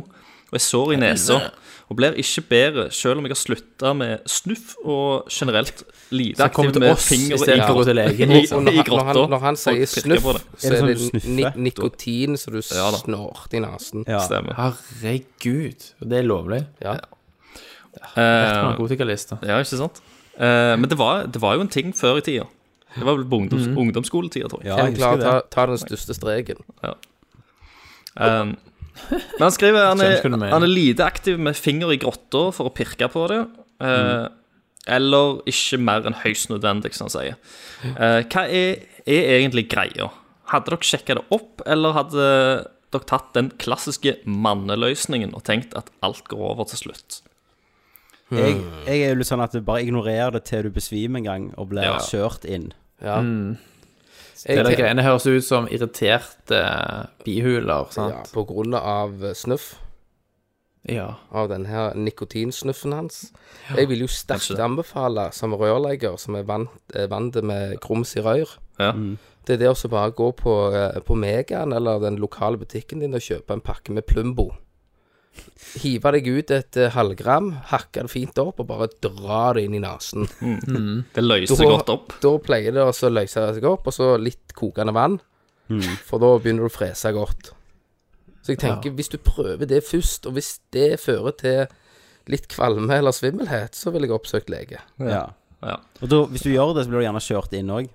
og er sår i nesa. Og blir ikke bedre selv om jeg har slutta med snuff og generelt
Så han
livaktiv
kommer til
med
oss
finger
istedenfor å gå til
<laughs>
legen,
i-
Og når,
i
han, når, han,
grotta.
når han sier
Og pirker
snuff,
på liksom. det.
så
det
er
sånn
det
du
ni
snuffer?
nikotin så du
Ja da.
snorter i nesen.
Ja.
Stemmer.
Herregud. Og det er lovlig.
Ja.
Rett på
Eh,
narkotikalister.
Ja, ikke sant? Eh, men det var, det var jo en ting før i tida. Det var vel på ungdoms, ungdomsskoletida, tror jeg.
Ja,
Hvem
jeg
klarer
husker
å
det.
ta, ta den største streken?
Eh, men han skriver han
Skjønner
er,
hva du mener.
han er lite aktiv med finger i grotta for å pirke på det. eh, Eller ikke mer enn høyst nødvendig, som han sier. Eh, hva er, er egentlig greia? Hadde dere sjekka det opp, eller hadde dere tatt den klassiske manneløsningen og tenkt at alt går over til slutt?
Jeg, jeg er jo litt sånn at du bare ignorerer det til du besvimer en gang og blir
Ja.
kjørt inn.
Ja.
Mm.
Det
Jeg
der
tenker-
greiene høres ut som irriterte bihuler,
ja,
sant?
på grunn av eh, snuff,
Ja.
av den her nikotinsnuffen hans. Jeg vil jo sterkt anbefale, som rørlegger som er vant eh, vant med grums i rør,
Ja.
det er det å så bare gå på, eh, på Megaen eller den lokale butikken din og kjøpe en pakke med Plumbo. Hive deg ut et eh, halvgram, hakke det fint opp og bare dra det inn i nesen.
Det løser seg godt opp.
Da pleier det også å løse seg opp, og så litt kokende vann.
Mm.
For da begynner du å frese godt. Så jeg tenker, hvis du prøver det først, og hvis det fører til litt kvalme eller svimmelhet, så vil jeg oppsøkt lege.
Ja.
Ja.
Og da, hvis du gjør det, så blir du gjerne kjørt inn òg.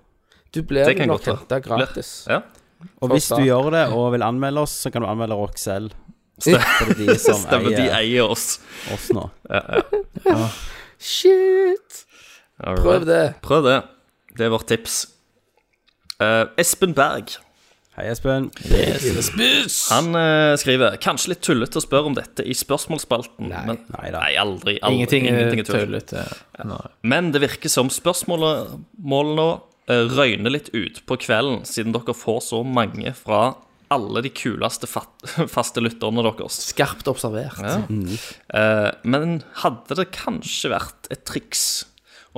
Du blir
Det kan
vel nok
godt være.
henta gratis.
Ja.
Og hvis
Forstå.
du gjør det og vil anmelde oss, så kan du anmelde dere selv. For det er de som
Stemmer, de
eier
eier oss.
oss nå.
Shit!
All
Prøv det.
Prøv det. Det er vårt tips. Eh, Espen Berg
Hei, Espen.
Han eh, skriver Kanskje litt tullete å spørre om dette i spørsmålsspalten. Nei, men,
Nei da.
nei aldri, aldri.
Ingenting er
tull.
tullete. Nei.
Men det virker som spørsmålet målet nå eh, røyner litt ut på kvelden, siden dere får så mange fra alle de kuleste fat, <laughs> faste lytterne deres.
Skarpt observert.
Eh, men hadde det kanskje vært et triks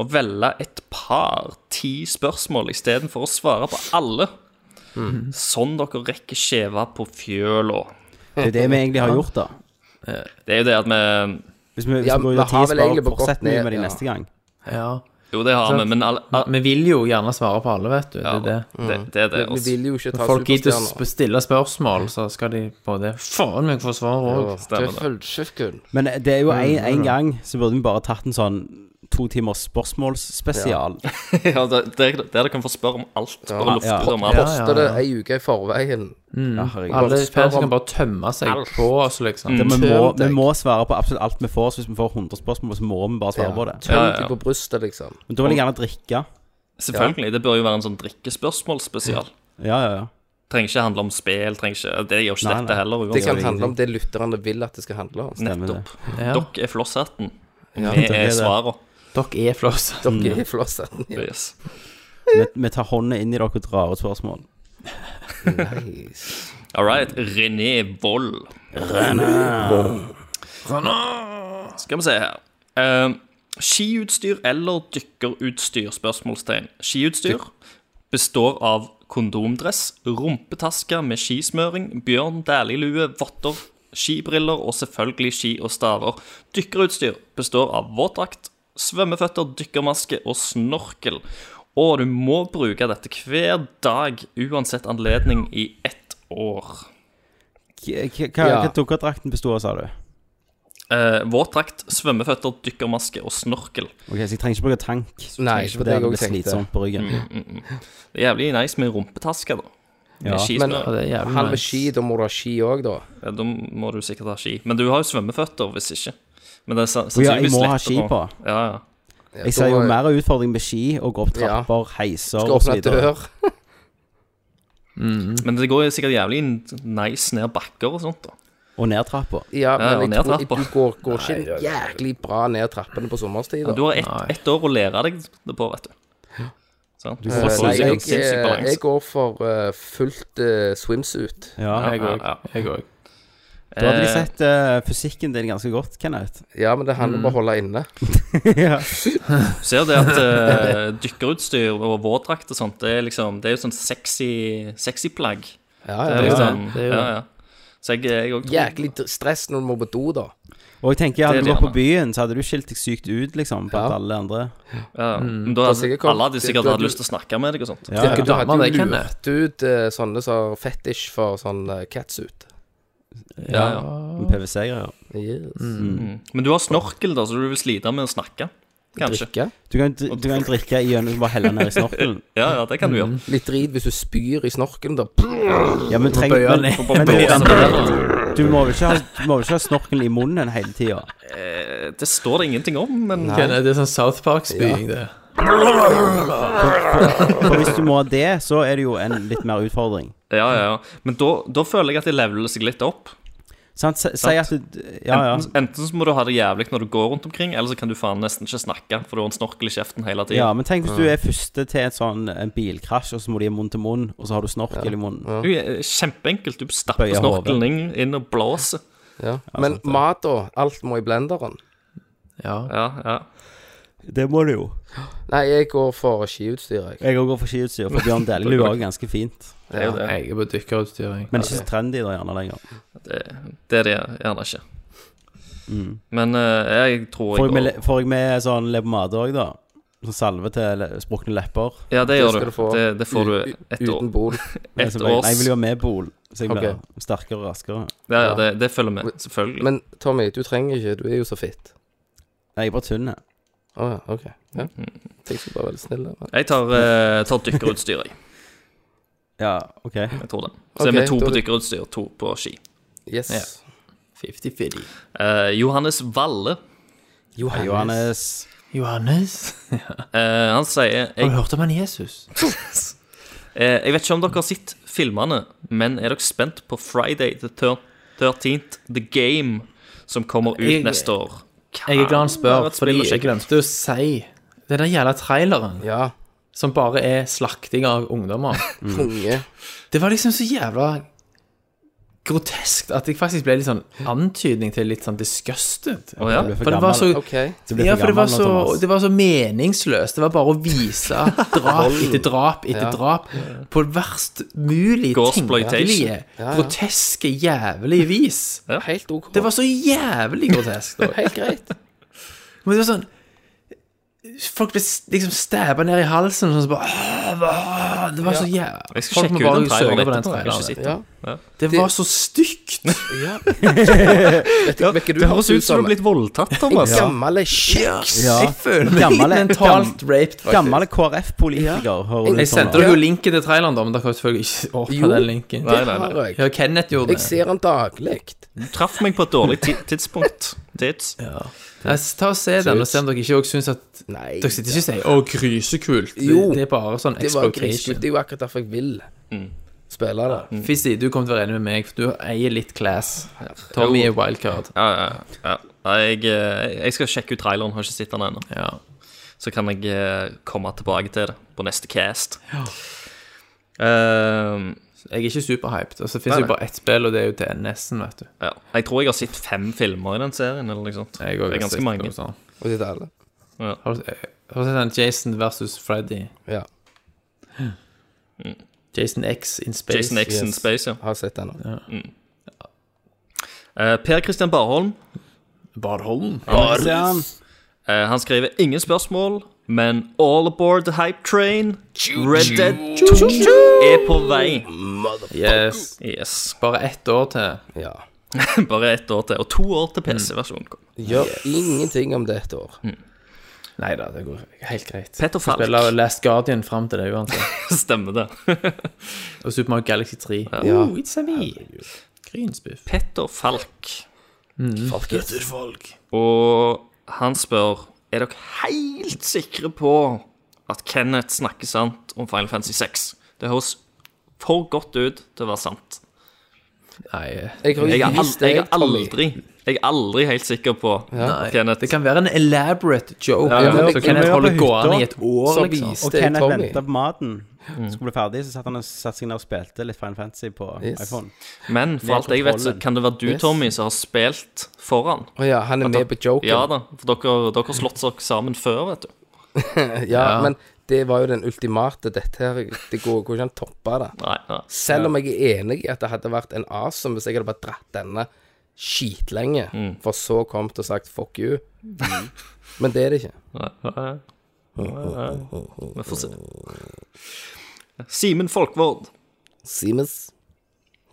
å velge et par ti spørsmål istedenfor å svare på alle? Sånn dere rekker skjeva på fjøla.
Det er jo det vi egentlig har gjort, da.
Det er jo det at vi
Hvis vi, hvis
Ja,
vi går
vi
ut i ti
har vel
spørsmål,
egentlig bare gått
fortsetter vi
ned,
med de
ja.
neste gang.
Ja.
Jo, det har vi, men alle,
Men Vi vil jo gjerne svare på alle, vet du.
ja,
det er det.
det, det er det. altså,
Vi
Også.
vil jo ikke ta
Når folk gidder å
superstjerner.
sp- stille spørsmål, så skal de på det. Faen, men jeg får svar òg.
Åh,
Stemmer det.
tøffelsjukken.
Men det er jo en, en gang så burde vi bare tatt en sånn to timers spørsmålsspesial.
<laughs> Ja, det, det, er- det er dere kan få spørre om alt. Bare lufte
Ja.
ut om alt.
Ja, ja,
Så det er ei uke i forveien.
Ja, herregud.
Alle
Bare spør
fans
om-
kan bare tømme seg på oss, liksom.
det, vi, må,
Tøm
vi
deg.
må svare på absolutt alt vi får, så hvis vi får 100 spørsmål, så må vi bare svare på det.
Tøm
Ja, ja, ja.
deg på brystet, liksom.
Men da vil jeg gjerne drikke.
Selvfølgelig. Det bør jo være en sånn drikkespørsmålsspesial.
Ja, ja, ja.
Trenger ikke handle om spill. trenger ikke, Det gjør ikke
Nei,
dette
nei.
heller.
Det kan
uansett.
handle om det lytterne vil at det skal handle om.
Stemmer det.
Nettopp.
Ja.
Dere er flosshatten.
Ja.
Vi
er
er
det.
svarene.
Dere er floss.
Dere
Mm.
er
<laughs>
flosseten.
Yes.
Vi, vi tar hånda inn i dere og drar ut spørsmål.
Nice.
All right. René Vold. René Skal vi se her. Eh, skiutstyr eller dykkerutstyr? Spørsmålstegn. Skiutstyr består av kondomdress, rumpetaske med skismøring, Bjørn Dæhlie-lue, votter, skibriller og selvfølgelig ski og staver. Dykkerutstyr består av våtdrakt, svømmeføtter, dykkermaske og snorkel. Og du må bruke dette hver dag, uansett anledning, i ett år.
K- k- Hva
Ja.
hva dukkerdrakten bestod av, sa du?
Eh, våtdrakt, svømmeføtter, dykkermaske og snorkel.
Ok, Så jeg trenger ikke bruke tank.
Nei,
Ikke
for
for det
det
hadde
jeg
blitt
også tenkte.
slitsomt på ryggen.
mm,
Det er jævlig nice med rumpetaske, da. Med
Ja.
skismør.
Men-
Ja, det er jævlig
Han med
nice.
ski, da må du ha ski òg, da.
Ja, da må du sikkert ha ski. Men du har jo svømmeføtter, hvis ikke. Men det er sa-
ja, jeg
sannsynligvis
må
lettere.
ha ski på.
Ja, ja.
Ja,
Jeg ser jo
da- eh,
mer utfordring med ski, å gå opp
Ja.
trapper, heiser
Skal
og så
åpne
videre.
dør.
Men det går jo sikkert jævlig nice ned bakker og sånt, da.
Og ned trappa.
Ja,
Ja, og
men jeg tror
nedtrappa.
du går, går ikke jæklig bra ned trappene på sommerstid.
Men du
da.
har ett ett år å lære deg det på, vet du. Sant? Du
Eh,
får
Nei, jeg,
sikkert sinnssyk
eh, jeg
balanse.
går for eh, fullt eh, swimsuit.
Ja.
Jeg òg.
ja,
Jeg òg.
Da hadde de
Eh,
sett eh, fysikken din ganske godt, Kenneth. <laughs>
Ja, men det handler
Mm.
om å holde inne.
ja.
Ser det at eh, dykkerutstyr og våtdrakt og sånt, det er liksom Det er jo sånn sexy, sexy plagg.
Ja,
Det
ja,
er
ja.
liksom,
det er jo
ja, ja. Så jeg, jeg også tror
Jæklig d- stress når du må på do, da.
Og jeg tenker,
Det
hadde
er
du gått
det,
på byen, så hadde du skilt deg sykt ut, liksom, blant
Ja.
alle andre.
ja. Men da
Da
hadde,
sikkert kom-
alle hadde sikkert
da-
hatt lyst til å snakke med deg og sånt.
Ja,
Ikke
ja.
Du hadde
damer, det
jo
kan jeg.
lurt ut eh, sånne som har fetisj for sånn eh, catsuit.
Ja, ja.
Med PVC-greier.
Yes.
Mm. Men du har snorkel, da, så du vil slite med å snakke. Kanskje.
Drikke.
Du kan, dri- du kan drikke i øynene og bare helle ned i snorkelen.
Ja, ja, det kan du gjøre.
Litt drit hvis du spyr i snorkelen, da.
Ja, men trenger
bøyer
men,
ned.
men
Bøyer
du, du må vel ikke ha, du må vel ikke ha snorkelen i munnen hele tida?
Eh, Det står det ingenting om, men
Ken, Det er sånn South Park-spying, det.
For hvis du må ha det, så er det jo en litt mer utfordring.
Ja, ja, ja. Men da, da føler jeg at det leveler seg litt opp.
Sant? Si- Si at du Ja, ja.
Enten, enten så må du ha det jævlig når du går rundt omkring, eller så kan du faen nesten ikke snakke, for du har en snorkel i kjeften hele tiden.
Ja, men tenk hvis du er første til et sånn en bilkrasj, og så må de munn til munn, og så har du snorkel i munnen.
Du, eh, kjempeenkelt. Du stapper
Bøyer
snorkelen inn, inn og blåser.
Ja. Men mat, da. Alt må i blenderen.
Ja.
Ja, ja.
Det må du jo.
Nei, jeg går for skiutstyr, jeg.
Jeg òg går for skiutstyr, for Bjørn Dæhlie lurer ganske fint.
Det er jo det.
Jeg er på dykkerutstyr, jeg.
Men ikke så trendy da gjerne lenger.
Det, det er det gjerne ikke. Men eh, jeg tror
Får jeg med,
jeg
le- får jeg med sånn leppepomade òg, da? Sånn salve til le- sprukne lepper?
Ja, det gjør du.
skal du få.
Det, det får du
U-
ett år.
Uten
<laughs>
bol.
Nei,
Ett
så bare- Nei, jeg vil
års
jo ha med bol, så jeg blir
Ok.
sterkere og raskere.
Ja, ja, det, det følger med, selvfølgelig.
Men Tommy, du trenger ikke. Du er jo så fitt.
Nei, jeg er bare tynn. jeg.
Å ja, OK. Ja.
Mm.
Jeg skulle bare være litt snill. Men...
Jeg tar, eh, tar dykkerutstyr, jeg.
Ja, OK.
jeg tror det. Så er vi to
Ok, da er
på
det-
dykkerutstyr, to på ski.
Yes.
Ja. 50-50.
Eh, Johannes Valle,
Johannes.
Johannes?
eh, han sier
Har
jeg,
du hørt om han Jesus?
eh, jeg vet ikke om dere har sett filmene, men er dere spent på Friday the thir- 13th, The Game, som kommer ut
Jeg-
neste år?
Jeg er glad han
Kan
spør,
være et
fordi
spill å
jeg
sjekke ut.
glemte å si den der jævla traileren
ja.
som bare er slakting av ungdommer.
Mm.
Konge.
Det var liksom så jævla grotesk at jeg faktisk ble litt sånn antydning til litt sånn disgusted.
Å ja?
Du blir
For det var så
OK.
Du blir
Ja,
for
for det
gammel
var,
nå,
så,
Thomas.
det var så meningsløst. Det var bare å vise
<laughs>
drap etter drap etter
Ja.
drap på verst mulig
Godsploitation.
tenkelige,
ja.
groteske, jævlig vis.
Helt OK.
Det var så jævlig grotesk. da.
helt greit.
Men det var sånn Folk ble s- liksom stabba ned i halsen og sånn så bare «Åh, hva?» Det var så jævlig
Jeg skal sjekke ut den traileren etterpå. Jeg har ikke sett den.
Ja.
Det var så stygt.
ja. Vet du hvilken du
Det høres ut som du er blitt voldtatt,
En
Thomas.
gammel kjeks.
Ja.
Jeg føler
Gammel-
meg mentalt raped, faktisk.
Gammel KrF-politiker. hører du
Jeg
sånn,
sendte
da?
dere jo linken til traileren, da, men dere har jo selvfølgelig ikke
Jo.
åpna den linken.
Nei, nei, nei.
Har jeg.
Ja, Kenneth gjorde det.
Jeg ser den daglig.
Du traff meg på et dårlig ti- tidspunkt. Tids.
Ja, så ta og Se den, og se om dere ikke også syns at
Nei.
Dere sitter ikke og sier 'Å, grisekult'. Det-
Jo.
Det er bare sånn
Det var
exploitation.
grisegutt. Det er jo akkurat derfor jeg vil spille det.
Fizzy, du kommer til å være enig med meg, for du eier litt class. Tommy er wildcard.
Ja, ja, ja. Nei, Jeg, eh, jeg skal sjekke ut traileren, har ikke sett den ennå.
Ja.
Så kan jeg eh, komme tilbake til det på neste cast. Eh,
Jeg er ikke superhyped. Altså, det fins jo bare ett spill, og det er jo til nesten, vet du.
ja. Jeg tror jeg har sett fem filmer i den serien. eller noe sånt.
Jeg
det er ganske mange.
Sånn.
Og sitte alle.
Har du har du sett den Jason versus Freddy?
Ja.
Jason X in Space.
Jason X in Space, ja.
Har sett den nå.
Eh, per Christian Barholm
Barholm.
Christian.
eh, han skriver ingen spørsmål, men All Aboard the Hype Train, Red Dead 2 er på vei.
Yes.
Yes. <laughs>
Bare ett år til.
Ja.
Bare ett år til. Og to år til PC-versjonen kom. <laughs>
Gjør ingenting om det et år.
Nei da, det går helt greit.
Petter Falk.
Spiller Last Guardian fram til det uansett.
Stemmer det. <laughs>
Og Super Mario Galaxy 3. Oh, it's a me. Grynsbiff.
Petter Falk.
Petter Falk.
Og han spør Er dere helt sikre på at Kenneth snakker sant om Final Fantasy 6? Det høres for godt ut til å være sant.
Nei, eh.
Jeg har
Jeg er,
jo
al
vist
jeg er
deg, Tommy.
aldri jeg er aldri helt sikker på
nei.
Kenneth.
Det kan være en elaborate joke.
Ja, ja.
Så
Jeg-
kan
jeg var
jeg
på
holde
hytta,
gående i et år,
så
liksom.
viste
Og
jeg
Kenneth
Tommy.
venta på maten. Skulle bli ferdig, så satt han og satt seg ned og spilte litt Final Fantasy på
Yes.
iPhone.
Men for alt jeg vet, så
kontrollen.
kan det være du,
Yes.
Tommy, som har spilt foran.
Å ja, han er med på joken.
Ja da, for dere, dere har slått dere sammen før, vet du.
Ja, men det var jo den ultimate. Dette her Det går går ikke an å toppe det.
Nei, nei.
Selv om jeg er enig i at det hadde vært en awesome hvis jeg hadde bare dratt denne skitlenge, for så kommet og sagt fuck <laughs> you. Men det er det ikke.
nei, nei. Vi får se. Simen Folkvord.
Siemens.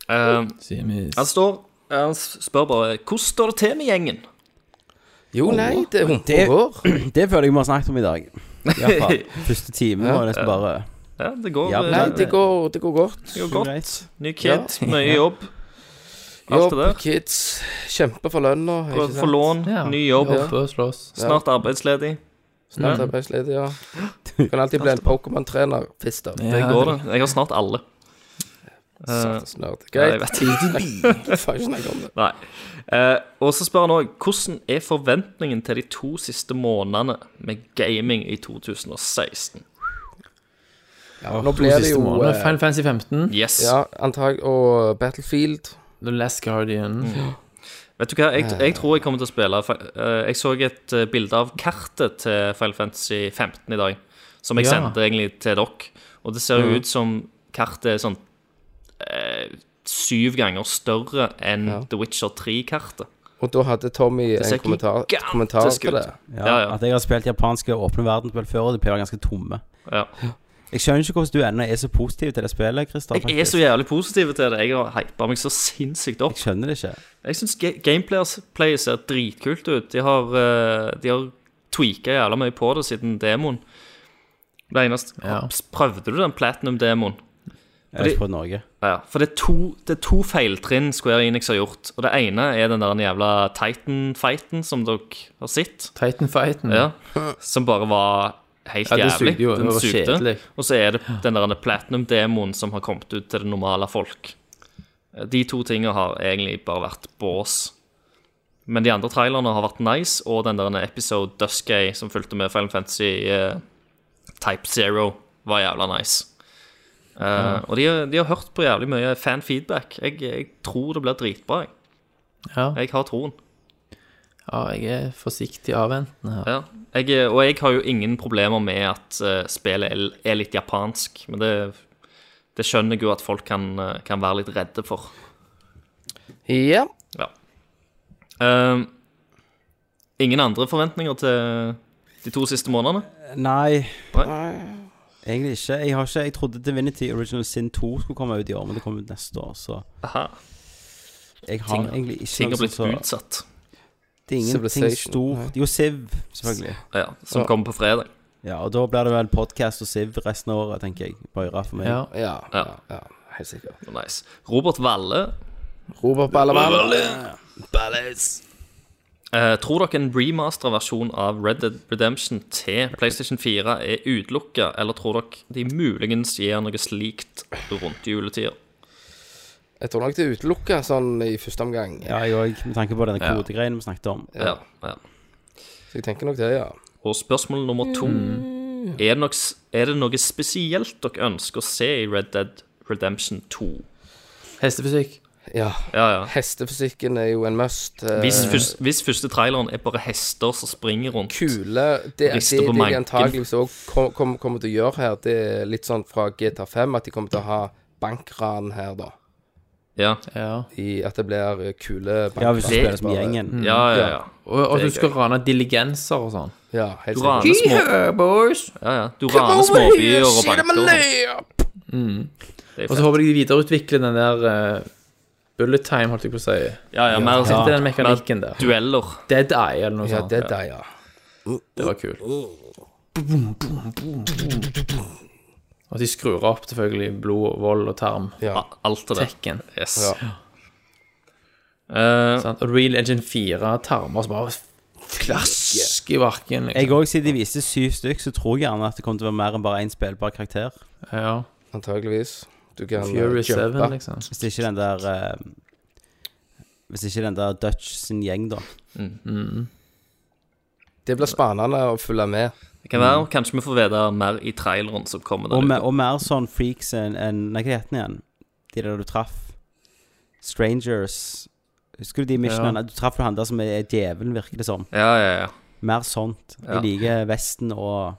Eh,
Simis.
han står eh, Han spør bare Hvordan står det til med gjengen?
Jo, nei, det
det-
er rumpehår.
Det føler jeg vi har snakket om i dag. I hvert fall
<laughs>
første time var nesten bare
Ja, det går,
Ja,
eh,
Nei,
det
det går, det går godt.
går godt.
greit.
Ny kid, <laughs> mye jobb. Alt
Jobb,
det der.
kids. Kjempe for lønna. ikke sant?
For lån,
Ja.
ny jobb.
Ja.
Oppe og slåss.
Snart arbeidsledig.
Snart arbeidsledig, ja. Kan alltid bli en Pokémon-trener. Fiss da.
Det går, det. Jeg har snart alle. Eh,
Satans nerd.
ja, jeg
Greit. <laughs>
vet
Får ikke snakke om det.
Nei. Eh, og så spør han òg hvordan er forventningen til de to siste månedene med gaming i 2016?
Nå blir det jo
Nå er
eh,
Final Fantasy 15,
Yes.
Ja, antag og Battlefield.
The Last Guardian.
Mm. Vet du hva, jeg, jeg tror jeg kommer til å spille Fi- eh, Jeg så et eh, bilde av kartet til Final Fantasy 15 i dag, som jeg
Ja.
sendte egentlig til dere. Og det ser jo ut som kartet er sånn eh, syv ganger større enn
Ja.
The Witcher 3-kartet.
Og da hadde Tommy
ser
en kommentar,
gigantisk
kommentar
ut.
til det.
Ja,
Ja, ja.
At jeg har spilt japanske åpne verdensspill før, og de pleier å være ganske tomme.
Ja.
Jeg skjønner ikke hvordan du ennå er så positiv til det spillet, Christer.
Jeg er så
faktisk.
jævlig positiv til det. Jeg har hypa meg så sinnssykt opp.
jeg skjønner det ikke.
Jeg syns gameplay ser dritkult ut. De har, eh, de har tweaka jævla mye på det siden demoen. Det eneste
Ja.
Prøvde du den platinum-demoen?
Jeg har ikke prøvd Norge.
Ja, for det er to, det er to feiltrinn Square Enix har gjort. Og det ene er den der jævla Titan-fighten som dere har sett.
Titanfighten.
Ja,
<laughs>
som bare var helt
Mm. Ja, det
jævlig.
sugde jo. Det
Den
var
sugde.
kjedelig.
Og så er det den der platinum-demoen som har kommet ut til det normale folk. De to tingene har egentlig bare vært bås. Men de andre trailerne har vært nice, og den der episode Duskay som fulgte med Final Fantasy eh, Type Zero, var jævla nice. Eh, Og de, har- de har hørt på jævlig mye fan-feedback. Jeg, jeg tror det blir dritbra. Jeg,
Ja.
jeg har troen.
ja, jeg er forsiktig avventende her.
Ja. Jeg, eh, og jeg har jo ingen problemer med at eh, spillet er, er litt japansk, men det, det skjønner jeg jo at folk kan, eh, kan være litt redde for.
Ja.
Ja. Eh, ingen andre forventninger til de to siste månedene?
Nei. Egentlig ikke. Jeg, har ikke. jeg trodde Divinity Original Sin 2 skulle komme ut i år, men det kom ut neste år, så
Aha,
jeg har egentlig ikke
ting
noe
har blitt
sånn-
utsatt,
Det er ingenting
Civilization,
stort. Jo, Siv, selvfølgelig.
ja, som
Ja.
kommer på fredag.
Ja, og da blir det vel podcast og Siv resten av året, tenker jeg. Bøyra for meg.
Ja.
Ja,
Ja.
ja, ja, helt sikkert.
Nice. Robert Valle,
Robert Ballemann.
eh, tror dere en remasteret versjon av Red Dead Redemption til PlayStation 4 er utelukka, eller tror dere de muligens gir noe slikt rundt juletider?
Jeg tror nok det er utelukka sånn i første omgang.
Ja, jeg òg, med tanke på denne kodegreien vi snakket om.
Ja, ja.
Så jeg tenker nok det, ja.
Og spørsmål nummer to er, det nok, er det noe spesielt dere ønsker å se i Red Dead Redemption 2?
Hestefysikk.
Ja.
Ja, ja.
Hestefysikken er jo en must. eh,
Hvis, først, hvis første traileren er bare hester som springer rundt
Kule Det, det, det,
Rister på
de
manken.
antageligvis òg kom, kom, kommer til å gjøre her, det er litt sånn fra GTA5 at de kommer til å ha bankran her, da.
Ja,
Ja.
I at det blir eh, kule bankran.
Ja, hvis du
Det- Mm.
spiller som gjengen.
ja, ja. ja.
Og, og
Det er
du skal rane diligenser og sånn.
Ja, helt
Du
sikkert.
raner små... Ja, ja. Du raner småbyer og banker og sånt. Det er
Og så
fett.
håper jeg de videreutvikler den der eh, bullet time, holdt jeg på å si.
Ja, ja, mer
Tenkte
sånn
den mekanikken der.
dueller.
Dead Eye eller noe
Ja,
sånt.
det der, ja.
Det var kult. Og at de skrur opp selvfølgelig blod, vold og tarm.
ja.
Alt det der.
Tekken.
Yes.
Ja.
Eh,
Sant? Og Real Engine 4 tarmer som bare klask i bakken.
Jeg
Liksom.
òg, siden de viste syv stykk, så tror jeg gjerne at det kommer til å være mer enn bare én spillbar karakter.
Ja.
Antageligvis. Du kan eh,
Fury
jumpe.
7, liksom.
Hvis det ikke er den der eh, Hvis ikke den der Dutch sin gjeng, da.
Det blir spennende å følge med.
Det kan være, Kanskje vi får vite mer i traileren som kommer
Og,
der.
me,
ute.
og mer sånn freaks enn enn- Nei, hva het den igjen? De der du traff. Strangers. Husker du de missionene? Du traff jo han der som er djevelen, virker det som.
Ja, ja, ja.
Mer sånt.
Ja.
Jeg liker Vesten og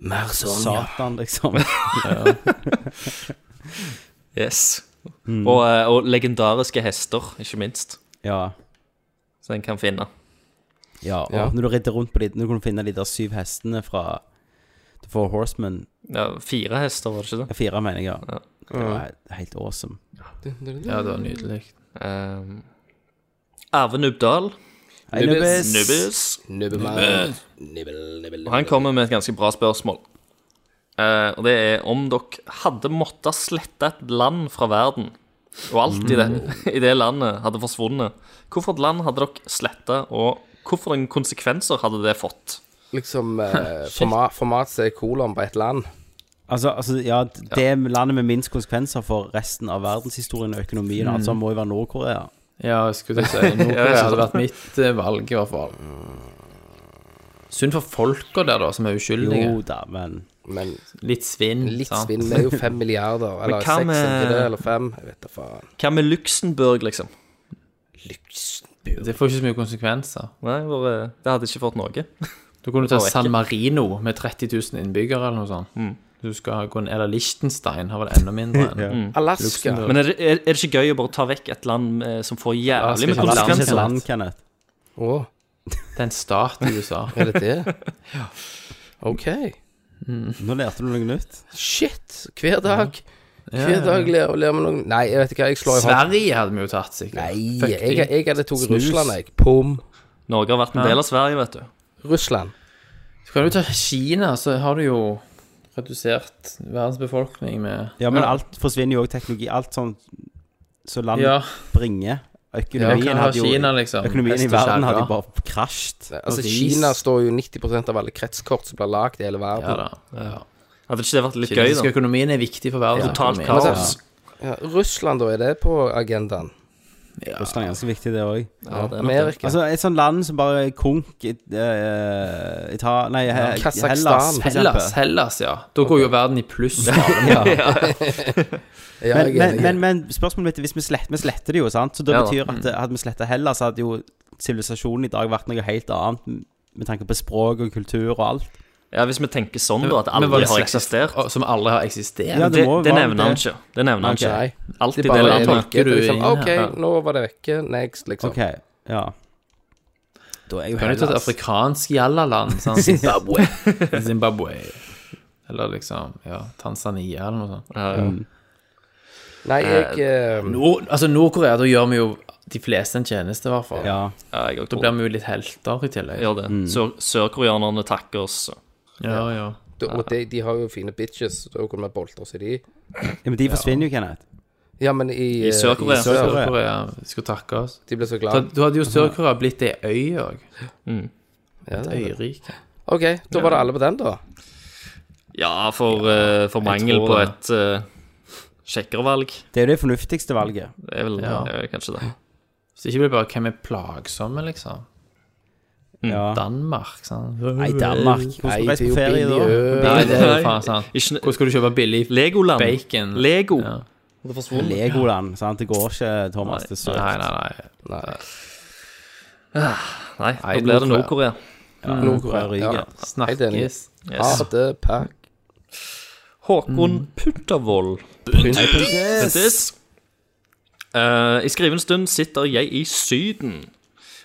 Mer
Satan, liksom. <laughs>
Yes. Og, eh, og legendariske hester, ikke minst,
Ja.
som en kan finne.
ja og
Ja.
når du ridder rundt på de Når du kunne finne de der syv hestene fra The Four Horsemen
Ja, fire hester, var det ikke det?
Ja, Fire, mener jeg, ja.
Ja.
Det var helt awesome.
Ja, det var nydelig.
Um, Eh, Arve Nubdal.
Hei, Nubbes.
Nubbes.
Nubbemann.
Og han kommer med et ganske bra spørsmål. Eh, og det er om dere hadde måttet slette et land fra verden, og alt i, det, <laughs> i det landet hadde forsvunnet, hvorfor et land hadde dere sletta, og hvilke konsekvenser hadde det fått?
Liksom
<laughs>
eh, format, format som er kolon på et land.
Altså, altså, ja, det landet med minst konsekvenser for resten av verdenshistorien og økonomien og alt sånt, må jo være Nord-Korea.
Ja, jeg skulle til å si Nordkorea hadde vært mitt eh, valg, i hvert fall. Synd for folka der, da, som er uskyldige.
Jo da, men
Men
Litt svinn.
litt
sant?
svinn. Det er jo fem milliarder, eller
hva
seks
med-
er det, eller fem. Jeg vet da faen.
Hva med Luxembourg, liksom?
Det får ikke så mye konsekvenser.
Nei, bare, Det hadde ikke fått noe.
Du kunne ta
Får ikke.
San Marino med 30 000 innbyggere eller noe sånt. Du skal gå en, Eller Liechtenstein har vel enda mindre
<laughs>
enn.
Mm. Alaska.
Luxembourg.
Men er det, er, er det ikke gøy å bare ta vekk et land eh, som får
Ja, skal
jævlig med
ikke
Alaska er
Landet
et
konsekvenser?
land, Kenneth.
Å,
Det er en stat i USA.
er det det? OK.
Nå lærte du noe nytt.
Shit. Hver dag. Hver dag ler ler vi noen Nei, jeg vet ikke hva, jeg slår i hånden.
Sverige hadde vi jo tatt, sikkert.
Nei,
Fuck
jeg,
de.
jeg, hadde tatt Russland, jeg. Pom.
Norge har vært en del av Sverige, vet du.
Russland.
Så kan du ta Kina, så har du jo redusert verdens befolkning med
Ja, men alt forsvinner jo òg, teknologi. Alt sånn som land
Ja,
bringer.
ja
Økonomien,
kan ha
hadde jo,
Kina, liksom.
økonomien
Hest
i
og
verden
kjerre.
hadde jo bare krasjet.
Altså,
Og ris.
Kina står jo 90 av alle kretskort som blir lagd i hele
Ja
verden.
da. Ja.
Hadde ikke det vært litt gøy,
Kinesisk
da?
økonomien er viktig for verden.
Altså, Totalt
økonomien.
kaos.
Ja, Russland, da, er det på agendaen?
Russland er ganske viktig, det òg.
Ja, det er nok det.
Amerika?
Altså, et sånt land som bare konk i, eh, Ita- Nei, he,
Kasakhstan.
Hellas, for
Hellas,
eksempel.
Hellas, ja. Da går jo verden i pluss. ja.
ja,
Men,
jeg er
men,
enig.
men, men spørsmålet mitt er hvis vi sletter, vi sletter det jo, sant? Så det
Ja da.
betyr at eh, hadde vi sletta Hellas, hadde jo sivilisasjonen i dag vært noe helt annet m- med tanke på språk og kultur og alt.
Ja, Hvis vi tenker sånn, da, at
<laughs> Men
aldri
var det
har
slekt-
eksistert
Som aldri har eksistert.
Ja,
Det,
det må jo
det
være
nevner han
det.
ikke. Det nevner han
Ok.
ikke.
Nei.
Alt i
Det
det
bare
landet.
er
tolker
vekke.
du
Liksom,
inn her.
OK,
Ja.
nå var det vekke. Next, liksom.
OK, ja. Da er jo
Kan du ta
<laughs>
et
Hellas
afrikansk jallaland? Sånn
<laughs>
Zimbabwe. Zimbabwe. Eller liksom ja, Tanzania eller noe sånt.
Ja, ja.
Nei, jeg eh,
Nord, altså Nord-Korea, da gjør vi jo de fleste en tjeneste, i hvert fall.
Ja.
Ja, jeg også
Da
tror
blir vi jo litt helter i tillegg.
Gjør det. Sør- Sørkoreanerne takker oss.
ja. ja.
d- Og de, de har jo fine bitches, så da kunne vi boltre oss i de.
ja, Men de forsvinner jo, Kenneth.
Ja, men i,
I Sør-Korea.
Sør-
Sør-Korea skulle takke oss.
De ble så
Da,
glad.
da hadde jo Sør-Korea blitt ei øy òg.
Ja, det-
Øyrike.
OK, da var det alle på den, da.
Ja, for, eh, for mangel
tror
på
det.
et eh, kjekkere valg.
Det er jo det fornuftigste valget.
Det er vel
Ja.
det er kanskje det.
Så det ikke blir bare hvem er plagsomme, liksom.
Ja.
Danmark, sant.
Nei, Danmark. Hvordan skal du reise på ferie da?
da.
Nei, det er jo faen sant.
Ikke ne-
Hvor skal du kjøpe billig
Legoland.
bacon?
Lego.
Ja.
Legoland, sant. Det går ikke, Thomas. Det er søkt.
Nei, nei, nei.
Nei,
Nei,
da blir det
Nord-Korea.
Nord-Korea.
Nord-Korea. Ja. Helt enig.
Snakkes.
Yes.
Harde pack. Mm.
Håkon Puntervold. Puntis. Eh, I skriven stund sitter jeg i Syden,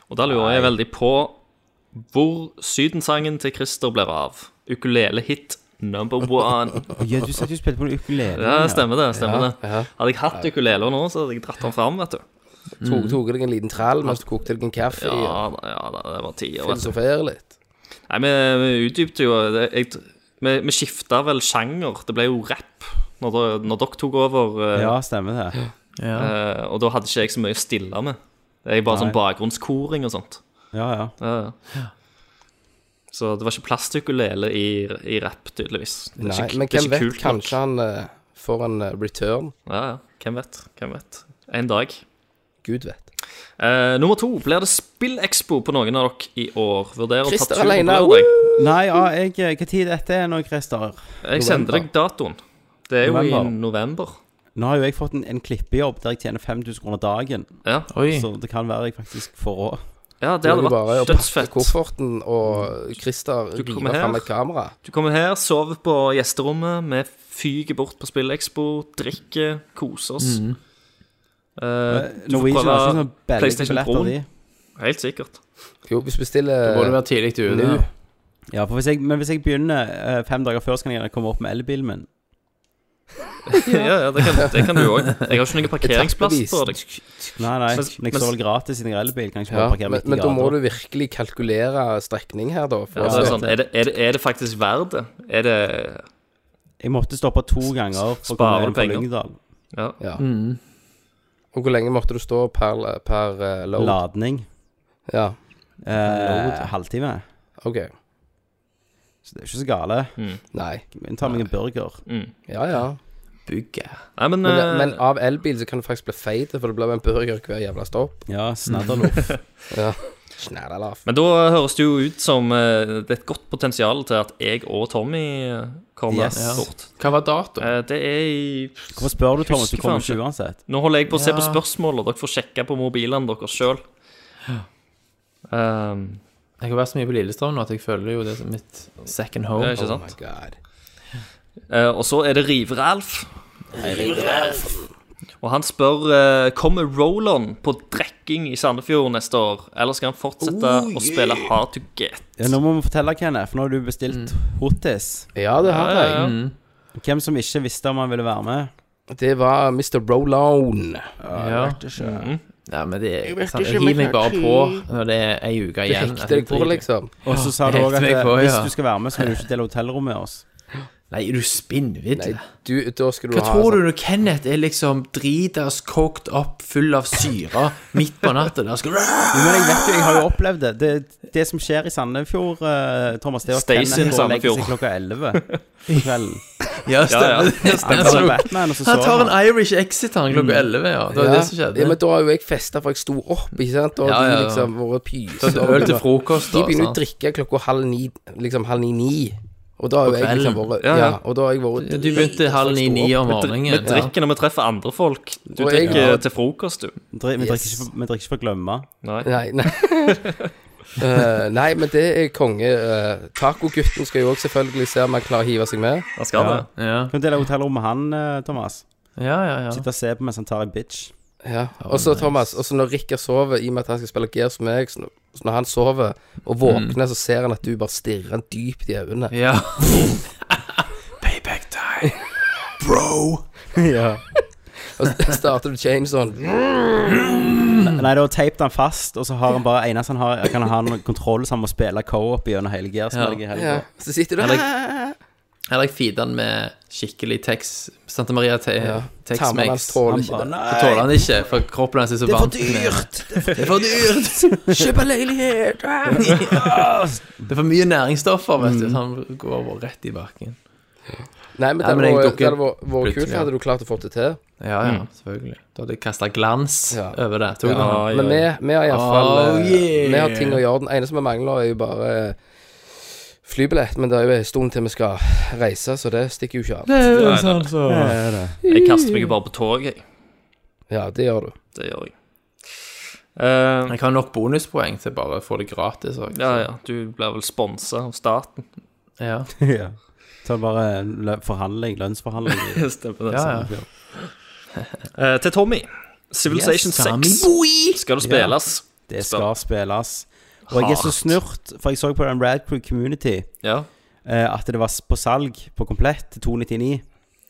og da lurer jeg veldig på hvor sydensangen til Christer blir av. Ukulele-hit number one.
Ja, du satt jo og spilte på en ukulele.
<laughs>
Ja, stemmer det. stemmer det
ja.
Hadde jeg hatt ukulele nå, så hadde jeg dratt den fram. vet du
Tok tok deg en liten trall mens du kokte deg en kaffe og
Ja, da- ja da, det var tider. vet du.
filosoferte litt.
Nei, vi, vi utdypte jo det, jeg, Vi, vi skifta vel sjanger. Det ble jo rapp når, dere- når dere tok over. eh,
Ja, stemmer det.
Ja.
eh, og da hadde ikke jeg så mye å stille med. Jeg er bare sånn bakgrunnskoring og sånt.
Ja, ja.
Ja, ja. Så det var ikke plass til ukulele i, i rapp, tydeligvis. Det er
Nei,
ikke-
men
det er
hvem
ikke
vet?
kult nok.
Kanskje han eh, får en eh, return.
Ja, ja. Hvem vet? Hvem vet? En dag.
Gud vet.
Eh, nummer to. Blir det spillekspo på noen av dere i år? Vurderer å ta
Christer
turen
alene,
og prøve deg.
Nei, ja, jeg eh, Hva tid dette er nå, Christer?
Jeg sender deg datoen. Det er jo
November.
i november.
Nå har jo jeg fått en, en klippejobb der jeg tjener 5000 kroner dagen.
Ja,
Oi.
Så det kan være jeg faktisk får råd.
ja det
Det er
hadde
jo bare å
vært
pakke
dødsfett.
kofferten, og Christer
Du kommer
river fram
her.
et kamera.
Du kommer her, sover på gjesterommet, vi fyker bort på Spillekspo, drikker, koser
Mm.
Mm.
oss. Eh, du får
Norwegian har
prøve
ikke sånn bellingbilletter, de.
PlayStation Helt sikkert.
Jo, hvis du
Da må du
bestiller
være tidlig ute.
nå
Ja, for hvis jeg, men hvis jeg begynner eh, fem dager før, så kan jeg gjerne komme opp med elbilen min.
Ja, ja, det kan, det kan du òg. Jeg har ikke noen parkeringsplass for deg.
Nei, nei,
Men-
men jeg står vel gratis siden jeg har elbil. Kan jeg ikke
ja,
bare parkere
men,
midt i
men da må
gata?
du virkelig kalkulere strekning her, da.
Ja,
For
det er,
å-
sånn, er, det, er, det, er det faktisk verdt det? Er det
Jeg måtte stoppe to ganger for å
Sparer
komme inn på
penger.
Lyngdal.
Ja.
ja.
Mm.
Og hvor lenge måtte du stå per, per eh, load?
Ladning.
Ja,
Eh, halvtime.
OK.
Så det er jo ikke så gale.
Nei.
Jeg tar meg en burger.
Ja, ja.
mm. Nei, men,
Men,
eh,
men av elbil så kan du faktisk bli feit, for det blir en burger hver jævla stopp.
Ja, snadderloff.
Ja. Snadalaf.
men da høres det jo ut som eh, det er et godt potensial til at jeg og Tommy eh, kommer
Yes.
bort.
Hva var datoen?
Eh, Det er i
<laughs> Hvorfor spør du, Thomas? Du
Husker
kommer
faen
ikke uansett.
Nå holder jeg på å se
Ja.
på spørsmål, og dere får sjekke på mobilene deres sjøl. Um,
Jeg har vært så mye på Lillestrøm nå at jeg føler jo det som mitt second
det
home.
er ikke
Oh my
sant?
god.
Eh, og så er det Rive-Ralf. Og han spør eh, Kommer Roland på drekking i Sandefjord neste år, eller skal han fortsette
Oh,
å spille hard to get?
Ja, nå må vi fortelle, Kenneth, for nå har du bestilt hottis.
Ja, det har jeg.
ja.
Hvem som ikke visste om han ville være med.
Det var Mr. Roll-On.
Ja. Mm. ja, men det sant, Jeg hiver meg bare på når det er ei uke
Du
igjen.
hekter
at jeg
deg på,
driver.
liksom.
Og så sa du
helt
òg at eh,
vekk på,
hvis
ja.
du skal være med, så må du ikke dele hotellrom med oss.
Nei, er du spinnvidd?
Nei, du, da skal du
Hva
ha
tror du
sånn-
når Kenneth er liksom dritas, kokt opp, full av syre, midt på natta? Der skal
Jo, men jeg vet jo, jeg har jo opplevd det. Det, det som skjer i Sandefjord, eh, Thomas, det er at
Stays in
Kenneth går og legger
Sandefjord.
seg klokka 11 på kvelden.
Ja,
Ja, ja.
Han ser Batman, og så
Han
sover
tar en
han.
Irish exit han klokka 11, ja. Det var det som
Ja,
skjedde.
men da har jo jeg festa, for jeg sto opp, ikke sant. Og
Ja,
de
ja, ja.
liksom
Så
vært pyser.
hadde Øl til frokost
De
og
begynner å
sånn.
drikke klokka halv ni, liksom halv ni-ni. Og da har jo jeg liksom
kvelden.
vært
Ja,
ja,
ja.
Og da har jeg vært
Du begynte halv ni-ni om morgenen.
Vi drikker når vi treffer andre folk. Du
Og jeg-
drikker
ja.
til frokost, du.
Vi drikker ikke for- vi drikker ikke for å glemme.
Nei.
Nei, nei. <laughs> Eh, nei, men det er konge. Uh, Tacogutten skal jo òg selvfølgelig se om han klarer å hive seg med.
Han skal
Ja.
det.
Ja,
Kan du dele hotellrom med han, eh, Thomas?
ja, ja. ja.
Sitte og se på mens han tar en bitch.
Ja. Og så Thomas, og så når Rikard sover, i og med at han skal spille Gears med meg, så når- så når han sover og våkner, så ser han at du bare stirrer han dypt i øynene.
ja.
Payback time.
ja.
Og så <laughs> starter du chain sånn.
Nei, da tapet han fast, og så har han bare eneste han har, kan han ha noen kontroll, så han må spille co-op gjennom hele Gears-spillet i helga.
Ja. Så sitter du
Eller-
her.
Eller jeg feeder han med skikkelig Tex Santa Maria te
Tarmene
Tex-Mex.
hans
Så
tåler
Han
ikke
bare
det.
Nei,
tåler han ikke, for kroppen hans er så vant med Det er for dyrt! Det er for
Kjøp en leilighet! Ah!
mye næringsstoffer, vet du. Så han går over rett i bakken.
Nei,
Nei, men
men det
jeg
hadde vært-
dukker
det hadde vært- vært
plutselig,
kult.
ja.
Hadde du klart å få det til.
Ja, ja, selvfølgelig. Da hadde jeg kasta glans
Ja.
over det. Tok
Mm. Ja,
han.
ja,
Men
ja.
vi, vi har iallfall
Oh, yeah.
eh, Vi har ting å gjøre. Den eneste vi mangler, er jo bare eh, flybillett. Men det er jo en stund til vi skal reise, så det stikker jo ikke av.
Nei, nei, nei. Jeg kaster meg jo bare på toget, jeg.
Ja, det gjør du.
Det gjør jeg. Eh,
Jeg har nok bonuspoeng til bare å få det gratis òg.
ja, ja. Du blir vel sponsa av staten. <laughs>
Ja.
ja. Så bare en lø forhandling, lønnsforhandling.
Stemmer det. <laughs>
Ja,
sant.
ja.
Eh, til Tommy. Civilization
Yes, Tommy.
6 skal det spilles.
Det skal spilles. Og jeg er så
Hardt.
snurt, for jeg så på den Rad Crew Community
Ja.
eh, at det var s- på salg på komplett til 299,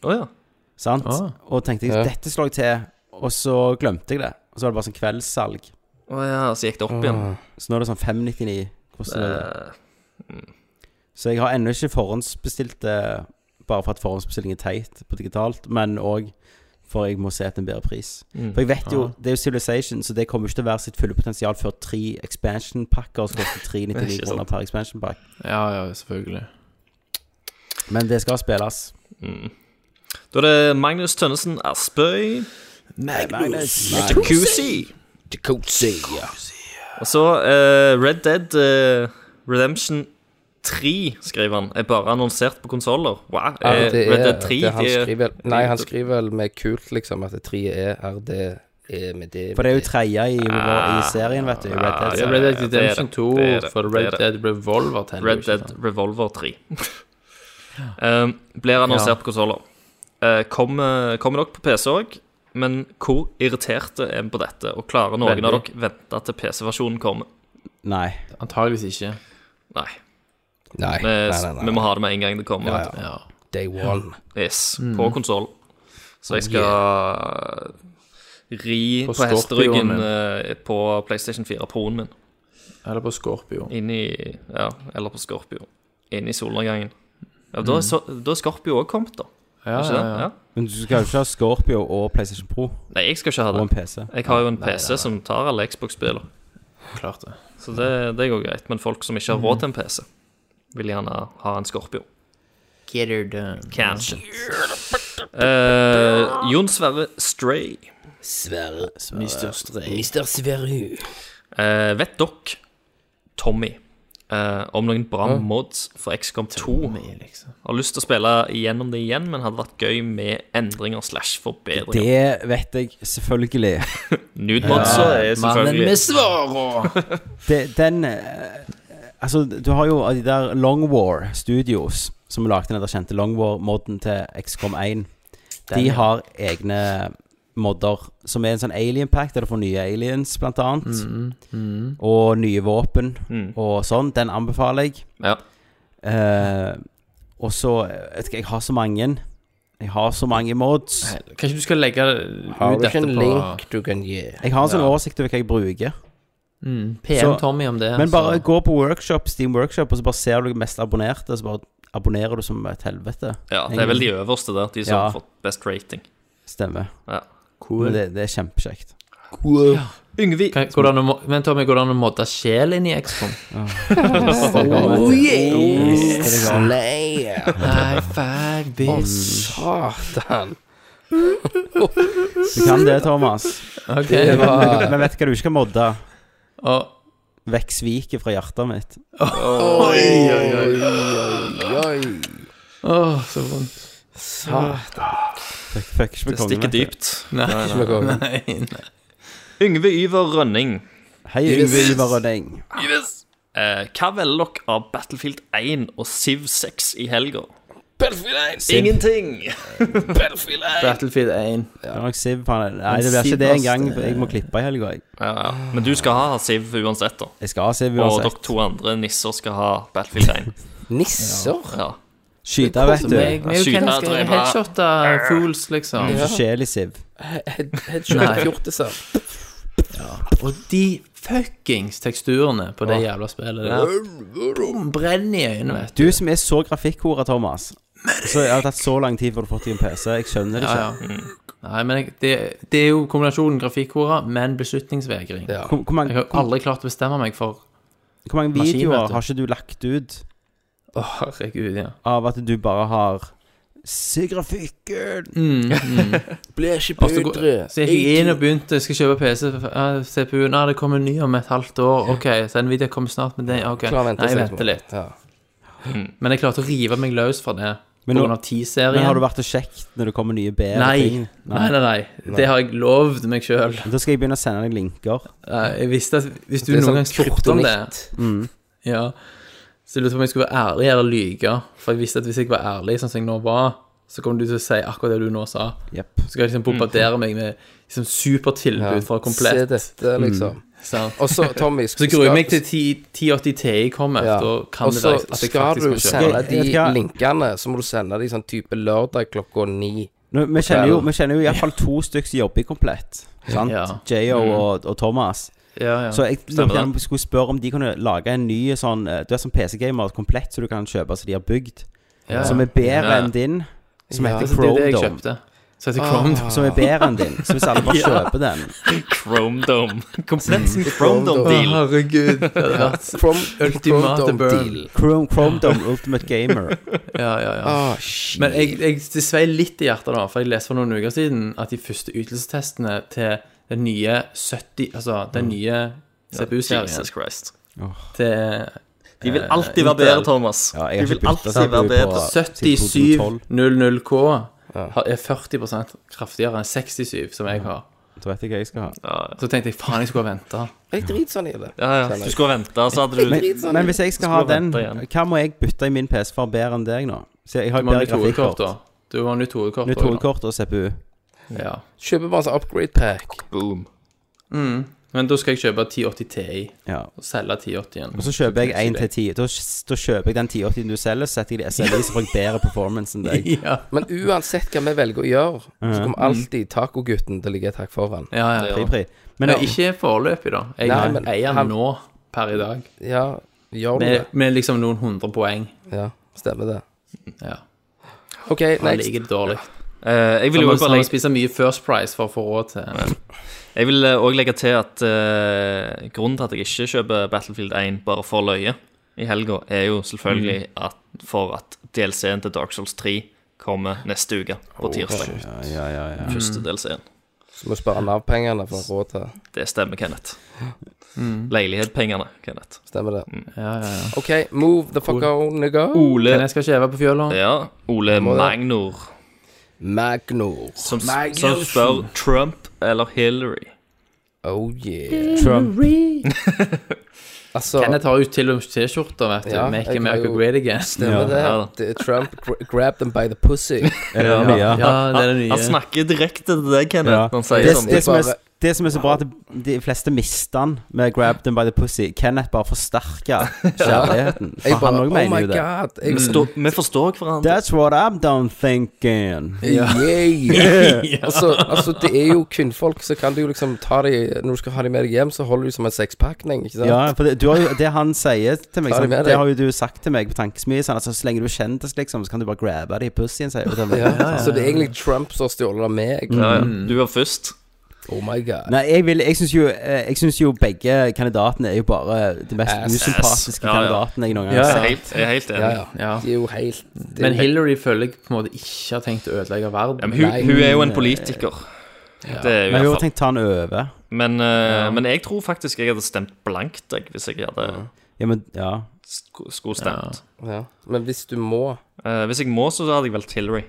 Å ja.
sant?
Ah.
Og tenkte jeg, dette slår jeg til, og så glemte jeg det. Og så var det bare sånn kveldssalg.
Å ja, så gikk det opp igjen.
Så nå er det sånn 599. Hvordan er det?
Eh,
Så jeg har ennå ikke forhåndsbestilt det, bare for at forhåndsbestilling er teit på digitalt, men òg for jeg må se etter en bedre pris. For jeg vet
Ah.
jo, det er jo Civilization, så det kommer ikke til å være sitt fulle potensial før tre expansion-pakker som
<laughs>
koster 399
Ikke sant.
kroner per expansion-pakk.
ja, ja, selvfølgelig.
Men det skal spilles.
Da er det Magnus Tønnesen Aspøy.
Magnus!
Jacuzzi.
Jacuzzi.
Og så eh, Red Dead eh, Redemption 3, skriver han, er bare annonsert på konsoller. Wow.
Ja,
eh,
det er-
Red Dead eh, 3
E, det er han
de er-
skriver, vel- Nei, han skriver vel med kult, liksom, at 3 er RD, er E med det
For det er jo tredje i, i serien, vet du. I Red Dead.
Ja,
Ja, Red Dead
det er det.
Redemption
Det
2
er det.
for
Det
Red
er det.
Dead Revolver teller jo
Red
ikke,
Dead
sant?
Revolver <laughs> 3 um, blir annonsert
Ja.
på konsoller. Eh, kommer, kommer nok på PC òg, men hvor irriterte er vi på dette? Og klarer noen
Veldig.
av dere vente til PC-versjonen kommer?
Nei.
Antageligvis ikke.
Nei.
Nei,
Vi,
nei, nei, nei.
vi må ha det med en gang det kommer. vet du.
Ja.
Day one.
Yes, på konsoll. Så jeg skal ri
På
på, hesteryggen
Scorpionen
eh, på PlayStation 4 Proen min.
Eller på Scorpio.
Inn i Ja, eller på Scorpio. Inn i solnedgangen. Ja, da, er så, da er Scorpio òg kommet, da.
Ja,
Er ikke det? Ja.
Men du skal jo ikke ha Scorpio og PlayStation Pro
Nei, jeg skal ikke ha
og en
det.
PC.
Jeg har jo en PC som tar alle Xbox-spiller,
Klart det.
så det, det går greit. Men folk som ikke har råd til en PC, vil gjerne ha en Scorpio.
Get her done.
Kanskje. Eh, Jon Sverre Stray.
Sverre.
Mr. Stray.
Mister Sverre.
Eh, vet dere, Tommy, eh, om noen bra mods for XCOM 2?
liksom.
Har lyst til å spille igjennom det igjen, men hadde vært gøy med endringer slash forbedringer.
Det vet jeg selvfølgelig.
Nude-modsa er selvfølgelig
Det, den eh, Altså, du har jo de der Long War Studios, som lagde den der kjente Long War-modden til XCOM1. De har egne modder, som er en sånn alien pack, der du får nye aliens, blant annet.
Mm.
Og nye våpen
Mm.
og sånn. Den anbefaler jeg.
Ja.
Eh, og så eh, vet ikke, Jeg har så mange. Jeg har så mange mods.
Kanskje du skal legge
Har
ut
du ikke
dette
en
på
link du kan gi?
Jeg har en sånn
Ja.
oversikt over hva jeg bruker.
mm,
Så-
PM Tommy om det.
Men bare
så-
gå på workshop, Steam Workshop, og så bare ser du de mest abonnerte, så bare abonnerer du som et helvete.
ja, det er vel de øverste der, de som
Ja.
har fått best rating.
Stemmer.
Ja.
Men Det, det er kjempekjekt.
Yngvi.
Kan- går det an å mo- Men Tommy, går det an å modde sjel inn
<laughs>
i XCOM?
Oh,
Slayer.
High five, bitch.
Satan.
Du kan det, Thomas.
Ok.
Ah.
Men men vet du hva du ikke kan modde?
Og
Vekk sviket fra hjertet mitt.
Åh, så vondt.
Fuck, fuck ikke
Det
med kongen.
stikker
vet du.
dypt.
Nei,
Ikke noe.
nei, nei.
Yngve Yver Rønning.
Hei, Yngve Ivar Rønning.
Eh, hva velger dere av Battlefield 1 og Siv 6 i helga?
Siv.
Ingenting!
Battlefield 1.
Det var nok Siv, faen. Nei, det blir ikke det engang. for Jeg må klippe i helga, jeg.
Ja, ja. Men du skal ha Siv uansett, da.
Jeg skal ha Siv
Og dere
uansett.
to andre nisser skal ha Battlefield 1.
Nisser?
Ja.
Skyte, vet du.
Meg, meg og
Skyte,
Kenneth
drepe.
skal headshotte fools, liksom.
Du er så sjel i Siv.
Nei.
Headshot-fjortiser.
Og de fuckings teksturene på det jævla spillet der. Bom, brenner i øynene, vet du.
Du som er så grafikkhore, Thomas. Så det har tatt så lang tid før du har fått deg en PC. Jeg skjønner det
Ja,
ikke.
ja.
Mm.
Nei, men jeg, det, det er jo kombinasjonen grafikkora, men beslutningsvegring.
Ja.
Hvor, hvor,
Jeg
mange,
har jo aldri klart å bestemme meg for
hvor mange
Maskin,
videoer
vet du.
har ikke du lagt ut
Å, herregud, ja.
av at du bare har Se grafikken!
Mm,
Blir ikke
Og så går- <laughs> Altså, så jeg gikk inn og begynte Skal kjøpe PC. eh, CPU Nei, det kommer en ny om et halvt år. OK, så Nvidia kommer snart med det. OK.
Klar å
Nei,
vente
jeg
seks
venter litt.
Ja.
Men jeg klarte å rive meg løs fra det
Men nå-
pga. T-serien.
Men har du vært og sjekket når det kommer nye bedre ting?
Nei. Nei, nei, nei. Det har jeg lovd meg sjøl.
Da skal jeg begynne å sende deg linker.
Jeg visste at hvis du
Det er
noen
sånn
gang spurte om det Ja Så jeg lurte på om jeg skulle være ærlig eller lyge. For jeg visste at hvis jeg var ærlig, sånn som jeg nå var, så kom du til å si akkurat det du nå sa.
Jepp.
Så skal jeg liksom bombardere meg med liksom supertilbud fra
Se
komplett.
dette, liksom.
sant?
Og så, Tommy
<laughs> Så gruer jeg meg til 10 1080 Ti kommer,
Ja.
da kan
Og
det
så
være at jeg
skal
faktisk
du
kan kjøpe.
sende
Jeg- jeg vet
de
hva-
linkene, så må du sende de sånn type lørdag klokka ni.
Nå, vi, kjenner jo, vi kjenner jo iallfall to stykker som jobber i Komplett. Sant?
Ja. Mm.
J.O. Og, og Thomas.
Ja, ja.
Så jeg
Stemmer
lurte gjerne om jeg skulle spørre om de kunne lage en ny sånn eh, Du er som PC-gamer komplett, så du kan kjøpe som de har bygd.
ja.
Som er bedre
Ja.
enn din. Som
Ja,
heter
altså, det er det jeg
Chrome
kjøpte. Så heter Chrome Dome.
Ah.
Som er bedre enn din. Så hvis alle
<laughs>
bare kjøper den
Chrome Dome. Komplett sin Chrome Dome-deal.
herregud. Det hadde vært
From
ultimate
Chrome
burn.
Deal.
Chrome, Chrome Dome Ultimate Gamer.
<laughs> Ja, ja, ja.
Ah, shit.
Men jeg, jeg, det svei litt i hjertet, da, for jeg leste for noen uker siden at de første ytelsestestene til den nye 70 Altså, den nye CPU-serien
Jesus Christ.
til
De vil
Eh,
alltid være
Intel.
bedre, Thomas.
Ja, jeg har
de
ikke
vil
byttet
alltid være
CPU
bedre.
på- til
7700K har- er 40 kraftigere enn 67, som jeg har.
Du vet ikke hva jeg skal ha.
Så tenkte jeg faen, jeg skulle ha venta.
Jeg driter sånn i det.
Ja, ja. Du skulle vente, så hadde du
Men, men hvis jeg skal ha
sånn Skulle
den,
vente igjen.
hva må jeg bytte i min PC for bedre enn deg nå? Så jeg har
Du må ha
bedre
nytt
grafikkort.
hovedkort, da. Du må ha nytt hovedkort.
Nytt
også, da.
hovedkort og CPU.
Ja.
Kjøper bare en sånn upgrade pack.
Boom.
Men da skal jeg kjøpe 1080 Ti
Ja.
og selge 1080-en.
Og så kjøper jeg 1 til 10. Da, da kjøper jeg den 1080 du selger, så setter jeg det i SLI, så får jeg bedre performance enn deg.
<laughs> Ja,
Men uansett hva vi velger å gjøre, så
Mm.
kommer alltid tacogutten til å ligge et hakk foran.
ja, ja.
Pri,
ja.
pri. Men
Men ikke foreløpig, da. Jeg
Nei, men
eier
han-
den nå, per i dag.
Ja, gjør du det?
Med, med liksom noen hundre poeng.
Ja, stemmer det.
Ja.
OK,
Det
next.
ligger dårlig.
Eh, jeg vil
Du
jo
må
også bare legge
spise mye First Price for å få råd til
Jeg vil eh, også legge til at eh, grunnen til at jeg ikke kjøper Battlefield 1 bare for løye i helga, er jo selvfølgelig at, for at DLC-en til Dark Souls 3 kommer neste uke, på tirsdag.
ja, ja, ja, ja.
Første DLC-en.
Så må vi spare Nav-pengene for å ha råd til
Det stemmer, Kenneth. Leilighetspengene, Kenneth.
Stemmer det.
Mm. Ja, ja, ja.
OK, move the fuck on the go.
Ole
Men jeg skal ikke heve på fjøla.
ja, Ole Magnor,
Magnor.
som, som spør Trump eller Hillary.
Oh yeah.
Trump.
Altså,
Kenneth har jo til og med T-skjorter, vet du.
Ja,
Make
jeg
America
har jo-
Great Again.
stemmer det?
Ja.
det er Trump gra- grab them by the pussy.
Er det mye?
Ja, det er det nye.
Han snakker direkte til deg, Kenneth,
Ja.
når han sier
Det,
sånn.
det, som er,
Bare-
det som er så bra, at de fleste mister han med 'grab them by the pussy'. Kenneth bare
<laughs>
forsterker kjærligheten. For
Jeg
han
bare
òg
Oh
mener
my
jo det.
god. <laughs> Jeg,
Stå-
Mm.
Vi forstår hverandre.
That's what I'm done thinking.
<laughs> Yeah. altså, altså, det er jo kvinnfolk, så kan du jo liksom ta de Når du skal ha de med deg hjem, så holder du som en sekspakning, ikke sant?
Ja, for det, du har jo, det han sier til meg,
Ta det
sant,
med
det
deg.
har jo du sagt til meg på tankesmien. Sånn, altså, så lenge du er kjendis, liksom, så kan du bare grabbe det i pussyen, sier du til meg.
Ja, Så det er egentlig Trump som har stjålet av meg.
Ja, ja.
Mm.
Du var først.
Oh my god.
Nei, jeg, vil, jeg syns jo, eh, jeg synes jo begge kandidatene er jo bare de mest
Ass.
usympatiske
Ja, ja.
kandidatene jeg noen gang
Ja,
har
Jeg
sett.
er helt, jeg er helt enig.
Ja,
Ja,
ja.
Ja.
Det er jo helt det,
Men Hillary føler jeg på en måte ikke har tenkt å ødelegge verden.
men hun,
Nei.
hun er jo en politiker. Det er hun
Men
i
jeg
hvert
har
fall.
tenkt å ta han over.
Men, eh, men jeg tror faktisk jeg hadde stemt blankt jeg, hvis jeg hadde
Ja, men ja.
sk- skulle stemt.
ja. Men hvis du må
Eh, hvis jeg må, så hadde jeg valgt Hillary.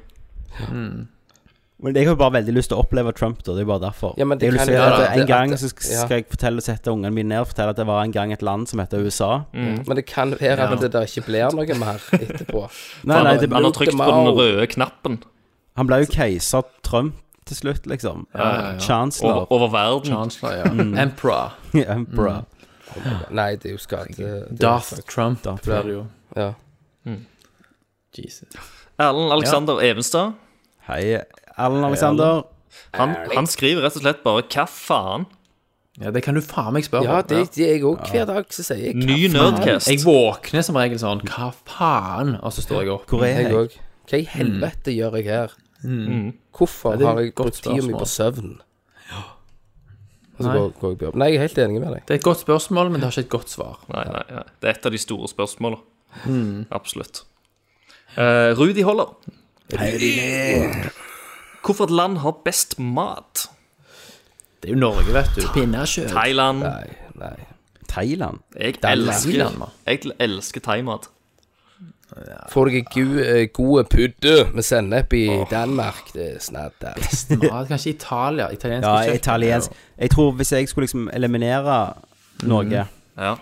Men jeg har jo bare veldig lyst til å oppleve Trump, da. Det er bare derfor.
Ja, men det
jeg har lyst
kan
til
jo
at
være
En
det-
gang
at-
så sk-
ja.
skal jeg fortelle sette ungene mine ned og fortelle at det var en gang et land som heter USA.
Mm.
Mm.
Men det kan være at det der ikke blir noe mer
<laughs>
etterpå.
Nei, nei, det,
han har trykt på den
Mao.
røde knappen
han ble jo keiser Trump til slutt, liksom. Chancellor.
over, over verden.
Chancellor, ja.
Mm.
Emperor.
<laughs> Emperor.
Nei, det er jo skade. det- det er
Darth
jo skade.
Trump
Darth
blir det jo.
Ja.
Jesus.
Erlend Alexander Evenstad.
Hei, Allen Alexander.
Han, han skriver rett og slett bare 'hva faen'?
Ja, det kan du faen meg spørre
ja,
om.
det det er jeg òg. Hver dag så sier jeg
Ny Nerdcast.
Jeg våkner som regel sånn Hva faen? Og så står jeg opp.
Hvor er
Jeg
jeg?
òg. Hva
Mm.
i helvete gjør jeg her? Hvorfor
det er
har
et
jeg
godt
brukt tida mi
spørsmål.
på søvn? Og så
Nei.
går, går jeg på jobb. Nei, jeg er helt enig med deg.
Det er et godt spørsmål, men det har ikke et godt svar.
Nei, nei, nei. Det er et av de store spørsmålene. Absolutt. Eh, Rudi Holler. Hvorfor et land har best mat?
Det er jo Norge, vet du. Pinnekjøtt.
Thailand.
Nei, nei.
Thailand?
Jeg
Thailand,
elsker,
man.
jeg elsker thaimat.
Får deg gode, eh, gode pudde med sennep i Danmark, det er snart der.
Mat, kanskje Italia. Italiensk
Ja,
kjøtt.
italiensk. Jeg tror hvis jeg skulle liksom eliminere Norge
Ja.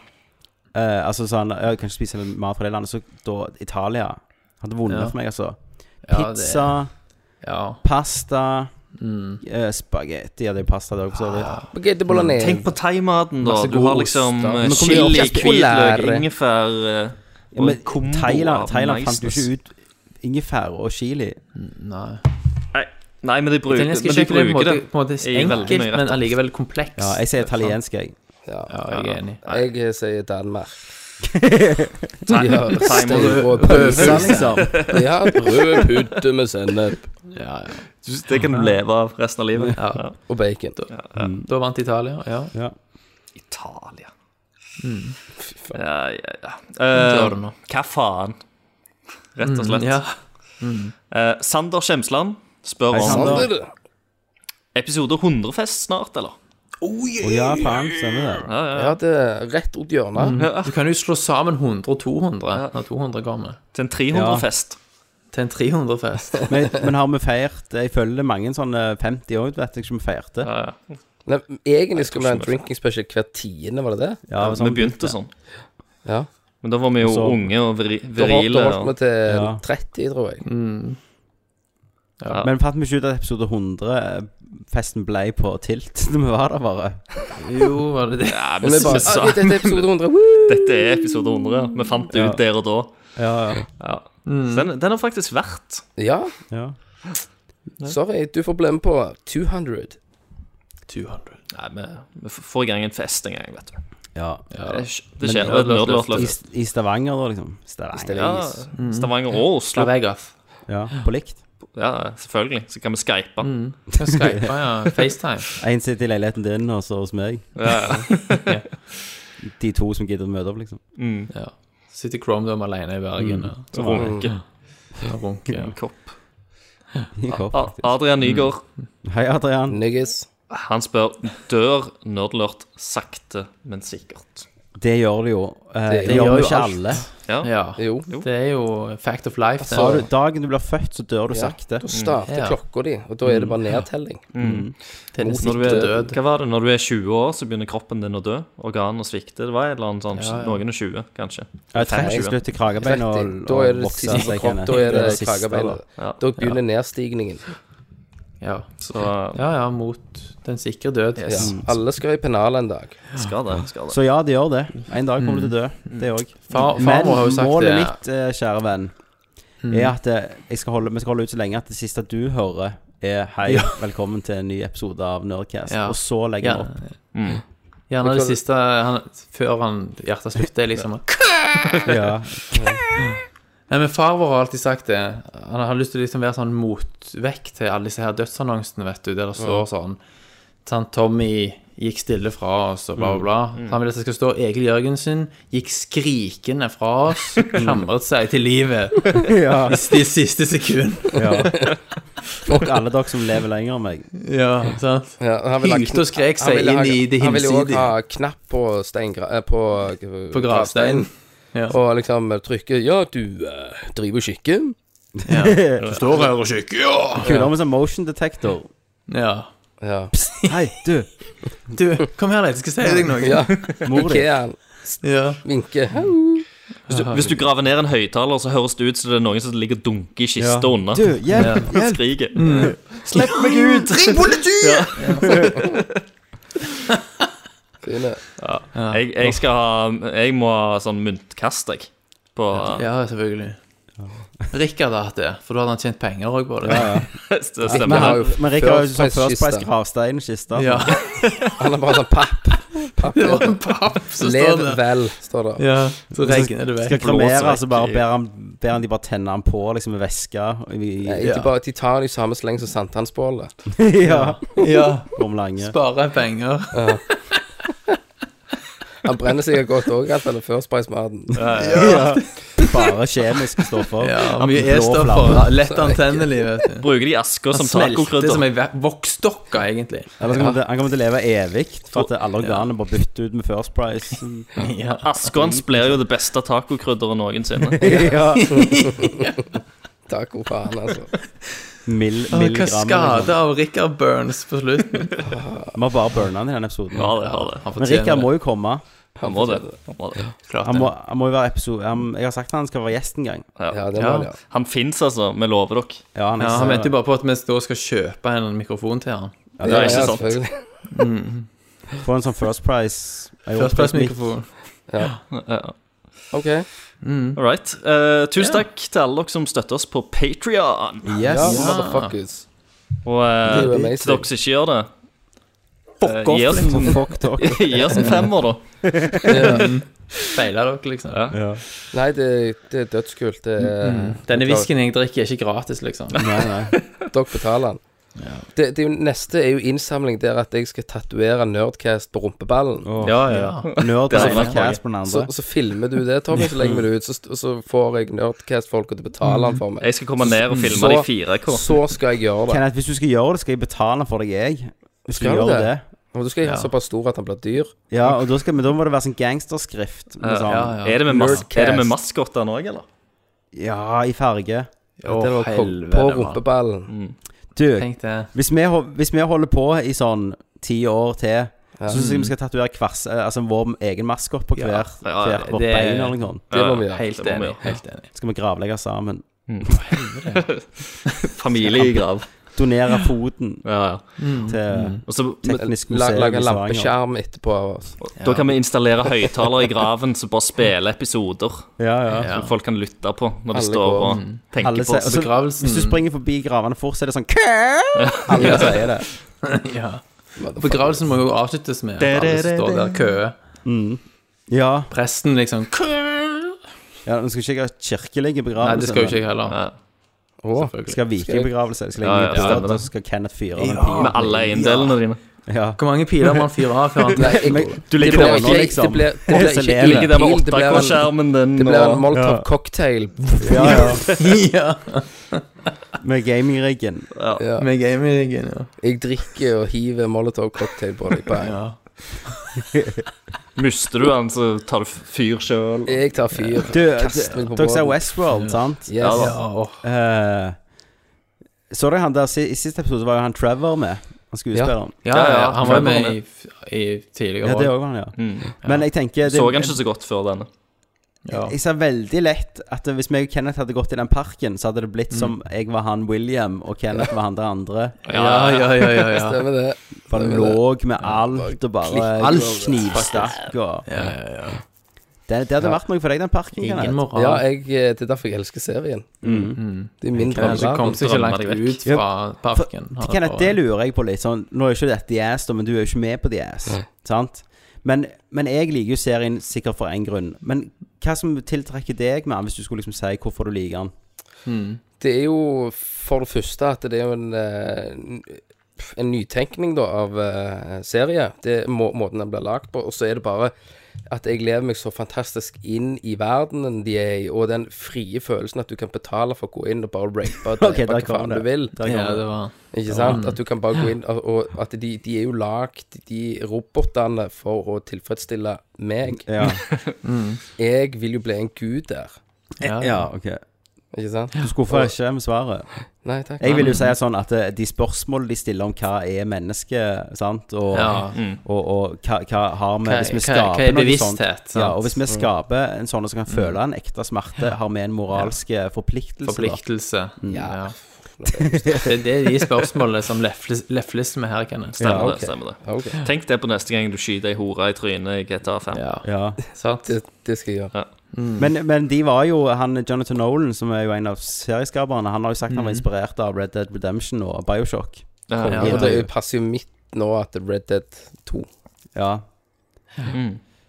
eh, Altså sånn Jeg kan ikke spise mat fra det landet, så da Italia hadde vunnet
Ja.
for meg, altså.
Ja, det-
Pizza,
Ja.
pasta
Mm.
eh, Spagetti hadde jeg pasta der også. Ja.
Ah.
Mm.
Baguette bolognese.
Tenk på thaimaten, da.
Masse
Du
god
har
ost,
liksom
da.
eh,
Men
kommer vi
chili,
opp-
hvitløk,
Lære.
ingefær eh, og
Men
en kombo
Thailand,
av
Thailand fant jo
niceness.
ikke ut ingefær og chili.
Nei.
Nei, nei men de bruker, men
Italiensk
de
kjøtt er på en
bruker det.
måte, på en måte
i veldig
enkelt,
mye retter.
men allikevel komplekst.
Ja, jeg sier italiensk, jeg.
Ja.
Ja, jeg er enig.
Jeg eh, sier Danmark.
Thai-
Ja,
thaimat.
rød
Pølse, liksom.
Ja, rød pudde med sennep
Ja, ja.
Du- Det kan du leve av resten av livet.
Ja.
og bacon.
Da vant Italia, ja.
Ja.
Italia.
faen.
Ja, ja, ja. Eh,
gjør det nå. Mm,
hva faen? Rett og slett.
Ja.
Eh, Sander Skjemsland spør om
Sander.
Sander.
episode 100-fest snart, eller?
Å ja, faen, stemmer det.
Ja, det er rett ut hjørnet.
Du kan jo slå sammen 100 og 200 når 200 kommer,
Til en 300-fest.
til en 300-fest.
Men, men har vi feirt Jeg følger mange sånne 50 år, vet jeg ikke om vi feirte.
Ja. Ja,
Nei, egentlig skulle vi ha en
ikke vi-
drinking special hver tiende, var det det?
Ja, sånn-
vi begynte sånn.
Ja.
Men da var vi jo
Så-
unge og vri,
Da holdt,
virile.
da holdt vi
Og,
til
Ja.
30, tror jeg.
ja.
Men fant vi ikke ut at episode 100 Festen ble på tilt <laughs> når vi var der, bare?
Jo, var det det?
ja,
Men
vi
<laughs>
vi bare
sa
ah, Dette er episode 100. Woo!
dette er episode 100. ja. Vi fant det
Ja.
ut der og da.
Ja, ja.
Ja. Så den, den har faktisk vært.
Ja,
ja.
sorry. Du får bli med på 200.
200.
Nei, vi, vi f- får i gang en fest en gang, vet du.
ja.
Det, skj- det
Men
skjer.
det er
Nerdlort
løft,
løft.
I, I Stavanger, da, liksom. Stavanger.
Ja, Stavanger og Oslo.
Vegas.
Ja, på likt.
Ja, selvfølgelig. Så kan vi skype.
Skype, ja. FaceTime.
En sitter i leiligheten din, og så hos meg.
Ja, ja.
De to som gidder å møte opp, liksom.
Ja. Sitter i Chrome Dome alene i Bergen og
Runke.
og runker. ja.
Kopp.
I
Ah,
kopp.
A- Adrian Nygaard,
Hei, Adrian.
Niggas.
han spør Dør Nerdlort sakte, men sikkert?
Det gjør det jo. Eh, det,
gjør
gjør
jo
jo ikke
alt.
alle.
Ja.
Ja.
Jo.
Det er jo fact of life. Det.
Sa du, dagen du blir født, så dør du
Ja.
sakte.
Da starter
Ja.
klokka di, og da er det bare nedtelling.
det er den
Når du
sikre
er,
død.
hva var det? Når du er 20 år, så begynner kroppen din å dø. Organene svikter. Det var et eller annet sånn, Noen og 20, kanskje.
Jeg trenger ikke
20.
slutte kragebein og,
30. Da er
og
det
vokse
siste
seg
kropp,
igjen.
da er det
siste, da.
kragebeinet.
Ja.
Da begynner nedstigningen.
Ja.
Så eh,
ja, ja, mot den sikre død.
Ja. Alle skal i pennalet en dag.
skal det. Skal det.
Så ja, det gjør det. En dag kommer du til å dø,
Mm.
det òg.
Far,
Men
farmor har jo sagt
målet
det. Mm.
mitt, eh, kjære venn, er at eh, jeg skal holde, vi skal holde ut så lenge at det siste du hører, er hei, velkommen til en ny episode av Nerdcast.
Ja.
Og så legger
Ja.
vi opp.
Mm. Gjerne det siste han, før han hjertet slutter, er liksom
Ja.
Nei, men far vår har alltid sagt det. Han har lyst til å liksom være sånn motvekt til alle disse her dødsannonsene, vet du, der det står sånn sånn, Tommy gikk stille fra oss, og bla, bla, bla. Han vil at det skal stå Egil Jørgensen gikk skrikende fra <laughs> oss, klamret seg til livet
<laughs> ja.
i de siste sekundene.
ja. Og alle dere som lever lenger enn meg.
<laughs> Ja, sant?
Ja, han vil ha
Hylte
kn-
og skrek
han
seg
vil ha-
inn i det
Han vil jo også
hinsidige.
ha knapp på steingra... eh, På,
På gravsteinen. Ja.
Og liksom eh, trykke 'Ja, du eh, driver skikke'.
Du står her og kikker, ja!
Kulere med sånn motion detector.
ja.
Ja.
Hei, du,
Du, kom her, jeg skal si deg noe. <laughs>
ja.
mor di.
Ikea
Ja.
vinke.
Hvis, du, hvis du graver ned en høyttaler, så høres det ut som det er noen som ligger og dunker i kista unna. <laughs>
Du, hjelp, hjelp.
Skriker. Slipp meg ut!
Fine.
Jeg, jeg skal ha Jeg må ha sånn myntkast, jeg. På
ja, selvfølgelig. Rikard har hatt det, for da hadde han tjent penger òg på det. Ja,
det
Men,
Stemmer.
har
han,
jo
men Rikard har jo sånn
First Price
First Price
kiste.
gravsteinkiste. <laughs>
ja.
Han har bare sånn papp.
<laughs>
papp
Det var en papp som
Lev
står der.
vel, står det.
Ja, så regner det
Skal
vekk.
Blåser
kremere,
vekk
så bare
i-
ber han, ber han de bare tenne han på liksom med væske. i-
Nei,
i-
ikke
Ja.
bare, De tar det i samme sleng som sankthansbålet.
<laughs> Ja.
Ja,
Om lange.
spare penger.
Han brenner sikkert godt òg, alt denne First Price-maten.
Ja. Bare kjemiske stoffer.
Ja,
Han
mye
blå
E-stoffer.
flamme.
Lett antennelig, vet du.
Bruker de asker som
Smelter som
tacokrydder.
ei ve- voksdokke, egentlig.
Eller så kommer til, han kommer til å leve evig, for at alle organene bare bytter ut med First Price.
Ja.
Asker hans blir jo det beste tacokrydderet noensinne.
Ja.
Takk og faen, altså.
Mill,
Hva
milligram.
skade av Rikard Burns på slutten.
Vi har bare burna han i denne episoden.
Ja, det har det.
Han
Men Rikard må jo komme.
Han må det. Han, må det.
Klart
Han
det.
må, han må jo være episode han, Jeg har sagt at han skal være gjest en gang.
Ja,
Ja.
det må han, ja.
Han fins, altså. Vi lover dere.
Ja, han,
Ja,
eksisterer.
han mente jo bare på at vi da skal kjøpe en mikrofon til han.
Ja,
det er ikke sant.
selvfølgelig.
Få en sånn First Price. Jeg
First
håper mitt-
Price-mikrofon.
OK.
Mm.
All right. Eh, tusen takk til alle dere som støtter oss på Patrion.
Ja,
Yes.
motherfuckers.
Og eh,
Det er jo amazing.
til dere som ikke gjør det <laughs> eh, gi, oss
Så
en,
fuck
<laughs>
talk.
gi oss en femmer, da.
Feiler dere, liksom.
Ja.
Nei, det, det er dødskult. Det er,
Denne whiskyen jeg drikker, er ikke gratis, liksom.
Nei, nei.
Dere betaler den. Det, det er jo- neste er jo innsamling der at jeg skal tatovere Nerdcast på rumpeballen.
Åh.
Ja, ja.
Nerd
Det
på
er
den ene,
sant.
Cass på den
Så,
andre.
så filmer du det, Tommy, så legger vi det ut. Så, st- så får jeg Nerdcast-folka til å betale den for meg.
Jeg skal komme ned og filme
Så-
de 4K.
Så skal jeg gjøre det.
Kenneth, hvis du skal gjøre det, skal jeg betale for deg, jeg. Hvis du
Skal du
gjør
det?
det.
Og du skal ikke ha såpass stor at han blir dyr.
Ja, og da, skal, men da må det være sånn gangsterskrift. Med sånn, ja,
Eh, Er det med, mas
Nerdcast.
er det med maskotter nå òg, eller?
i farge.
Å,
Den var på,
helvete,
på
mann.
rumpeballen.
Du,
Tenk det.
hvis vi, ho- hvis vi holder på i sånn ti år til, så syns jeg vi skal tatovere hvers- eh, altså vår egen maskot på hver,
Ja, ja,
hvert vårt
det-
bein eller noe sånt.
Det må vi gjøre.
Helt
det må vi
enig.
gjøre.
Helt enig.
Skal vi gravlegge sammen.
<laughs> Familiegrav.
Donere foten
Ja, ja.
til
Og så, men,
teknisk
Mm. La-
museum
Lage
i Stavanger.
lampeskjerm etterpå altså. av oss.
da kan vi installere høyttalere i graven som bare spiller episoder.
Ja, ja.
Som folk kan lytte på når de
Alle
står
går. Mm.
og tenker
Alle
på
ser,
oss.
altså,
Begravelsen
Hvis du springer forbi gravene fort, så er det sånn Alle sier det.
ja. Begravelsen må jo avsluttes med at alle som står der køer.
Ja,
Presten liksom kø!
ja Nå skal ikke jeg ha kirkelige begravelser.
Nei, det skal jo ikke
men
jeg heller.
Ja.
Å,
det
selvfølgelig.
skal ha vikingbegravelse. Det skal
Ja, ja,
legge ned på
stemmer
stedet,
det.
og så skal Kenneth fyre av en
Med
pil.
alle eiendelene dine.
Ja.
Hvor mange piler man fyrer av før han <laughs>
Nei, jeg,
Men
det
Du ligger
blir
der
nå,
ikke
liksom.
Det blir, det blir
Så
ikke
lever.
Du ligger der med
ildpil, det blir en-
8K-skjermen din.
Det blir
og-
en
Ja.
Molotov-cocktail.
Ja, ja.
ja.
Med gamingriggen.
Ja.
Med gamingen, ja.
Jeg drikker og hiver Molotov-cocktail på deg. Bang.
ja.
Mister du den, så tar du fyr sjøl.
Jeg tar fyr.
Du,
Kast meg på
dere ser
båten.
Westworld, sant?
Yes. Ja,
Ja, åh.
Eh, så dere han der si- I siste episode var jo han Trevor med, han skuespilleren.
ja, ja, han var jo med i, i
Ja,
tidligere
det
år.
òg var han, ja. Men jeg tenker det,
Så han ikke så godt før denne.
Ja.
Jeg ser veldig lett at hvis meg og Kenneth hadde gått i den parken, så hadde det blitt som jeg var han William, og Kenneth var han der andre.
Ja, ja, ja, ja, ja.
Stemmer det.
For han
Stemmer det.
lå med alt og bare Alt knivstakk og
Ja, ja, ja.
det, det hadde vært noe for deg, den parken,
Ingen
Kenneth.
moral.
Ja, jeg, eh, det er derfor jeg elsker serien. Det er
Kanskje
min drømmeverden.
kom seg ikke langt
Drømmer deg
ut fra parken.
For, Kenneth, det lurer jeg på litt. Sånn, nå er jo ikke dette The Ass, da, men du er jo ikke med på The Ass. Sant? Men, men jeg liker jo serien sikkert for én grunn. Men hva som tiltrekker deg med den, hvis du skulle liksom si hvorfor du liker den?
Det er jo for det første at det er jo en eh, n- En nytenkning da av eh, serie. Det er må, måten den blir lagd på. Og så er det bare at jeg lever meg så fantastisk inn i verdenen de er i, og den frie følelsen at du kan betale for å gå inn og bare rape og drepe
<laughs> Ok, der
hva
kommer
faen du
det.
vil.
Der
Ja,
kommer
det var
Ikke sant? At du kan bare gå inn og, og at de, de er jo lagd, de robotene, for å tilfredsstille meg.
<laughs>
det. Ja.
Jeg vil jo bli en gud der.
Ja,
ja, ok.
Ikke sant?
Du skuffer ikke med svaret.
Nei takk.
Jeg vil jo si sånn at eh, de spørsmål de stiller om hva er menneske, sant, og,
Ja.
og, og hva, hva har vi
Hva-
Hvis vi
hva-
skaper
hva er
noe
bevissthet,
sånt
sant? Mm.
ja, Og hvis vi skaper en sånn som kan føle en ekte smerte, har vi en moralsk eh, forpliktelse? da?
forpliktelse. Ja. Det er det er de spørsmålene som lefles, lefles med her, Kenneth.
Stemmer
Ja, ok.
det. stemmer det
Ok,
Tenk det på neste gang du skyter ei hore i trynet i GTA 5.
Ja,
Ja.
sant?
det, det skal jeg gjøre.
Men, men de var jo han Jonathan Nolan, som er jo en av serieskaperne, han har jo sagt han
Mhm.
var inspirert av Red Dead Redemption og Bioshock.
Ja, ja.
Og det passer jo midt nå at Red Dead 2
Ja.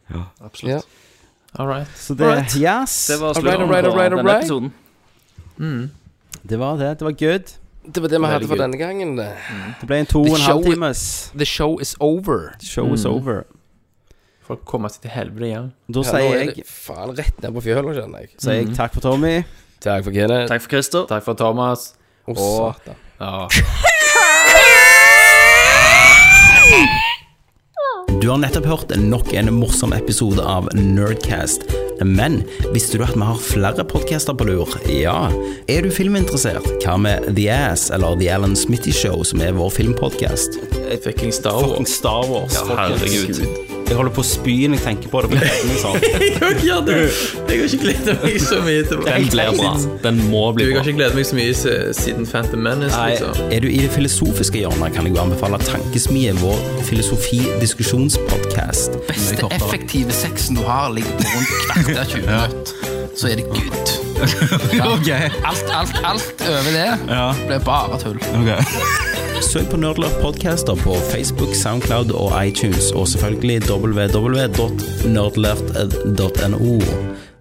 Ja.
Absolutt.
All right.
Så det Yes!
Det var
Alright,
slutten
alright,
på
alright,
denne
alright.
episoden.
det var det. Det var good.
Det var det vi hadde
Veldig
for
gøy.
denne gangen. det.
Det ble en to
The
og en halv
show-
times
The show is over.
Show is over.
Folk kommer seg til helvete hjem.
Da
Ja, nå
sier
er det Mhm.
jeg,
faen rett ned på fjøla, kjenner jeg.
sier jeg takk for Tommy.
Takk for Kenneth.
Takk for Christer.
Takk for Thomas.
Å, satan.
Ja.
Du har nettopp hørt nok en morsom episode av Nerdcast. Men visste du at vi har flere podcaster på lur? Ja. Er du filminteressert? Hva med The Ass eller The Alan Smitty Show, som er vår filmpodcast?
Fucking Star Wars.
Star Wars.
Ja, herregud.
<laughs>
Jeg holder på å spy når jeg tenker på det. Sånn.
Ja, du, jeg har ikke gledet meg så mye til
Den blir bra. Den må
Du,
bli
jeg
bra.
har ikke gledet meg så mye se- siden Phantom Menace, liksom.
Er du i det filosofiske hjørnet, kan jeg jo anbefale Tankesmie, vår filosofi-diskusjonspodcast.
beste effektive sexen du har, ligger på rundt kvarter 20 minutter. Så er det good. Ja. Alt, alt, alt over det blir bare tull.
<laughs> Søk på Nerdlert Podcaster på Facebook, Soundcloud og iTunes, og selvfølgelig www.nerdlert.no.